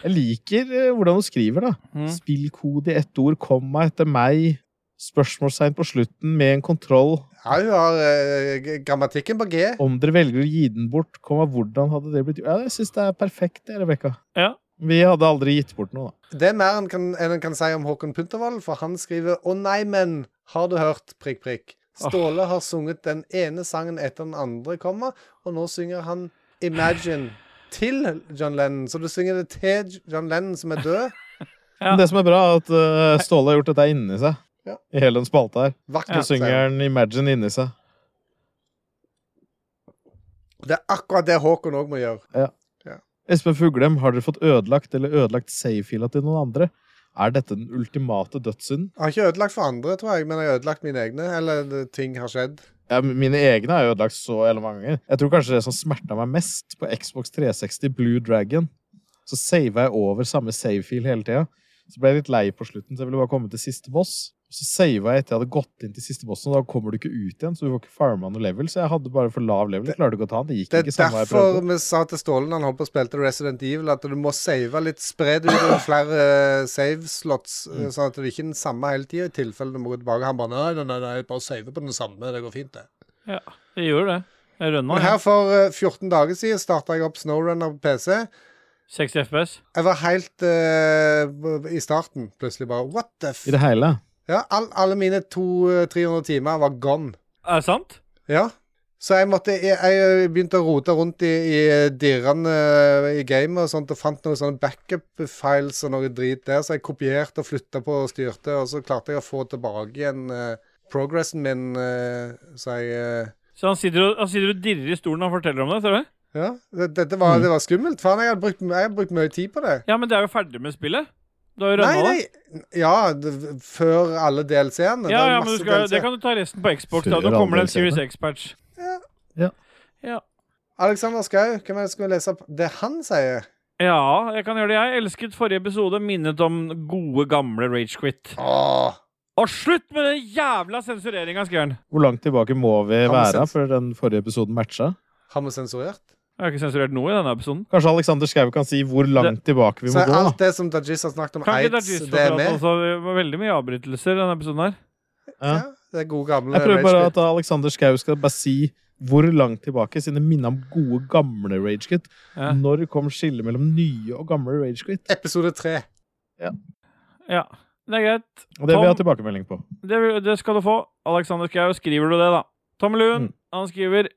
Speaker 1: Jeg liker eh, hvordan hun skriver, da.
Speaker 3: Mm.
Speaker 1: Spillkode i ett ord, komma etter meg, spørsmålstegn på slutten med en kontroll.
Speaker 2: Ja, hun har eh, g- grammatikken på G.
Speaker 1: Om dere velger å gi den bort, komma hvordan hadde det blitt gjort? Ja, jeg syns det er perfekt, det, Rebekka.
Speaker 3: Ja.
Speaker 1: Vi hadde aldri gitt bort noe, da.
Speaker 2: Det er mer enn kan, enn en kan si om Håkon Puntervold, for han skriver 'Å nei, men har du hørt?' prikk, prikk. Ståle har sunget den ene sangen etter den andre, komma, og nå synger han Imagine til John Lennon. Så du synger det til John Lennon som er død.
Speaker 3: Ja.
Speaker 1: Men det som er bra, er at eh, Ståle har gjort dette inni seg.
Speaker 2: Ja.
Speaker 1: I hele den spalta her.
Speaker 2: Vakkert.
Speaker 1: Så synger
Speaker 2: sier han.
Speaker 1: han Imagine inni seg.
Speaker 2: Det er akkurat det Håkon òg må gjøre.
Speaker 1: Espen Fuglem, har dere fått ødelagt eller ødelagt save-fila til noen andre? Er dette den ultimate dødssynden?
Speaker 2: Jeg har ikke ødelagt for andre, tror jeg, men jeg har ødelagt mine egne. Eller det- ting har skjedd.
Speaker 1: Ja, mine egne er ødelagt så jævla mange ganger. Jeg tror kanskje det som smerta meg mest på Xbox 360 Blue Dragon, så sava jeg over samme save-fil hele tida. Så ble jeg litt lei på slutten, så jeg ville bare komme til siste boss. Så sava jeg etter jeg hadde gått inn til siste bossen, og da kommer du ikke ut igjen. Så du får ikke farma noe level, så jeg hadde bare for lav level. Jeg klarte ikke å ta den. Det gikk
Speaker 2: Det er
Speaker 1: ikke samme hva jeg
Speaker 2: derfor
Speaker 1: prøvde.
Speaker 2: vi sa til Ståle når han holdt på og spilte Resident Evil, at du må save litt. Spre det ut over flere eh, save slots, eh,
Speaker 1: Mm.
Speaker 2: sånn at det ikke er den samme hele tida, i tilfelle du må gå tilbake. Han bare nei, nei, nei, nei, bare save på den samme. Det går fint, det.
Speaker 3: Jeg gjorde det. Jeg rønna.
Speaker 2: Men her for eh, 14 dager siden starta jeg opp Snowrunner på PC.
Speaker 3: 60 FPS.
Speaker 2: Jeg var helt eh, b- i starten. Plutselig bare What the f...
Speaker 1: I det hele.
Speaker 2: Ja, all, alle mine to, eh, 300 timer var gone.
Speaker 3: Er det sant?
Speaker 2: Ja. Så jeg, måtte, jeg, jeg begynte å rote rundt i, i dirrene eh, i gamet og sånt, og fant noen sånne backup-files og noe drit der, så jeg kopierte og flytta på og styrte, og så klarte jeg å få tilbake igjen eh, progressen min, eh, så jeg eh,
Speaker 3: Så han sitter, og, han sitter og dirrer i stolen når han forteller om det? ser du?
Speaker 2: Ja. det- Dette var,
Speaker 3: Mm.
Speaker 2: det var skummelt. Faen, jeg hadde brukt, jeg hadde brukt mye tid på det.
Speaker 3: Ja, men det er jo ferdig med spillet. Du har jo
Speaker 2: Nei,
Speaker 3: rønna det.
Speaker 2: nei. Ja, det, før alle DLC-ene. Det
Speaker 3: Ja,
Speaker 2: er
Speaker 3: ja, men
Speaker 2: masse
Speaker 3: du skal,
Speaker 2: DLC.
Speaker 3: det kan du ta resten på Xbox.
Speaker 1: Før
Speaker 3: da. Nå kommer det en
Speaker 1: andre
Speaker 3: Series
Speaker 1: DLC-ene.
Speaker 3: X-patch.
Speaker 2: Alexander Skau, hvem er det som skal lese opp det han sier?
Speaker 3: Ja, jeg kan gjøre det. Jeg elsket forrige episode, minnet om gode, gamle Ragequit.
Speaker 2: Åh,
Speaker 3: Og slutt med den jævla sensureringa, skrev han.
Speaker 1: Hvor langt tilbake må vi
Speaker 2: men
Speaker 1: være
Speaker 2: sens-
Speaker 1: før den forrige episoden matcha?
Speaker 2: har vi sensurert?
Speaker 3: Jeg har ikke sensurert noe i denne episoden.
Speaker 1: Kanskje Alexander Schou kan si hvor langt tilbake vi
Speaker 2: Så
Speaker 1: må gå? da?
Speaker 2: alt det som Dajis har snakket om
Speaker 3: Kan
Speaker 2: aids,
Speaker 3: ikke Dargis
Speaker 2: det er
Speaker 3: forklare
Speaker 2: med?
Speaker 3: også? altså. Det var veldig mye avbrytelser i denne episoden her.
Speaker 1: Ja.
Speaker 2: Ja, det er gode gamle
Speaker 1: Jeg prøver bare
Speaker 2: Rage
Speaker 1: at Alexander Schou skal bare si hvor langt tilbake, siden det minner om gode, gamle Ragequit.
Speaker 3: Ja.
Speaker 1: Når kom skillet mellom nye og gamle Ragequit?
Speaker 2: Quit. Episode tre.
Speaker 3: Ja, det er greit.
Speaker 1: Og det vil jeg ha
Speaker 3: Tom-
Speaker 1: tilbakemelding på.
Speaker 3: Det, vil- det skal du få. Alexander Schou, skriver du det, da? Tom Lund,
Speaker 1: Mm.
Speaker 3: han skriver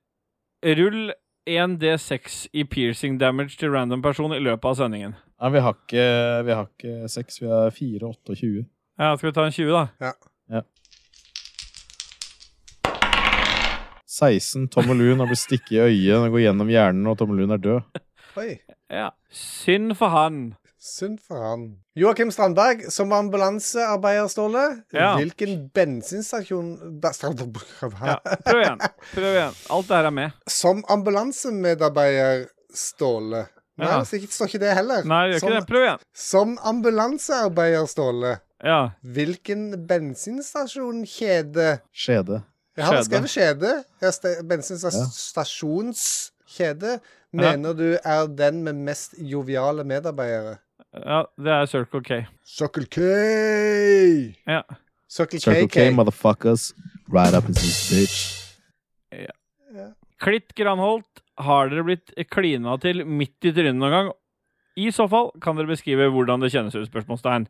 Speaker 3: Rull 1D6 i piercing damage til random person i løpet av sendingen.
Speaker 1: Nei, vi har ikke, vi har ikke 6, vi har 4, 8 og 20.
Speaker 3: Ja, skal vi ta en 20, da?
Speaker 1: 16. Tom og Lun har blitt stikket i øyet og går gjennom hjernen, og Tom og Lun er død.
Speaker 2: Oi,
Speaker 3: Ja. Synd for han.
Speaker 2: synd for han. Joakim Strandberg, som ambulansearbeider, Ståle.
Speaker 3: Ja.
Speaker 2: Hvilken bensinstasjon ba-
Speaker 3: Ja, prøv igjen. Prøv igjen. Alt det her er med.
Speaker 2: Som ambulansemedarbeider, Ståle. Nei,
Speaker 3: Ja.
Speaker 2: så ikke- står ikke det heller.
Speaker 3: Nei, gjør
Speaker 2: som,
Speaker 3: ikke det. Prøv igjen.
Speaker 2: som ambulansearbeider, Ståle.
Speaker 3: Ja.
Speaker 2: Hvilken bensinstasjonkjede
Speaker 1: Skjede.
Speaker 2: Jeg har
Speaker 3: Skjede.
Speaker 2: skrevet kjede. Jeg har ste- Bensinstasjonskjede. Mener du er den med mest joviale medarbeidere?
Speaker 3: ja, det er Circle K.
Speaker 2: Circle K!
Speaker 3: Ja.
Speaker 2: Circle
Speaker 1: Circle K,
Speaker 2: KK.
Speaker 1: motherfuckers. Right up in this bitch.
Speaker 3: Klitt Granholt, har dere blitt klina til midt i trynet noen gang? I så fall kan dere beskrive hvordan det kjennes ut, spørsmålstegn.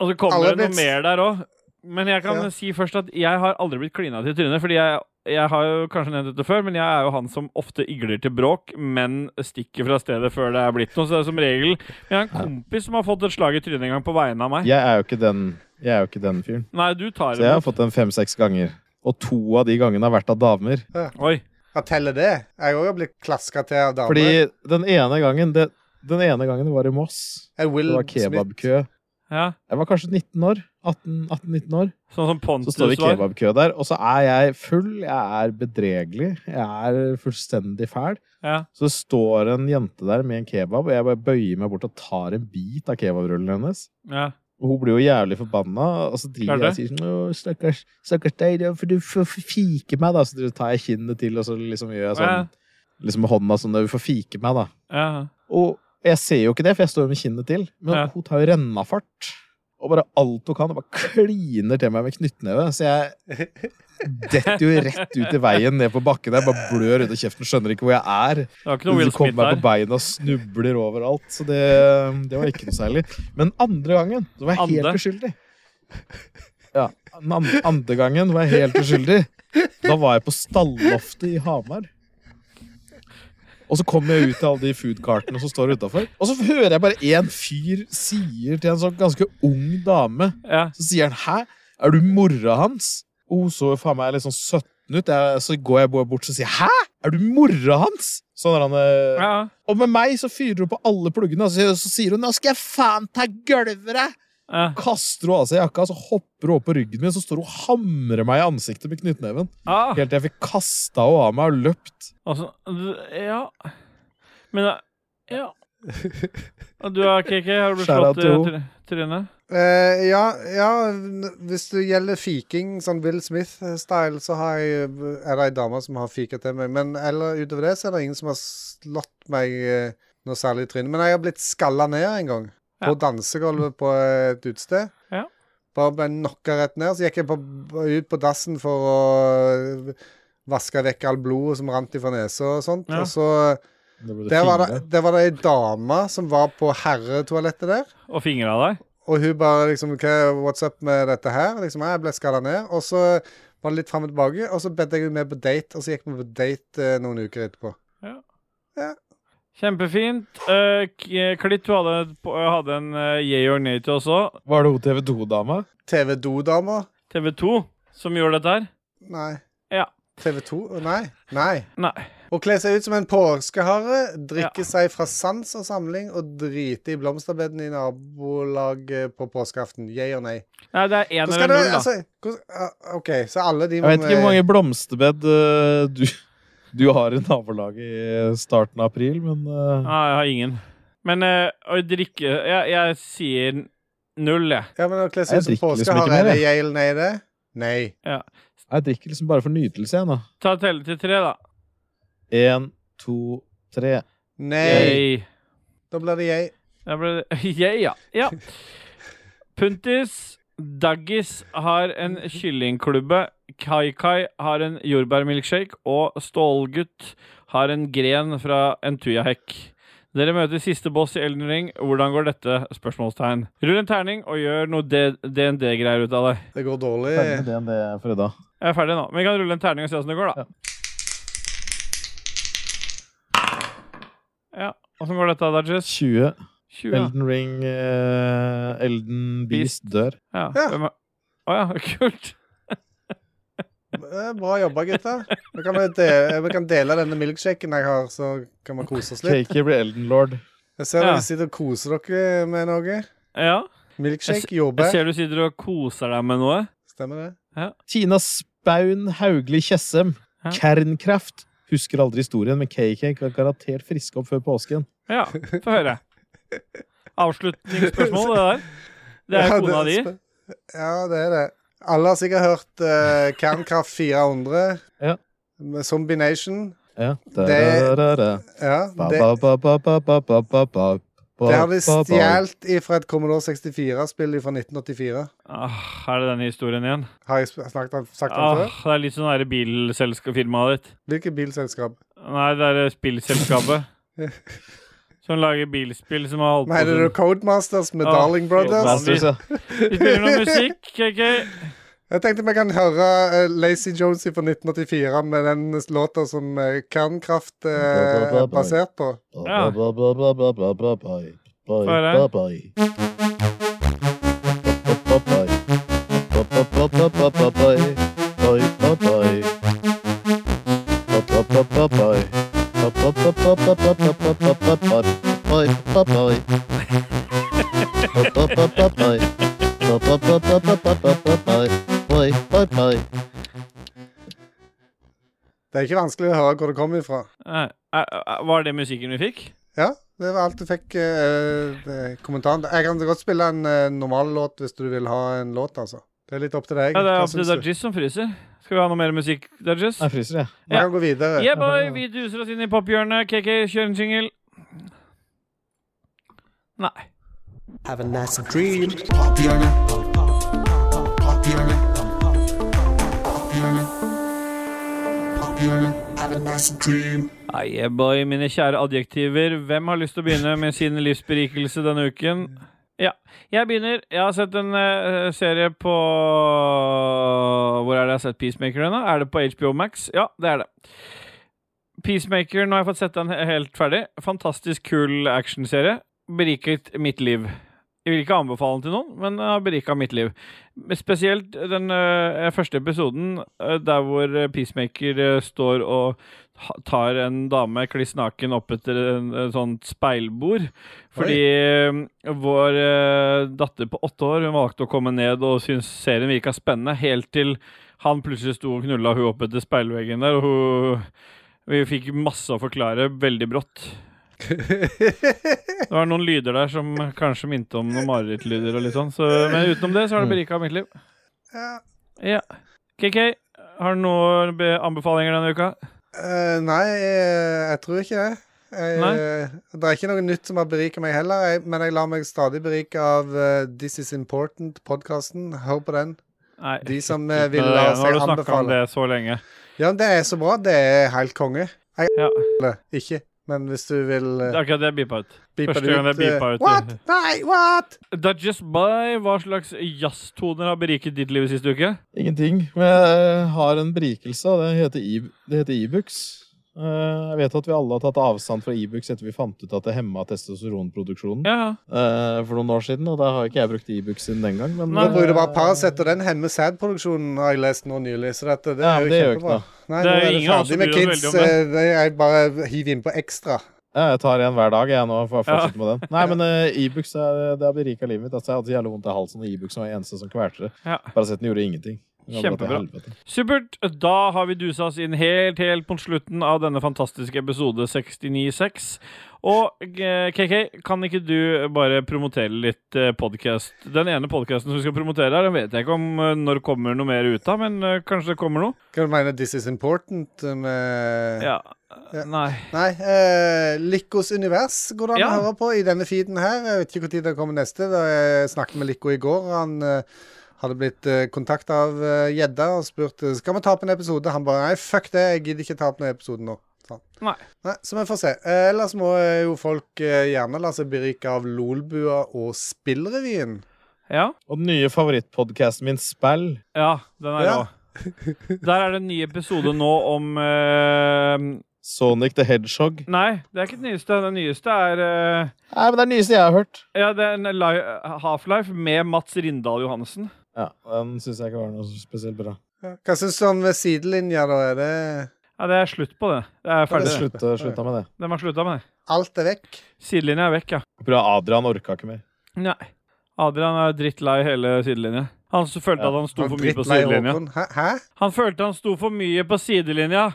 Speaker 3: Og så kommer
Speaker 2: Alle
Speaker 3: det
Speaker 2: blitt-
Speaker 3: noe mer der òg. Men jeg kan
Speaker 2: Ja.
Speaker 3: si først at jeg har aldri blitt klina til trynet, fordi jeg, jeg har jo kanskje nevnt dette før, men jeg er jo han som ofte igler til bråk, men stikker fra stedet før det er blitt noe. Så det er som regel Jeg har en kompis som har fått et slag i trynet en gang på vegne av meg.
Speaker 1: Jeg er jo ikke den, jeg er jo ikke den fyren.
Speaker 3: Nei, du tar
Speaker 1: Så jeg har
Speaker 3: det.
Speaker 1: fått den fem-seks ganger. Og to av de gangene har vært av damer.
Speaker 3: Oi.
Speaker 2: Hva teller det? Jeg òg har blitt klaska til av damer.
Speaker 1: Fordi den ene gangen det, Den ene gangen det var i Moss,
Speaker 2: jeg
Speaker 1: det
Speaker 2: Will
Speaker 1: var
Speaker 2: Smith.
Speaker 1: kebabkø.
Speaker 3: Ja.
Speaker 1: Jeg var kanskje 19 år. 18-19 år.
Speaker 3: Sånn
Speaker 1: Så
Speaker 3: som Pontus
Speaker 1: står vi i
Speaker 3: var.
Speaker 1: kebabkø der, og så er jeg full, jeg er bedregelig, jeg er fullstendig fæl.
Speaker 3: Ja.
Speaker 1: Så står en jente der med en kebab, og jeg bare bøyer meg bort og tar en bit av kebabrullen hennes.
Speaker 3: Ja.
Speaker 1: Og hun blir jo jævlig forbanna, og så
Speaker 3: Klart
Speaker 1: driver jeg og sier sånn «Å, Stakkars, stakkars deg, da, for du får fike meg, da. Så driver- tar jeg kinnet til, og så liksom gjør jeg
Speaker 3: Ja.
Speaker 1: sånn liksom med hånda sånn, du får fike meg, da.
Speaker 3: ja.
Speaker 1: Og jeg ser jo ikke det, for jeg står jo med kinnet til. Men
Speaker 3: Ja.
Speaker 1: hun tar jo rennafart. Og bare alt hun kan, og bare kliner til meg med knyttneve. Så jeg detter jo rett ut i veien ned på bakken der. Bare blør ut av kjeften, skjønner ikke hvor jeg er.
Speaker 3: Det var ikke noe Will
Speaker 1: Så kommer
Speaker 3: Smith
Speaker 1: meg på
Speaker 3: der.
Speaker 1: beina og snubler overalt. Så det, det var ikke noe særlig. Men andre gangen så var jeg helt
Speaker 3: Ande.
Speaker 1: uskyldig. Ja, den an- andre gangen var jeg helt uskyldig. Da var jeg på stalloftet i Hamar. Og så kommer jeg ut til alle de foodcartene som står utafor. Og så hører jeg bare en fyr sier til en sånn ganske ung dame
Speaker 3: Ja.
Speaker 1: Så sier han 'hæ, er du mora hans?' Og hun så jo faen meg litt sånn 17 ut. Jeg, så går jeg bare bort og sier 'hæ, er du mora hans?' Sånn er han eh,
Speaker 3: ja.
Speaker 1: Og med meg så fyrer hun på alle pluggene, og så, så sier hun 'nå skal jeg faen ta gulvet'.
Speaker 3: ja.
Speaker 1: Kaster hun av seg jakka, så hopper hun opp på ryggen min, så står hun og hamrer meg i ansiktet med knyttneven.
Speaker 3: Ah.
Speaker 1: Helt til jeg fikk kasta henne av meg og løpt.
Speaker 3: Altså, d- ja Men da- ja. Og du da, KK? Har du
Speaker 1: Shout out
Speaker 3: slått
Speaker 1: til
Speaker 3: eh,
Speaker 1: ho.
Speaker 3: try- trynet?
Speaker 2: Eh, ja, ja, n- hvis det gjelder fiking, sånn Will Smith-style, så har jeg, er det ei dame som har fiket til meg. Men eller, utover det så er det ingen som har slått meg eh, noe særlig i trynet. Men jeg har blitt skalla ned en gang. På
Speaker 3: Ja.
Speaker 2: dansegulvet på et utested.
Speaker 3: Ja.
Speaker 2: Bare ble knocka rett ned. Så gikk jeg på, ut på dassen for å eh, vaske vekk all blodet som rant ifra nesa og sånt.
Speaker 3: Ja.
Speaker 2: Og så der var, det, der var det ei dame som var på herretoalettet der.
Speaker 3: Og fingra deg?
Speaker 2: Og hun bare liksom Hva, What's up med dette her? Liksom, jeg ble skalla ned. Og så var det litt fram og tilbake, og så bedte jeg henne med på date, og så gikk vi på date eh, noen uker etterpå.
Speaker 3: Kjempefint. Eh, K- Klitt, du hadde, et po- hadde en eh, yay or nay til også.
Speaker 1: Var det hun TV2-dama?
Speaker 2: TV-do-dama?
Speaker 3: TV 2 som gjorde dette her.
Speaker 2: Nei.
Speaker 3: Ja.
Speaker 2: TV2? Å, Nei. Nei.
Speaker 3: Nei.
Speaker 2: Å kle seg ut som en påskehare, drikke
Speaker 3: Ja.
Speaker 2: seg fra sans og samling og drite i blomsterbedene i nabolaget på påskeaften. Yay og nei.
Speaker 3: Nei, det er én
Speaker 2: Hvordan skal
Speaker 3: eller
Speaker 2: du,
Speaker 3: null, da.
Speaker 2: altså, hvordan, ah, OK, så alle de eh,
Speaker 1: Jeg vet ikke hvor mange blomsterbed eh, du, du har i nabolaget i starten av april, men eh,
Speaker 3: Nei, jeg har ingen. Men eh, å drikke jeg, jeg sier null, jeg.
Speaker 2: Ja, men å kle
Speaker 1: Jeg
Speaker 2: seg ut som
Speaker 1: drikker liksom ikke
Speaker 2: påskehare,
Speaker 1: mer,
Speaker 2: er det yay eller nei, det? Nei.
Speaker 1: jeg drikker liksom bare for nytelse, jeg, nå.
Speaker 3: Ta telle til tre, da.
Speaker 1: Én, to, tre.
Speaker 2: Nei.
Speaker 3: Yay.
Speaker 2: Da blir det yay.
Speaker 3: Da ble det Yay, ja. ja. Puntis. Daggis har en kyllingklubbe. Kai-Kai har en jordbærmilkshake. Og Stålgutt har en gren fra en tujahekk. Dere møter siste boss i Elden Ring. Hvordan går dette? Spørsmålstegn. Rull en terning og gjør noe DND-greier ut av det.
Speaker 2: Det går dårlig.
Speaker 1: Ferdig med DND for i dag.
Speaker 3: Jeg er ferdig nå. Men vi kan rulle en terning og se åssen det går, da. Ja. Åssen går dette, Dodges?
Speaker 1: 20.
Speaker 3: 20? ja.
Speaker 1: Elden Ring eh, Elden Beast dør.
Speaker 3: Ja.
Speaker 2: Ja.
Speaker 3: Hvem er- Å ja, kult.
Speaker 2: Eh, Bra jobba, gutter. Vi kan, dele, vi kan dele denne milkshaken jeg har, så kan vi kose oss litt.
Speaker 1: Cakey blir Elden Lord.
Speaker 2: Jeg ser
Speaker 3: Ja.
Speaker 2: dere sitter og koser dere eh, med noe.
Speaker 3: Ja. Jeg
Speaker 2: Milkshake,
Speaker 3: Jeg
Speaker 2: jordbær.
Speaker 3: ser du sitter og koser deg med noe.
Speaker 2: Stemmer det?
Speaker 1: Tina Spaun Haugli Tjessem.
Speaker 3: Ja.
Speaker 1: Kernkraft. Husker aldri historien, men KK kan garantert friske opp før påsken.
Speaker 3: Ja, få høre. Avslutningsspørsmål, det der. Det er
Speaker 2: Ja,
Speaker 3: jo kona di.
Speaker 2: spe- Ja, det er det. Alle har sikkert hørt eh, Kernkraft 400.
Speaker 1: Ja.
Speaker 2: Med Zombie Nation.
Speaker 1: Ja.
Speaker 2: Det-
Speaker 1: Da-da-da-da.
Speaker 2: Ja,
Speaker 1: Ba,
Speaker 2: det,
Speaker 1: ba, ba, ba, ba, ba, ba, ba, ba,
Speaker 2: det har de
Speaker 1: ba, ba.
Speaker 2: stjålet fra et Commodore 64-spill fra 1984.
Speaker 3: Ah, er det denne historien igjen?
Speaker 2: Har jeg sp- snakket om, sagt om
Speaker 3: Ah,
Speaker 2: før?
Speaker 3: det er litt sånn derre bilselskapfirmaet ditt.
Speaker 2: Hvilket bilselskap?
Speaker 3: Nei, det er spillselskapet. Som lager bilspill som har holdt
Speaker 2: Nei, det er
Speaker 3: på sånn-
Speaker 2: jo Codemasters med
Speaker 3: Ah,
Speaker 2: Darling Brothers.
Speaker 1: Masters,
Speaker 3: Codemasters.
Speaker 1: ja.
Speaker 3: Vi spiller noe musikk, KK.
Speaker 2: Jeg tenkte vi kan høre eh, Lazy Jonesy fra 1984 med den låta som eh, Kernkraft eh, er basert på.
Speaker 3: Ja.
Speaker 7: Ba, ba, ba, ba, ba, ba, ba, ba,
Speaker 3: høre.
Speaker 7: ba, ba. Ba, ba, ba, ba, ba, ba, ba, ba, ba, ba, ba. Ba, ba, ba, ba, ba. Ba, ba, ba, ba, ba, ba, ba, ba, ba, ba, ba, ba, ba, ba. Ba, ba, ba, ba, ba. Ba, ba, ba, ba, ba, ba, ba, ba, ba. Ba, ba, ba.
Speaker 2: Det er ikke vanskelig å høre hvor det kommer ifra.
Speaker 3: Nei, eh, eh, Var det musikken vi fikk?
Speaker 2: Ja, det var alt du fikk eh, det- kommentaren. Jeg kan godt spille en eh, normal låt hvis du vil ha en låt, altså. Det er litt opp til deg.
Speaker 3: Ja, det er
Speaker 2: Hva
Speaker 3: opp til
Speaker 2: syns du?
Speaker 3: Dodges som fryser. Skal vi ha noe mer musikk, Dodges?
Speaker 1: Jeg fryser, jeg.
Speaker 2: Vi kan gå videre.
Speaker 3: Yeah, boy! Vi duser oss inn i pophjørnet. KK, kjør en jingle. Nei.
Speaker 8: Have a nice dream. Have a nice dream.
Speaker 3: Ah, yeah, boy, mine kjære adjektiver. Hvem har lyst til å begynne med sin livsberikelse denne uken? Jeg begynner. Jeg har sett en eh, serie på Hvor er det jeg har sett Peacemaker ennå? Er det på HBO Max? Ja, det er det. Peacemaker, nå har jeg fått sett den he- helt ferdig. Fantastisk kul actionserie. Beriket mitt liv. Jeg vil ikke anbefale den til noen, men den har berika mitt liv. Spesielt den eh, første episoden eh, der hvor eh, Peacemaker eh, står og ha- tar en dame kliss naken opp etter en, en sånt speilbord. Fordi eh, vår eh, datter på åtte år hun valgte å komme ned og syntes serien virka spennende, helt til han plutselig sto og knulla hun opp etter speilveggen der, og hun Vi fikk masse å forklare veldig brått. Det var noen lyder der som kanskje minte om noen marerittlyder og litt sånn, så, men utenom det så har det berika mitt liv.
Speaker 2: Ja.
Speaker 3: Ja. KK, har du noen be- anbefalinger denne uka?
Speaker 2: Eh, nei, jeg, jeg tror ikke det. Jeg, eh,
Speaker 3: Nei?
Speaker 2: Det er ikke noe nytt som har beriket meg heller, jeg, men jeg lar meg stadig berike av eh, This Is Important-podkasten. Hør på den.
Speaker 3: Nei.
Speaker 2: De som eh, vil
Speaker 3: Nå
Speaker 2: la
Speaker 3: har
Speaker 2: seg
Speaker 3: du snakka om
Speaker 2: anbefale.
Speaker 3: det så lenge.
Speaker 2: Ja, det er så bra. Det er helt konge.
Speaker 3: Ja,
Speaker 2: Eller ikke, men hvis du vil
Speaker 3: det
Speaker 2: eh,
Speaker 3: er akkurat det jeg beepa ut.
Speaker 2: beepe
Speaker 3: første
Speaker 2: det
Speaker 3: gang
Speaker 2: ut,
Speaker 3: det er
Speaker 2: eh,
Speaker 3: beepet ut.
Speaker 2: What? Nei, what?
Speaker 3: Dudges by, hva slags jazztoner har beriket ditt liv sist uke?
Speaker 1: Ingenting. Men jeg har en berikelse, og det heter e- det heter e-books. Eh, jeg vet at vi alle har tatt avstand fra e-books etter vi fant ut at det hemma testosteronproduksjonen
Speaker 3: Ja, ja.
Speaker 1: eh, for noen år siden, og da har ikke jeg brukt e-books siden den gang. Men
Speaker 3: Nå
Speaker 2: Nå
Speaker 1: eh,
Speaker 2: bruker du bare Paracet, og den hemmer sædproduksjonen, har jeg lest nå nylig. Så dette, det
Speaker 1: Ja,
Speaker 2: er
Speaker 1: men
Speaker 2: jo
Speaker 1: det gjør ikke
Speaker 2: kjempebra.
Speaker 1: noe.
Speaker 2: Nei, nå
Speaker 3: Det er
Speaker 2: er det
Speaker 3: ingen av oss
Speaker 2: ferdig
Speaker 3: som
Speaker 2: med
Speaker 3: bryr oss
Speaker 2: kids.
Speaker 3: veldig om det.
Speaker 2: eh, det- Jeg bare hiver innpå ekstra.
Speaker 1: ja, jeg tar en hver dag, jeg nå. For å fortsette med den. Nei, men eh, e-books er- det har berika livet mitt. Altså, jeg hadde så jævlig vondt i halsen, og e-books var det eneste som kvalte det.
Speaker 3: Ja.
Speaker 1: Parasitten gjorde ingenting. Det var bra til
Speaker 3: Kjempebra.
Speaker 1: helvete.
Speaker 3: Supert. Da har vi dusa oss inn helt, helt mot slutten av denne fantastiske episode 69.6. Og eh, KK, kan ikke du bare promotere litt podkast? Den ene podkasten som vi skal promotere her, den vet jeg ikke om eh, når kommer noe mer ut av, men eh, kanskje det kommer noe?
Speaker 2: Hva du mener This Is Important med
Speaker 3: Ja.
Speaker 2: Ja.
Speaker 3: Nei.
Speaker 2: Nei, eh, Likos univers går det an
Speaker 3: Ja.
Speaker 2: å høre på i denne feeden her. Jeg vet ikke når det kommer neste. Da jeg snakket med Lico i går. Han eh, hadde blitt eh, kontakta av eh, gjedda og spurt eh, Skal vi ta opp en episode. Han bare nei, fuck det, jeg gidder ikke ta opp noen episode nå. sa han.
Speaker 3: Nei.
Speaker 2: Nei, så vi får se. Eh, ellers må eh, jo folk eh, gjerne la seg berike av Lolbua og Spillrevyen.
Speaker 3: Ja.
Speaker 1: Og den nye favorittpodkasten min, Spell,
Speaker 3: Ja, den er
Speaker 2: Ja.
Speaker 3: rå. Der er det en ny episode nå om eh,
Speaker 1: Sonic the Hedgehog
Speaker 3: Nei, det er ikke den nyeste. Den nyeste er eh,
Speaker 1: Nei, men Det er den nyeste jeg har hørt.
Speaker 3: Ja, det er en li- Half-Life med Mats Rindal Johannessen.
Speaker 1: Ja, Den syns jeg ikke var noe spesielt bra.
Speaker 2: Ja. Hva syns du om eh, sidelinja, da? Er det
Speaker 3: Ja, det er slutt på det. Det er
Speaker 1: Jeg
Speaker 3: ferdig. det.
Speaker 1: slutta, slutta eh, med det.
Speaker 3: De har slutta med det.
Speaker 2: Alt er vekk?
Speaker 3: Sidelinja er vekk, ja.
Speaker 1: Bra, Adrian orka ikke mer.
Speaker 3: Nei. Adrian er drittlei hele sidelinja. Han s- følte at han sto for mye på
Speaker 2: Drittlei
Speaker 3: sidelinja.
Speaker 2: Håkon. Hæ? Hæ?
Speaker 3: Han følte han sto for mye på sidelinja.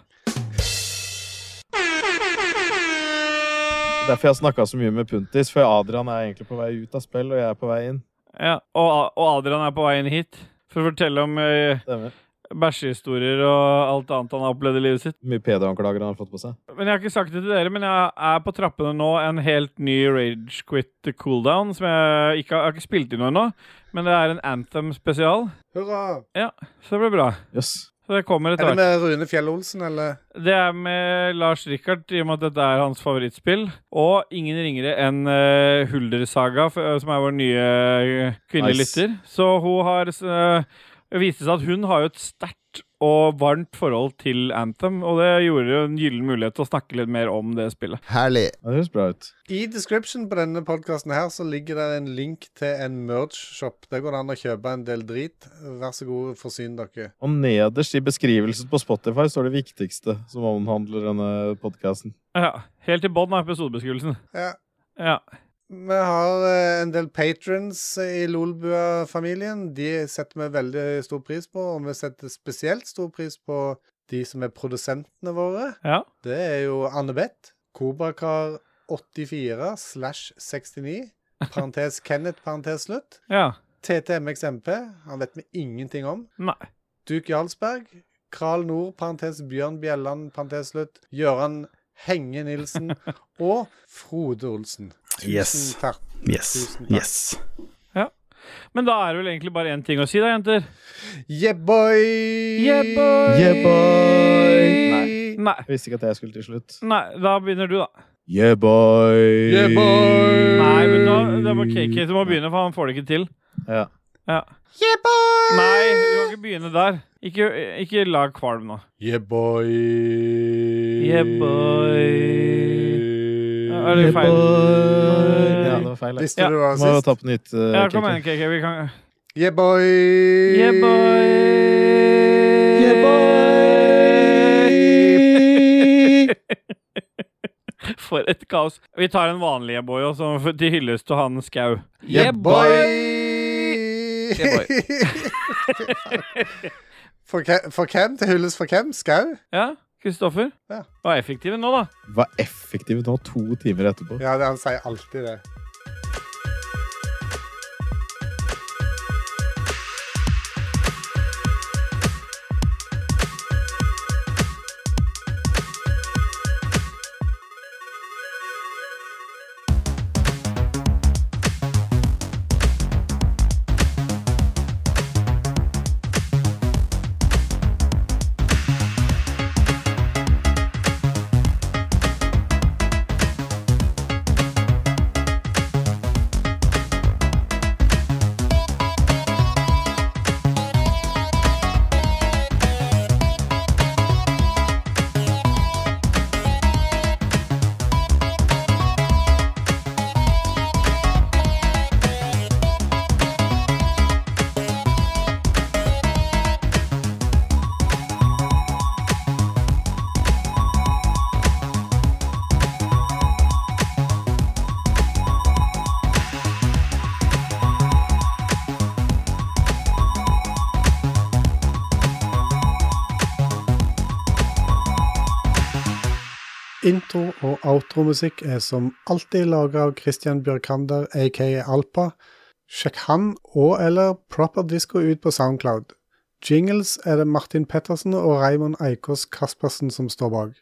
Speaker 1: Derfor jeg snakka så mye med Puntis, for Adrian er egentlig på vei ut av spill, og jeg er på vei inn.
Speaker 3: Ja, og, A- og Adrian er på vei inn hit for å fortelle om eh,
Speaker 1: Stemmer.
Speaker 3: bæsjehistorier og alt annet han har opplevd i livet sitt.
Speaker 1: Hvor mye PD-anklager han har fått på seg.
Speaker 3: Men jeg har ikke sagt det til dere, men jeg er på trappene nå en helt ny Rage Quit cooldown. Som jeg ikke har, jeg har ikke spilt inn noe ennå, men det er en Anthem spesial.
Speaker 2: Hurra!
Speaker 3: Så det blir bra.
Speaker 1: Jøss.
Speaker 3: Så det kommer etter
Speaker 2: Er det
Speaker 3: hvert.
Speaker 2: med Rune Fjell Olsen, eller?
Speaker 3: Det er med Lars Rikard, i og med at dette er hans favorittspill. Og ingen ringere enn eh, Huldersaga, f- eh, som er vår nye eh, kvinnelige
Speaker 1: Nice.
Speaker 3: lytter. Så hun har eh, Det viste seg at hun har jo et sterkt og varmt forhold til Anthem, og det gjorde jo en gyllen mulighet til å snakke litt mer om det spillet.
Speaker 4: Herlig.
Speaker 1: Ja, det høres bra ut.
Speaker 2: I description på denne podkasten her så ligger det en link til en merch-shop. Der går det an å kjøpe en del drit. Vær så god, forsyn dere.
Speaker 1: Og nederst i beskrivelsen på Spotify står det viktigste som omhandler denne podkasten.
Speaker 3: Ja, Helt i bånn av episodebeskrivelsen.
Speaker 2: Ja.
Speaker 3: Ja.
Speaker 2: Vi har eh, en del patrons i Lolbua-familien. De setter vi veldig stor pris på, og vi setter spesielt stor pris på de som er produsentene våre.
Speaker 3: ja.
Speaker 2: Det er jo Anne-Beth, Kobrakar84 slash 69, parentes Kenneth, parentes slutt.
Speaker 3: Ja.
Speaker 2: TTMXMP, han vet vi ingenting om.
Speaker 3: Nei.
Speaker 2: Duke Jarlsberg, Kral Nord, parentes Bjørn Bjelland, parentes slutt, Gøran Henge Nilsen og Frode Olsen. Tusen
Speaker 9: Yes.
Speaker 2: takk.
Speaker 9: Yes.
Speaker 2: Tusen takk.
Speaker 9: Yes.
Speaker 3: Men da er det vel egentlig bare én ting å si, da, jenter.
Speaker 2: Yeah, boy!
Speaker 3: Yeah, boy!
Speaker 1: Yeah, boy! Nei.
Speaker 3: Nei.
Speaker 1: Jeg visste ikke at jeg skulle til slutt.
Speaker 3: Nei, da begynner du, da.
Speaker 1: Yeah, boy!
Speaker 2: Yeah, boy!
Speaker 3: Nei, men da, da må KK du må begynne, for han får det ikke til.
Speaker 1: Ja.
Speaker 3: Ja. Nei, du kan ikke begynne der. Ikke, ikke lag kvalm nå.
Speaker 2: Yeah, boy.
Speaker 3: Yeah, boy. Ja, Er det feil?
Speaker 1: Ja, det var feil.
Speaker 2: Visste
Speaker 3: Ja.
Speaker 2: du hva
Speaker 1: Må jo
Speaker 2: sist?
Speaker 1: ta på nytt. eh,
Speaker 3: Ja, kom
Speaker 1: Kiki.
Speaker 3: igjen, KK. Vi kan
Speaker 2: Yeah, boy.
Speaker 3: Yeah, boy. Yeah, boy. For et kaos. Vi tar en vanlig yeah, boy også, for- til hyllest til han Skau.
Speaker 2: Yeah, boy.
Speaker 3: Yeah, boy.
Speaker 2: for, ke- for hvem? Til hylles for hvem? Skau?
Speaker 3: Ja, Kristoffer.
Speaker 2: Ja.
Speaker 3: Var effektive nå, da.
Speaker 1: Var effektiv nå to timer etterpå.
Speaker 2: Ja, det, han sier alltid det.
Speaker 6: Intro- og outromusikk er som alltid laga av Christian Bjørkander, aka Alpa. Sjekk han og eller Proper Disco ut på Soundcloud. Jingles er det Martin Pettersen og Raymond Eikås Kaspersen som står bak.